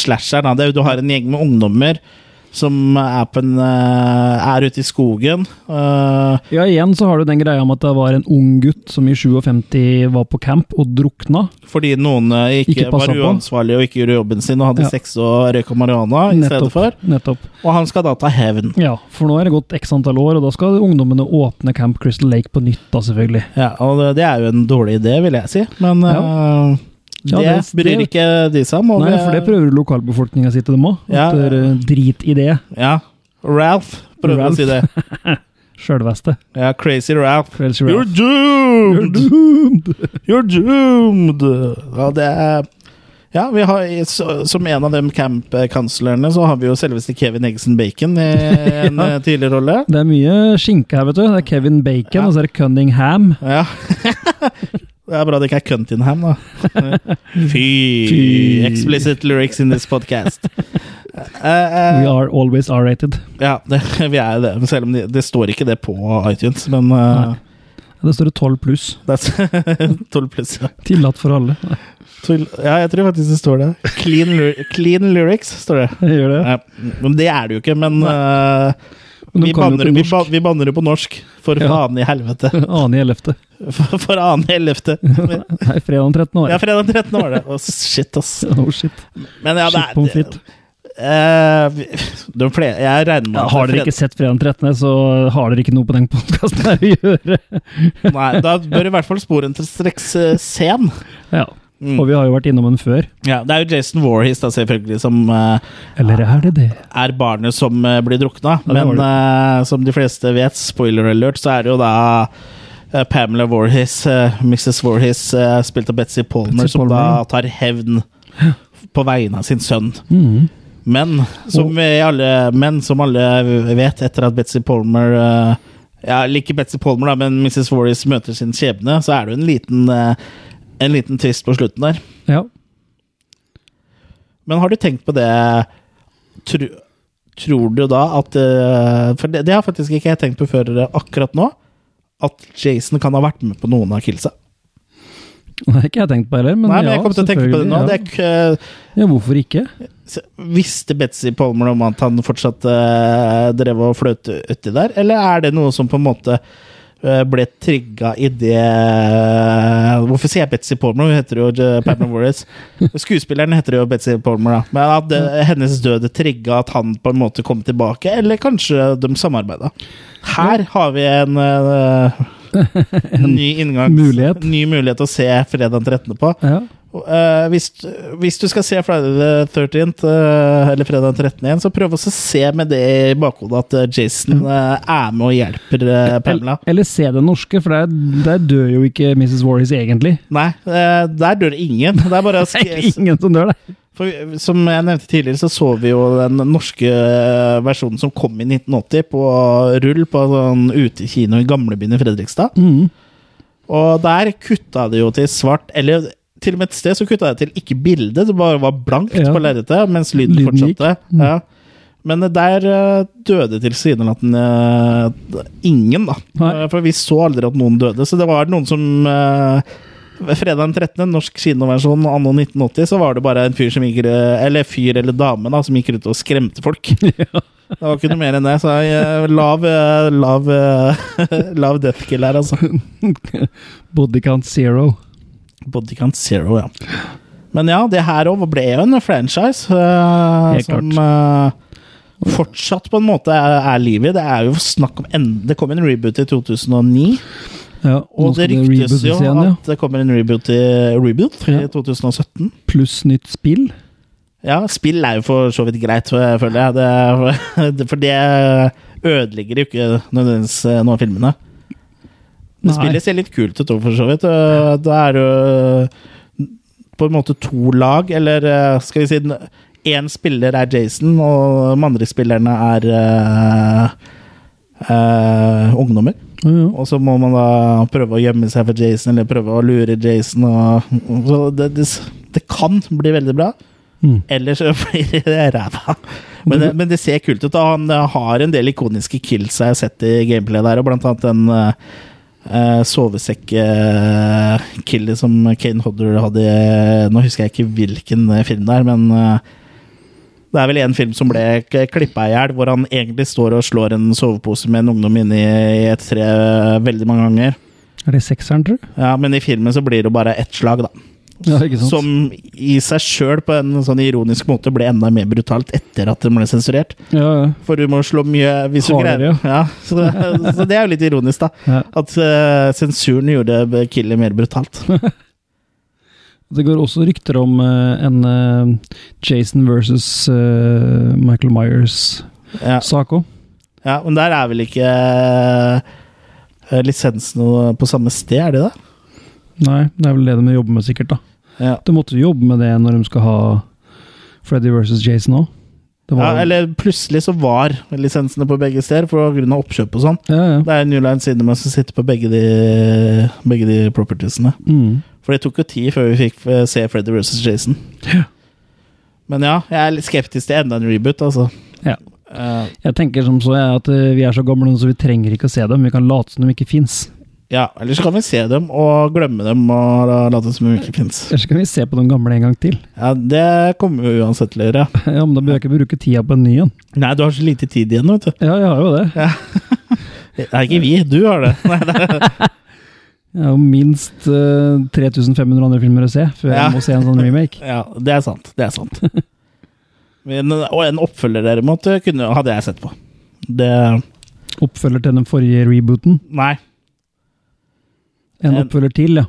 Speaker 1: slasheren. da. Det er jo, du har en gjeng med ungdommer som er, på en, eh, er ute i skogen. eh,
Speaker 2: Ja, igjen så har du den greia om at det var en ung gutt som i 57 var på camp og drukna.
Speaker 1: Fordi noen eh, ikke,
Speaker 2: Ikke
Speaker 1: var
Speaker 2: passet på.
Speaker 1: uansvarlige og ikke gjorde jobben sin og hadde
Speaker 2: Ja.
Speaker 1: sex og røyka marihuana i stedet for.
Speaker 2: Nettopp.
Speaker 1: Og han skal da ta hevn.
Speaker 2: Ja, for nå er det gått x antall år, og da skal ungdommene åpne Camp Crystal Lake på nytt, da selvfølgelig.
Speaker 1: Ja, og det- det er jo en dårlig idé, vil jeg si, men eh,
Speaker 2: Ja,
Speaker 1: det,
Speaker 2: det-
Speaker 1: bryr
Speaker 2: det-
Speaker 1: ikke de seg om. og
Speaker 2: Nei,
Speaker 1: vi-
Speaker 2: for det prøver lokalbefolkninga si til dem òg.
Speaker 1: Ja.
Speaker 2: eh, Drit i det,
Speaker 1: Ja. Ralph prøvde å
Speaker 2: Ralph.
Speaker 1: si det.
Speaker 2: sjølveste.
Speaker 1: Ja, Crazy Ralph.
Speaker 2: Frelser
Speaker 1: You're
Speaker 2: Ralph.
Speaker 1: doomed! You're doomed! Ja, det er ja, vi har, i- så- som en av de camp-kanslerne, så har vi jo selveste Kevin Eggson Bacon i en
Speaker 2: Ja.
Speaker 1: eh, tidligere rolle.
Speaker 2: Det er mye skinke her, vet du. Det er Kevin Bacon,
Speaker 1: Ja.
Speaker 2: og så er det Cunningham.
Speaker 1: Ja. Det er bra det ikke er Cuntingham, da. Fy,
Speaker 2: Fy.
Speaker 1: Explicit lyrics in this podcast. Eh, eh,
Speaker 2: We are always R-rated.
Speaker 1: ja, det, vi er jo det. Selv om det, det står ikke det på iTunes, men eh,
Speaker 2: Det står 12 pluss.
Speaker 1: that's 12 pluss. Ja.
Speaker 2: Tillatt for alle.
Speaker 1: Tull- ja, jeg tror faktisk det står det. Clean, lyri- clean lyrics, står det.
Speaker 2: Jeg gjør det.
Speaker 1: Ja, men det er det jo ikke, men eh,
Speaker 2: De
Speaker 1: Vi
Speaker 2: kan jo
Speaker 1: banner,
Speaker 2: på
Speaker 1: vi,
Speaker 2: norsk.
Speaker 1: ba, vi banner jo på norsk, for
Speaker 2: Ja.
Speaker 1: faen i helvete.
Speaker 2: Annen i ellevte.
Speaker 1: For, for annen i helvete.
Speaker 2: Nei, fredag den 13.
Speaker 1: Ja,
Speaker 2: var det.
Speaker 1: fredag den 13. var det. Å, shit, ass.
Speaker 2: Oh shit.
Speaker 1: Men ja, det
Speaker 2: Shit pommes
Speaker 1: er
Speaker 2: frites.
Speaker 1: Eh, vi- de flere, jeg regner med
Speaker 2: Ja,
Speaker 1: at
Speaker 2: har
Speaker 1: det
Speaker 2: dere
Speaker 1: er
Speaker 2: ikke sett Fredag den 13., så har dere ikke noe på den podkasten her å gjøre.
Speaker 1: fred- Nei, da bør i hvert fall sporen til streks eh, sen.
Speaker 2: Ja.
Speaker 1: Mm.
Speaker 2: Og vi har jo vært innom den før.
Speaker 1: Ja, det er jo Jason Warhis, da, selvfølgelig, som eh,
Speaker 2: Eller er det det?
Speaker 1: er barnet som eh, blir drukna.
Speaker 2: Ja, det var
Speaker 1: Men eh, som de fleste vet, spoiler alert, så er det jo da eh, Pamela Warhis, eh, Mrs. Warhis, eh, spilt av Betsy Palmer,
Speaker 2: Betsy
Speaker 1: som
Speaker 2: Palmer, ja.
Speaker 1: da tar hevn på vegne av sin sønn.
Speaker 2: Mhm.
Speaker 1: Men som,
Speaker 2: Og-
Speaker 1: vi alle, men som alle vet, etter at Betsy Palmer eh, Ja, like Betsy Palmer, da, men Mrs. Warris møter sin skjebne, så er det jo en liten eh, En liten twist på slutten der.
Speaker 2: Ja.
Speaker 1: Men har du tenkt på det tro, Tror du da at eh, For det, det har faktisk ikke jeg tenkt på før eh, akkurat nå. At Jason kan ha vært med på noen av killsa.
Speaker 2: Det har ikke jeg tenkt på heller, men,
Speaker 1: Nei, men jeg
Speaker 2: ja,
Speaker 1: kom til å tenke på det
Speaker 2: selvfølgelig,
Speaker 1: nå.
Speaker 2: ja.
Speaker 1: Det er ikke-
Speaker 2: Ja, hvorfor ikke?
Speaker 1: Så Visste Betzy Palmer om at han fortsatt eh, drev og fløt uti der, eller er det noe som på en måte eh, ble trigga i det eh, Hvorfor sier jeg Betzy Palmer? Hun heter jo eh, Pamela Warris. Skuespilleren heter jo Betzy Palmer, da. Men at eh, hennes død trigga at han på en måte kom tilbake, eller kanskje de samarbeida. Her har vi en eh, ny inngangs...
Speaker 2: mulighet.
Speaker 1: Ny mulighet å se fredag den 13. på.
Speaker 2: Ja.
Speaker 1: Eh, hvis, hvis du skal se Friday the 13th, eh, eller fredag den 13. igjen, så prøv også å se med det i bakhodet at eh, Jason eh, er med og hjelper eh, Pamela.
Speaker 2: Eller, eller se den norske, for der, der dør jo ikke Mrs. Warris egentlig.
Speaker 1: Nei, eh, der dør det ingen. Det er bare å
Speaker 2: Det er
Speaker 1: sk-
Speaker 2: ingen som dør der.
Speaker 1: for, Som jeg nevnte tidligere, så så vi jo den norske eh, versjonen som kom i 1980 på rull på sånn utekino i gamlebyen i Fredrikstad.
Speaker 2: Mm.
Speaker 1: Og der kutta det jo til svart, eller til og med et sted så kutta det til ikke bildet, det bare var blankt
Speaker 2: Ja.
Speaker 1: på lerretet, mens lyden,
Speaker 2: Lyden gikk. Mm.
Speaker 1: fortsatte. Ja. Men der eh, døde tilsynelatende eh, ingen, da.
Speaker 2: Nei.
Speaker 1: Eh, For vi så aldri at noen døde, så det var noen som eh, Fredag den 13., norsk kinoversjon anno 1980, så var det bare en fyr som gikk eh, Eller fyr eller dame, da, som gikk rundt og skremte folk. Det var ikke noe mer enn det, så eh, lav, eh, lav, eh, lav death kill her, altså.
Speaker 2: Bodycount zero.
Speaker 1: Bodycount Zero, ja. Men ja, det her òg ble jo en franchise eh,
Speaker 2: Helt
Speaker 1: som eh, fortsatt på en måte er, er liv i. Det er jo snakk om en, Det kom en reboot i 2009,
Speaker 2: Ja, nå
Speaker 1: og det
Speaker 2: skal
Speaker 1: ryktes
Speaker 2: rebootes
Speaker 1: jo
Speaker 2: igjen, ja.
Speaker 1: at det kommer en reboot i, reboot i
Speaker 2: Ja.
Speaker 1: 2017.
Speaker 2: Pluss nytt spill.
Speaker 1: Ja, spill er jo for så vidt greit, eh, føler jeg. Det, det- for det ødelegger jo ikke nødvendigvis eh, noen av filmene. Det
Speaker 2: Nei.
Speaker 1: spillet ser litt kult ut òg, for så vidt. Eh, Da er det jo eh, på en måte to lag, eller eh, skal vi si den- Én spiller er Jason, og de andre spillerne er eh, eh, ungdommer.
Speaker 2: Ja, ja.
Speaker 1: Og så må man da prøve å gjemme seg for Jason, eller prøve å lure Jason. Og, og så det, det, det kan bli veldig bra.
Speaker 2: Mm.
Speaker 1: Ellers så blir det ræva. Men, det- men det ser kult ut. Og han eh, har en del ikoniske kills jeg har sett i gameplay der, og blant annet den uh, sovesekk-killet som Kane Hodder hadde i- eh, Nå husker jeg ikke hvilken eh, film det er, men eh, det er vel en film som ble k- klippa i hjel, hvor han egentlig står og slår en sovepose med en ungdom inni i et tre eh, veldig mange ganger.
Speaker 2: Er det sekseren, tror du?
Speaker 1: Ja, Men i filmen så blir det bare ett slag, da.
Speaker 2: Ja, ikke sant?
Speaker 1: Som i seg sjøl, på en sånn ironisk måte, ble enda mer brutalt etter at den ble sensurert.
Speaker 2: ja, ja.
Speaker 1: For du må slå mye hvis du
Speaker 2: Hardere,
Speaker 1: greier ja, så, det- så det er jo litt ironisk, da.
Speaker 2: Ja.
Speaker 1: At eh, sensuren gjorde killet mer brutalt.
Speaker 2: Det går også rykter om eh, en eh, Jason versus eh, Michael
Speaker 1: Ja.
Speaker 2: Myers-sak òg.
Speaker 1: Ja, men der er vel ikke eh, lisensene på samme sted, er de det?
Speaker 2: Nei, det er vel det de jobber med, sikkert. da.
Speaker 1: Ja.
Speaker 2: De måtte jo jobbe med det når de skal ha Freddy versus Jason òg.
Speaker 1: Ja, eller plutselig så var lisensene på begge steder på grunn av oppkjøp og sånn.
Speaker 2: ja, ja.
Speaker 1: Det er New Line Cinema som sitter på begge de, begge de propertiesene.
Speaker 2: Mm.
Speaker 1: For det tok jo tid før vi fikk eh, se Freddy vs. Jason.
Speaker 2: Ja.
Speaker 1: Men ja, jeg er litt skeptisk til enda en reboot, altså.
Speaker 2: Ja.
Speaker 1: Eh,
Speaker 2: Jeg tenker som så jeg at eh, vi er så gamle nå, så vi trenger ikke å se dem. Vi kan late som de ikke fins.
Speaker 1: Ja, Eller så kan vi se dem og glemme dem og la- late som de ikke fins.
Speaker 2: Ellers kan vi se på den gamle en gang til.
Speaker 1: Ja, det kommer jo uansett til å gjøre.
Speaker 2: Ja, Men da bør jeg ikke bruke tida på en ny en.
Speaker 1: Nei, du har så lite tid igjen, vet du.
Speaker 2: Ja, jeg har jo det.
Speaker 1: Nei, ikke vi. Du har det. Nei, det er,
Speaker 2: Jeg har jo minst eh, 3500 andre filmer å se før
Speaker 1: Ja.
Speaker 2: jeg må se en sånn remake.
Speaker 1: ja, det er sant. Det er sant. Men, og en oppfølger, derimot, kunne, hadde jeg sett på. Det
Speaker 2: Oppfølger til den forrige rebooten.
Speaker 1: Nei.
Speaker 2: En
Speaker 1: En-
Speaker 2: oppfølger til, ja.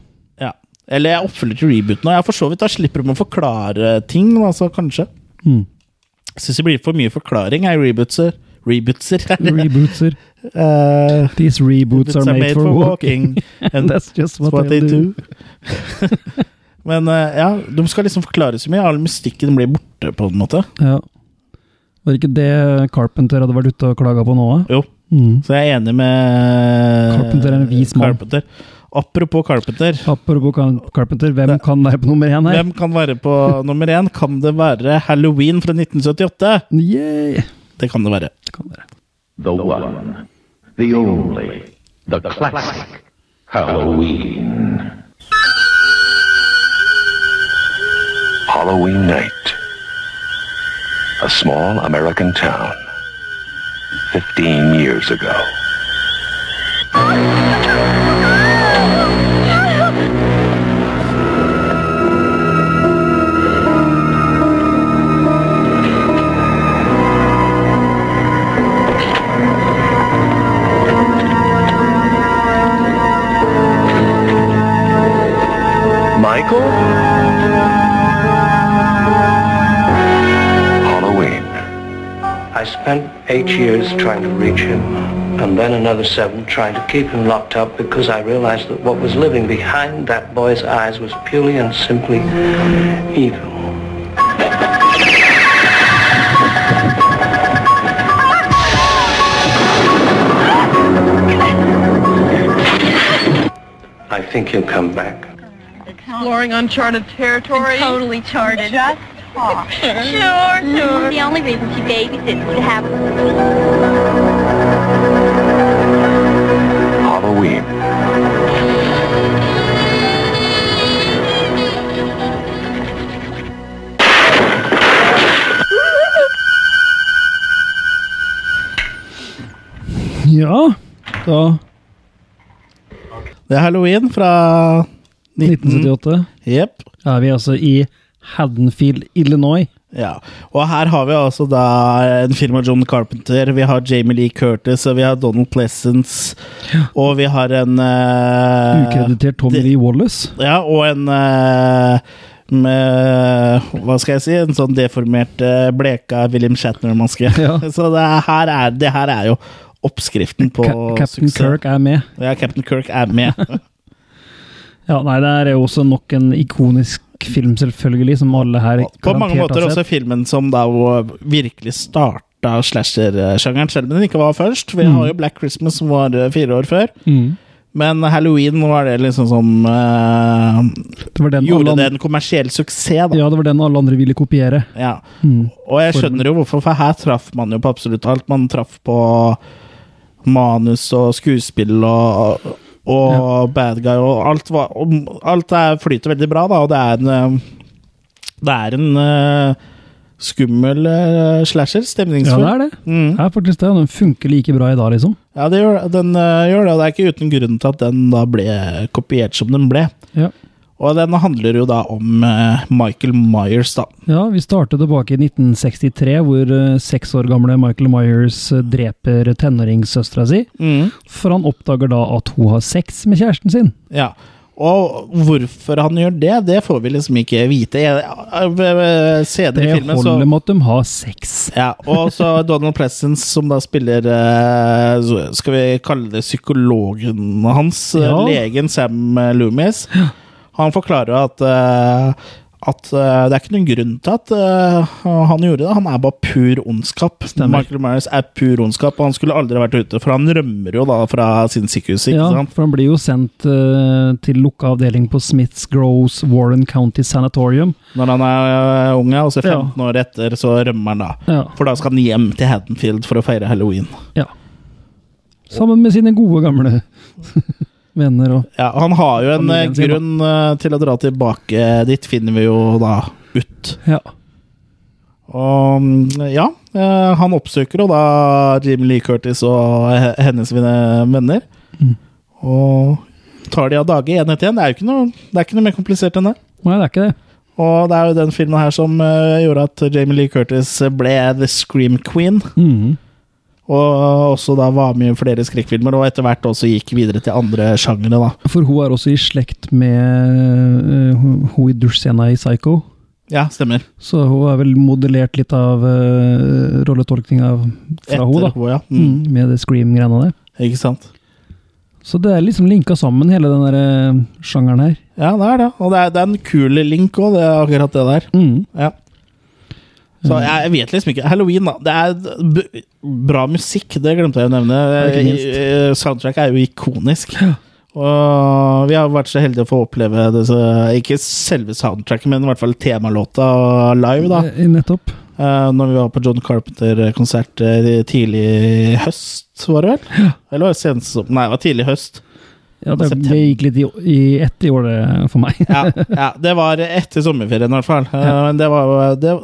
Speaker 1: Ja. Eller jeg oppfølger til rebooten. Og jeg for så vidt da slipper de å forklare ting, altså kanskje.
Speaker 2: Mm.
Speaker 1: Jeg syns det blir for mye forklaring, jeg, rebootser. Rebootser.
Speaker 2: Rebootser.
Speaker 1: Eh,
Speaker 2: These reboots are uh, made for walking.
Speaker 1: And
Speaker 2: That's just what
Speaker 1: what
Speaker 2: they
Speaker 1: they
Speaker 2: do.
Speaker 1: do. Men eh, ja, de skal liksom forklare så mye. All mystikken blir borte, på en måte.
Speaker 2: Ja. Var det ikke det Carpenter hadde vært ute og klaga på nå? da?
Speaker 1: Jo,
Speaker 2: Mm.
Speaker 1: så jeg er enig med
Speaker 2: Carpenter er en vis mann.
Speaker 1: Carpenter. Apropos Carpenter.
Speaker 2: Apropos Car- Carpenter, hvem kan være på nummer én her?
Speaker 1: Hvem kan være på nummer én? Kan det være Halloween fra 1978?
Speaker 2: Yeah.
Speaker 1: Det kan det være.
Speaker 2: Det kan være.
Speaker 5: The one, the only, the classic Halloween.
Speaker 4: Halloween night. A small American town. 15 years ago. Michael? Halloween.
Speaker 7: I spent eight years trying to reach him, and then another seven trying to keep him locked up because I realized that what was living behind that boy's eyes was purely and simply evil. I think he'll come back.
Speaker 9: Exploring uncharted territory. Totally charted. Just talk. sure, sure. The only reason she babysits is to have
Speaker 4: Halloween.
Speaker 2: Ja, da
Speaker 1: Det er Halloween fra 1978.
Speaker 2: 1978
Speaker 1: Jepp.
Speaker 2: er vi altså i Haddonfield, Illinois.
Speaker 1: Ja. Og her har vi altså da en film av John Carpenter, vi har Jamie Lee Curtis, og vi har Donald Pleasence, og vi har en eh,
Speaker 2: Ukreditert Tom
Speaker 1: det-
Speaker 2: Lee Wallace.
Speaker 1: Ja, og en eh, med, Hva skal jeg si? En sånn deformert, eh, bleka William Shatner-maske.
Speaker 2: Ja.
Speaker 1: Så det er- her, er, det her er jo oppskriften på
Speaker 2: Ka- Captain
Speaker 1: suksess.
Speaker 2: Kirk er med.
Speaker 1: Ja, Captain Kirk er med.
Speaker 2: Ja, nei, det er jo også nok en ikonisk film, selvfølgelig, som alle her
Speaker 1: På mange
Speaker 2: garantert altså.
Speaker 1: måter
Speaker 2: har
Speaker 1: også
Speaker 2: sett.
Speaker 1: filmen som da jo virkelig starta slasher-sjangeren, selv om den ikke var først. Vi har jo Black Christmas, som var eh, fire år før.
Speaker 2: Mm.
Speaker 1: Men halloween var det liksom som eh,
Speaker 2: Det var den alle
Speaker 1: gjorde
Speaker 2: andre-
Speaker 1: det en kommersiell suksess, da.
Speaker 2: Ja, det var den alle andre ville kopiere. Mm.
Speaker 1: Ja. Og jeg skjønner jo hvorfor, for her traff man jo på absolutt alt. Man traff på manus og skuespill og, og bad guy og alt. Var, og alt er, flyter veldig bra, da, og det er en eh, Det er en eh, skummel eh, slasher.
Speaker 2: Ja,
Speaker 1: Stemningsfull.
Speaker 2: det er det.
Speaker 1: Mm.
Speaker 2: Det er faktisk det. og Den funker like bra i dag, liksom.
Speaker 1: Ja, det gjør, den eh, gjør det, og det er ikke uten grunn til at den da ble kopiert som den ble.
Speaker 2: Ja.
Speaker 1: Og den handler jo da om eh, Michael Myers, da.
Speaker 2: ja, vi startet tilbake i 1963, hvor eh, seks år gamle Michael Myers eh, dreper tenåringssøstera si. For han oppdager da at hun har sex med kjæresten sin.
Speaker 1: Ja. Og hvorfor han gjør det, det får vi liksom ikke vite. Jeg- jeg- jeg- Senere i
Speaker 2: Det
Speaker 1: filmen
Speaker 2: holder
Speaker 1: så
Speaker 2: med at de har sex.
Speaker 1: ja, og så Donald Pleasence, som da spiller eh, så Skal vi kalle det psykologen hans? eh,
Speaker 2: Ja.
Speaker 1: Legen Sam eh, Loomis. Han forklarer at eh, at eh, Det er ikke noen grunn til at eh, han gjorde det. Han er bare pur ondskap. Michael Myers er pur ondskap, og han skulle aldri vært ute, for han rømmer jo da fra sin sykehus. Ikke
Speaker 2: Ja,
Speaker 1: sant?
Speaker 2: for han blir jo sendt eh, til lukka avdeling på Smiths Groves Warren County Sanatorium.
Speaker 1: Når han er øh, unge, og så
Speaker 2: Ja.
Speaker 1: 15 år etter, så rømmer han da.
Speaker 2: Ja.
Speaker 1: For da skal han hjem til Haddonfield for å feire halloween.
Speaker 2: ja. Sammen med sine gode gamle venner og
Speaker 1: Ja, han har jo en eh,
Speaker 2: Familien sin, da.
Speaker 1: grunn eh, til å dra tilbake dit, finner vi jo da ut.
Speaker 2: Ja.
Speaker 1: Og mm, ja, eh, han oppsøker jo da Jim Lee Curtis og he- hennes vine- venner.
Speaker 2: Mm.
Speaker 1: Og tar de av dage én etter én. Det er jo ikke noe, det er ikke noe mer komplisert enn det.
Speaker 2: Nei, det er ikke det.
Speaker 1: Og det er jo den filmen her som eh, gjorde at Jamie Lee Curtis ble The Scream Queen. Og også da var med i flere skrekkfilmer, og etter hvert også gikk videre til andre sjangere. da.
Speaker 2: For hun er også i slekt med eh, hun- hun i dusjscena i Psycho.
Speaker 1: Ja, stemmer.
Speaker 2: Så hun er vel modellert litt av uh, rolletolkninga fra hun, da.
Speaker 1: Etter ja. Mm.
Speaker 2: Mm, med det scream-greiene der.
Speaker 1: Ikke sant?
Speaker 2: Så det er liksom linka sammen, hele den der eh, sjangeren her.
Speaker 1: Ja, det er det. Og det er, det er en kul link òg, akkurat det der.
Speaker 2: Mm.
Speaker 1: Ja. Så jeg jeg vet liksom ikke. Halloween, da. Det er b bra musikk, det glemte jeg å nevne.
Speaker 2: Ja, ikke minst.
Speaker 1: Eh, Soundtrack er jo ikonisk. Og vi har vært så heldige å få oppleve det, så- ikke selve soundtracket, men i hvert fall temalåta live, da.
Speaker 2: Eh, Nettopp.
Speaker 1: Eh, Når vi var på John Carpenter-konsert eh, tidlig i høst, var det vel? Eller var det sent som Nei, det var tidlig i høst.
Speaker 2: Ja, det,
Speaker 1: September.
Speaker 2: det gikk litt i, i ett i år, det, for meg.
Speaker 1: ja, ja, det var etter sommerferien i hvert fall. Eh, Men det var, det,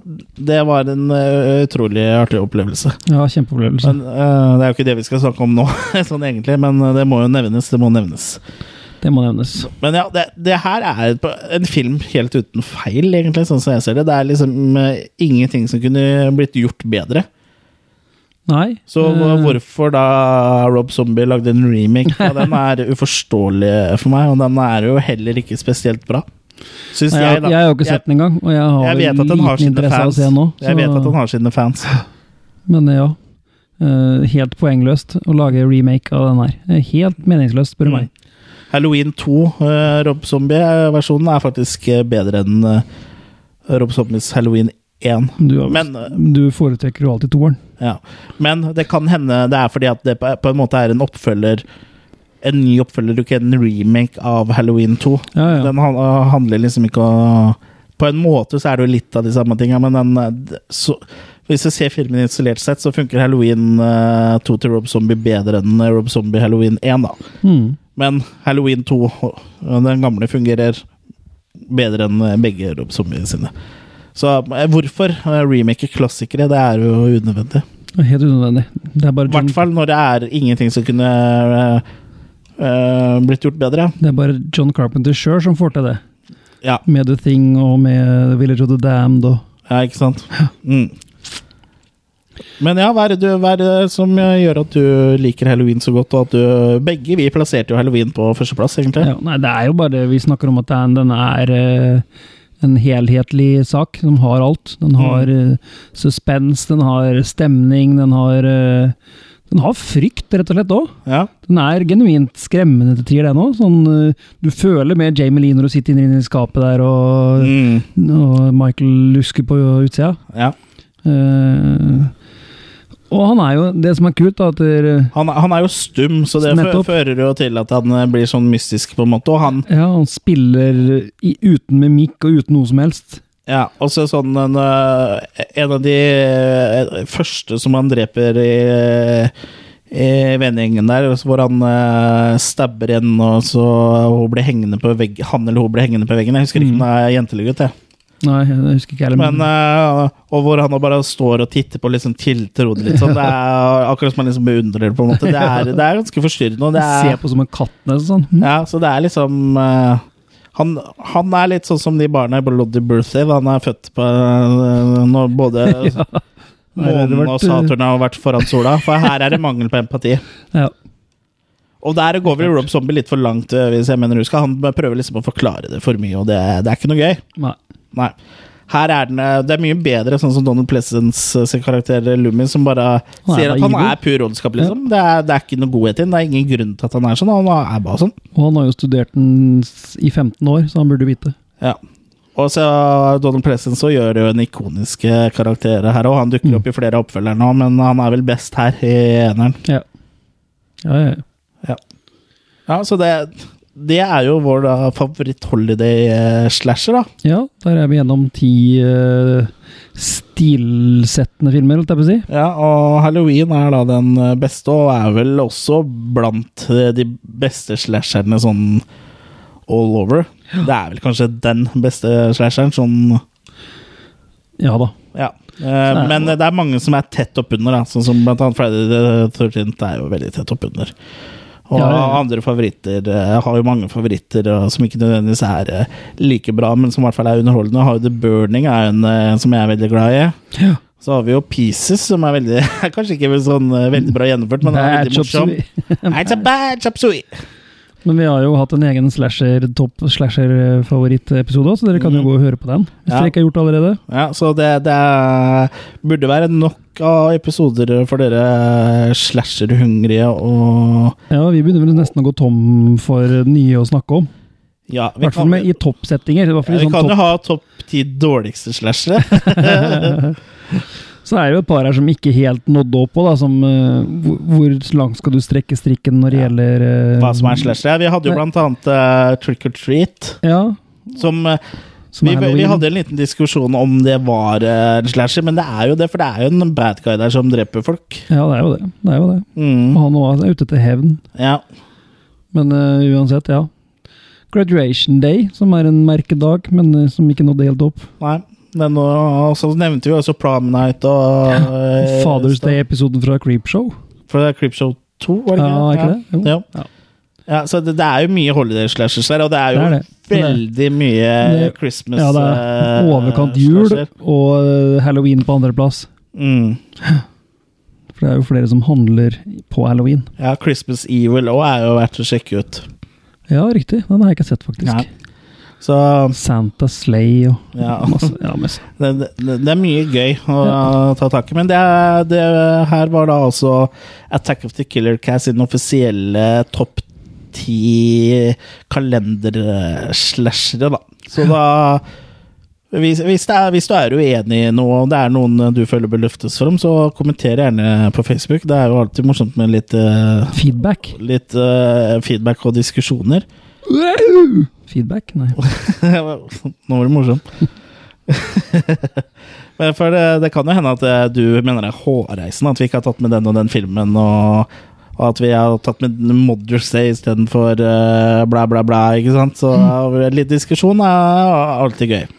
Speaker 1: det var en eh, utrolig artig opplevelse.
Speaker 2: ja, kjempeopplevelse.
Speaker 1: Men eh, det er jo ikke det vi skal snakke om nå, sånn egentlig, men eh, det må jo nevnes. Det må nevnes.
Speaker 2: Det må nevnes.
Speaker 1: Men ja, det, det her er et- en film helt uten feil, egentlig, sånn som jeg ser det. Det er liksom eh, ingenting som kunne blitt gjort bedre.
Speaker 2: Nei.
Speaker 1: Så
Speaker 2: eh,
Speaker 1: hvorfor da Rob Zombie lagde en remake? Ja, den er uforståelig for meg, og den er jo heller ikke spesielt bra. Syns
Speaker 2: Nei, eh, jeg,
Speaker 1: da.
Speaker 2: jeg har jo ikke sett den engang, og jeg har
Speaker 1: Jeg vet at den
Speaker 2: liten
Speaker 1: har sine
Speaker 2: interesse av å
Speaker 1: fans.
Speaker 2: se den nå. så-
Speaker 1: Jeg vet at den har sine fans.
Speaker 2: Men eh, ja, Eh, helt poengløst å lage remake av den her. Eh, Helt meningsløst, spør du meg.
Speaker 1: Halloween 2, eh, Rob Zombie-versjonen, er faktisk eh, bedre enn eh, Rob Zombies Halloween 1.
Speaker 2: Du, har-
Speaker 1: Men, eh,
Speaker 2: du foretrekker jo alltid toeren.
Speaker 1: Ja. Men det kan hende det er fordi at det på på en måte er en oppfølger En ny oppfølger, ikke en remake av Halloween 2.
Speaker 2: Ja, ja.
Speaker 1: Den han- handler liksom ikke å På en måte så er det jo litt av de samme tinga, men den eh, d- så, hvis du ser filmen isolert sett, så funker Halloween eh, 2 til Rob Zombie bedre enn eh, Rob Zombie Halloween 1, da.
Speaker 2: Mm.
Speaker 1: Men Halloween 2, og den gamle, fungerer bedre enn eh, begge Rob Zombie sine. Så eh, hvorfor eh, remake klassikere? Det er jo unødvendig.
Speaker 2: Det er Helt unødvendig. Det er bare
Speaker 1: I hvert
Speaker 2: John,
Speaker 1: fall når det er ingenting som kunne eh, eh, blitt gjort bedre.
Speaker 2: det er bare John Carpenter sjøl som får til det.
Speaker 1: Ja,
Speaker 2: Med The Thing og med Village of the Damned og
Speaker 1: ja ikke sant? Mm. Men ja, hva er, det du, hva er det som gjør at du liker halloween så godt, og at du Begge vi plasserte jo halloween på førsteplass, egentlig.
Speaker 2: ja, Nei, det er jo bare det vi snakker om at det er en- den er eh, en helhetlig sak. Den har alt. Den
Speaker 1: Mm.
Speaker 2: har eh, suspens, den har stemning, den har eh, Den har frykt, rett og slett òg.
Speaker 1: Ja.
Speaker 2: Den er genuint skremmende til tider, den òg. Sånn, eh, du føler med Jamie Lee når du sitter inne i skapet der, og,
Speaker 1: Mm.
Speaker 2: og Michael lusker på utsida.
Speaker 1: ja.
Speaker 2: Eh, og han er jo Det som er kult, da, at der,
Speaker 1: Han, han er jo stum, så det fø-
Speaker 2: Nettopp.
Speaker 1: fører jo til at han eh, blir sånn mystisk, på en måte. Og han
Speaker 2: eh, ja, han spiller i, uten mimikk og uten noe som helst.
Speaker 1: Ja, og så sånn en, øh, en av de øh, første som han dreper i, i vennegjengen der, hvor han øh, stabber en, og så hun blir hengende på vegg, han eller hun blir hengende på veggen. Jeg husker ikke om det er jente eller gutt, jeg.
Speaker 2: Nei, jeg husker ikke heller.
Speaker 1: Men, øh, og hvor han bare står og titter på og liksom tiltror det litt sånn. Det er akkurat som han liksom beundrer det, på en måte. Det er, det er ganske forstyrrende. Og det
Speaker 2: Se
Speaker 1: er,
Speaker 2: på som en katt, nesten. Sånn.
Speaker 1: ja, så det er liksom eh, han, han er litt sånn som de barna i Bloody Birthday. da Han er født på eh, når både
Speaker 2: Her har det
Speaker 1: månen og
Speaker 2: vært, eh,
Speaker 1: Saturn har vært foran sola. For her er det mangel på empati.
Speaker 2: Ja.
Speaker 1: Og der går vel Rob Zombie litt for langt, eh, hvis jeg mener du skal. Han prøver liksom å forklare det for mye, og det, det er ikke noe gøy.
Speaker 2: Nei.
Speaker 1: Nei. Her er den, eh, det er mye bedre, sånn som Donald Pleasants eh, sin karakter Lumi, som bare
Speaker 2: Han er
Speaker 1: sier at
Speaker 2: bare
Speaker 1: han
Speaker 2: evil.
Speaker 1: er pur ondskap, liksom. Det, er, det er ikke noe godhet i den. Det er ingen grunn til at han er sånn. Han er bare sånn.
Speaker 2: Og han har jo studert den s- i 15 år, så han burde vite.
Speaker 1: Ja. Og så eh, Donald Pleasant så gjør jo en ikonisk eh, karakter her òg. Han dukker opp i flere oppfølgere nå, men han er vel best her i eneren.
Speaker 2: Ja, ja, ja.
Speaker 1: Ja, så det det er jo vår da, favoritt-holiday-slasher, da.
Speaker 2: Ja, der er vi gjennom ti eh, stilsettende filmer, holdt jeg på å si.
Speaker 1: Ja, og Halloween er da den eh, beste, og er vel også blant eh, de beste slasherne sånn all over. Det er vel kanskje den beste slasheren, sånn
Speaker 2: Ja da.
Speaker 1: Ja. Eh, men det er mange som er tett oppunder, da. Sånn som blant annet Friday the 13th er jo veldig tett oppunder. Og
Speaker 2: Ja, ja, ja.
Speaker 1: andre favoritter Jeg har jo mange favoritter og som ikke nødvendigvis er eh, like bra, men som i hvert fall er underholdende. Har jo The Burning er jo en eh, som jeg er veldig glad i.
Speaker 2: Ja.
Speaker 1: Så har vi jo Pieces, som er veldig er Kanskje ikke vel sånn eh, veldig bra gjennomført, men er
Speaker 2: Bad
Speaker 1: veldig
Speaker 2: chop
Speaker 1: morsom.
Speaker 2: suey.
Speaker 1: It's a bad chop suey.
Speaker 2: Men vi har jo hatt en egen slasher, topp slasher-favorittepisode òg, så dere kan jo gå og høre på den.
Speaker 1: Mm.
Speaker 2: Hvis
Speaker 1: Ja.
Speaker 2: dere ikke har gjort det allerede.
Speaker 1: Ja, så det, det er, burde være nok av episoder for dere slasher-hungrige og
Speaker 2: Ja, vi begynner vel nesten å gå tom for nye å snakke om.
Speaker 1: Ja,
Speaker 2: I hvert fall med i toppsettinger. I hvert fall
Speaker 1: Ja,
Speaker 2: i
Speaker 1: vi
Speaker 2: sånn
Speaker 1: kan jo
Speaker 2: topp.
Speaker 1: ha topp ti dårligste slashere.
Speaker 2: Så er det jo et par her som ikke helt nådde opp på, da, som eh, hvor, hvor langt skal du strekke strikken når det gjelder eh,
Speaker 1: Hva som er slashere. Vi hadde jo blant annet eh, Trick or Treat,
Speaker 2: Ja,
Speaker 1: som, eh,
Speaker 2: som
Speaker 1: vi,
Speaker 2: er
Speaker 1: vi
Speaker 2: Halloween.
Speaker 1: hadde en liten diskusjon om det var eh, en slasher, men det er jo det, for det er jo en bad guy der som dreper folk.
Speaker 2: Ja, det er jo det. det, er jo det.
Speaker 1: Mm,
Speaker 2: Han også er ute etter hevn,
Speaker 1: ja.
Speaker 2: men eh, uansett, ja. Graduation Day, som er en merkedag, men eh, som ikke nådde helt opp.
Speaker 1: Nei. Men nå, og så nevnte vi jo også Prom Night og eh,
Speaker 2: Father's Day-episoden fra Creepshow.
Speaker 1: For det er Creepshow 2, var det
Speaker 2: Ja, er ikke det? Jo.
Speaker 1: Ja.
Speaker 2: Ja.
Speaker 1: Ja, så det, det er jo mye holiday slashes her, og det er jo
Speaker 2: Det er det.
Speaker 1: veldig mye
Speaker 2: Det-
Speaker 1: Christmas
Speaker 2: Ja, det er
Speaker 1: eh,
Speaker 2: overkant jul
Speaker 1: slasher.
Speaker 2: og eh, halloween på andreplass.
Speaker 1: Mm.
Speaker 2: For det er jo flere som handler på halloween.
Speaker 1: Ja, Christmas Evil òg er jo verdt å sjekke ut.
Speaker 2: Ja, riktig. Den har jeg ikke sett, faktisk.
Speaker 1: Nei. Så
Speaker 2: Santa Slay og
Speaker 1: Ja.
Speaker 2: masse. Ja, masse.
Speaker 1: det, det, det er mye gøy å ta tak i. Men det, er- det her var da altså Attack of the Killer Cast sin offisielle topp ti kalenderslashere, da. Så da hvis, hvis, det er, hvis du er uenig i noe, og det er noen du føler bør løftes fram, så kommenter gjerne på Facebook. Det er jo alltid morsomt med litt, eh,
Speaker 2: Feedback.
Speaker 1: litt eh, feedback og diskusjoner.
Speaker 2: Feedback? Nei.
Speaker 1: Nå var det morsomt. Men for det, det kan jo hende at eh, du mener det er hårreisen, at vi ikke har tatt med den og den filmen, og, og at vi har tatt med Mother's Day istedenfor uh, bla, bla, bla. ikke sant? Så eh, litt diskusjon er alltid gøy.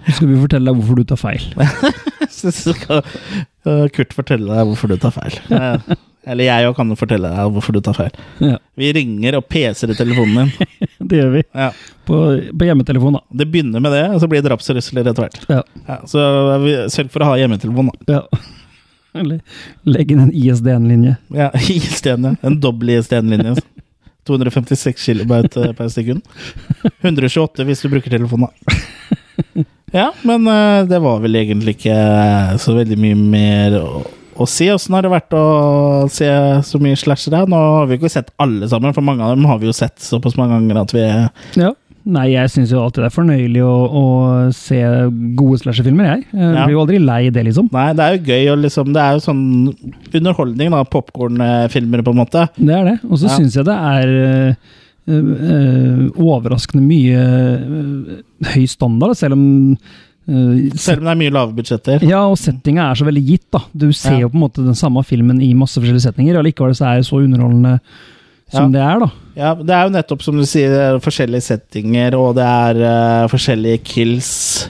Speaker 2: Så skal vi fortelle deg hvorfor du tar feil.
Speaker 1: Så skal eh, Kurt fortelle deg hvorfor du tar feil. Eh, Eller jeg òg kan jo fortelle deg hvorfor du tar feil.
Speaker 2: Ja,
Speaker 1: Vi ringer og peser i telefonen din.
Speaker 2: det gjør vi.
Speaker 1: Ja.
Speaker 2: På, på hjemmetelefon, da.
Speaker 1: Det begynner med det, og så blir det drapstrusler etter hvert.
Speaker 2: Ja.
Speaker 1: Ja, så vi- sørg for å ha hjemmetelefon, da.
Speaker 2: ja. Eller legg inn en ISDN-linje.
Speaker 1: Ja, ISD-en, ja. En dobbel ISD-linje. 256 kilobyte eh, per sekund. 128 hvis du bruker telefonen, da. Ja, men eh, det var vel egentlig ikke eh, så veldig mye mer å, å si. Åssen har det vært å se så mye slashere? Nå har vi jo ikke sett alle sammen, for mange av dem har vi jo sett såpass mange ganger at vi
Speaker 2: Ja. Nei, jeg syns jo alltid det er fornøyelig å, å se gode slasherfilmer, jeg. Jeg
Speaker 1: Ja.
Speaker 2: blir jo aldri lei det, liksom.
Speaker 1: Nei, det er jo gøy å liksom Det er jo sånn underholdning, da. Popkornfilmer, på en måte.
Speaker 2: Det er det. Og så
Speaker 1: Ja.
Speaker 2: synes syns jeg det er eh, eh, overraskende mye eh, høy standard, selv om eh,
Speaker 1: Selv om det er mye lave budsjetter.
Speaker 2: ja, og settinga er så veldig gitt, da. Du ser
Speaker 1: Ja.
Speaker 2: jo på en måte den samme filmen i masse forskjellige setninger, og likevel så er det så underholdende som
Speaker 1: Ja.
Speaker 2: det er, da.
Speaker 1: Ja, det er jo nettopp som du sier, det er forskjellige settinger, og det er eh, forskjellige kills.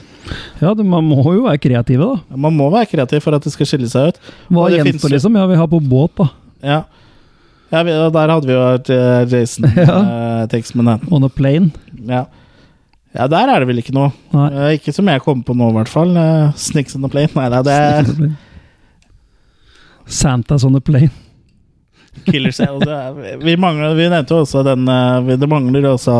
Speaker 2: Ja, det, man må jo være kreative, da.
Speaker 1: Man må være kreativ for at det skal skille seg ut.
Speaker 2: Hva
Speaker 1: Og det finnes
Speaker 2: gjenstår,
Speaker 1: jo-
Speaker 2: liksom? Ja, vi har på båt, da.
Speaker 1: Ja. Ja, vi, og der hadde vi jo et eh, Jason
Speaker 2: Ja.
Speaker 1: eh, Takes Manhattan.
Speaker 2: On a plane.
Speaker 1: Ja. ja, der er det vel ikke noe.
Speaker 2: Nei.
Speaker 1: Eh, ikke som jeg kom på nå, i hvert fall. Eh, Snakes on the plane. Nei, da, det er
Speaker 2: Santas on a plane.
Speaker 1: Killer Sale. Det er- Vi, mangler, vi nevnte jo også den eh, vi- Det mangler også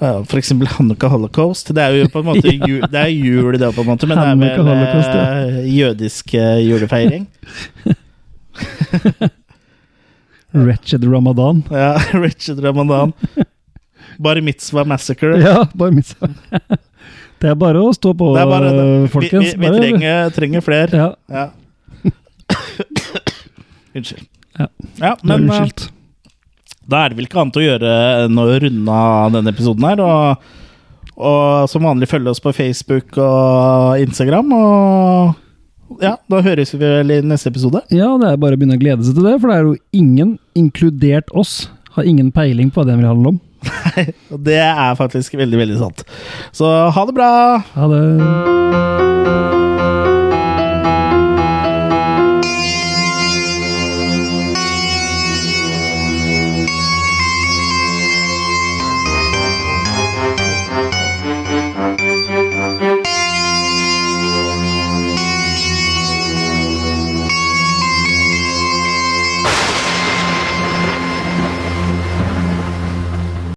Speaker 1: eh, for eksempel Hanukka Holocaust. Det er jo på en måte
Speaker 2: Ja.
Speaker 1: jul, det er jul, det på en måte, men det er
Speaker 2: Hanukkah
Speaker 1: vel
Speaker 2: Holocaust, ja.
Speaker 1: eh, jødisk eh, julefeiring.
Speaker 2: Wretched Ramadan.
Speaker 1: Ja, Richard Ramadan. Bar Mitzvah Massacre.
Speaker 2: Ja, bare mitt Det er bare å stå på, eh,
Speaker 1: Det er bare,
Speaker 2: folkens.
Speaker 1: vi vi, vi
Speaker 2: Bare-
Speaker 1: trenger, trenger flere.
Speaker 2: Ja,
Speaker 1: Ja. Unnskyld.
Speaker 2: Ja,
Speaker 1: Ja,
Speaker 2: men,
Speaker 1: men eh,
Speaker 2: unnskyldt.
Speaker 1: Da er det vel ikke annet å gjøre enn å runde av denne episoden her. Og, og som vanlig følge oss på Facebook og Instagram. Og ja, da høres vi vel i neste episode.
Speaker 2: Ja, det er bare å begynne å glede seg til det, for det er jo ingen, inkludert oss, har ingen peiling på hva det vil handle om.
Speaker 1: Og det er faktisk veldig, veldig sant. Så ha det bra!
Speaker 2: Ha det.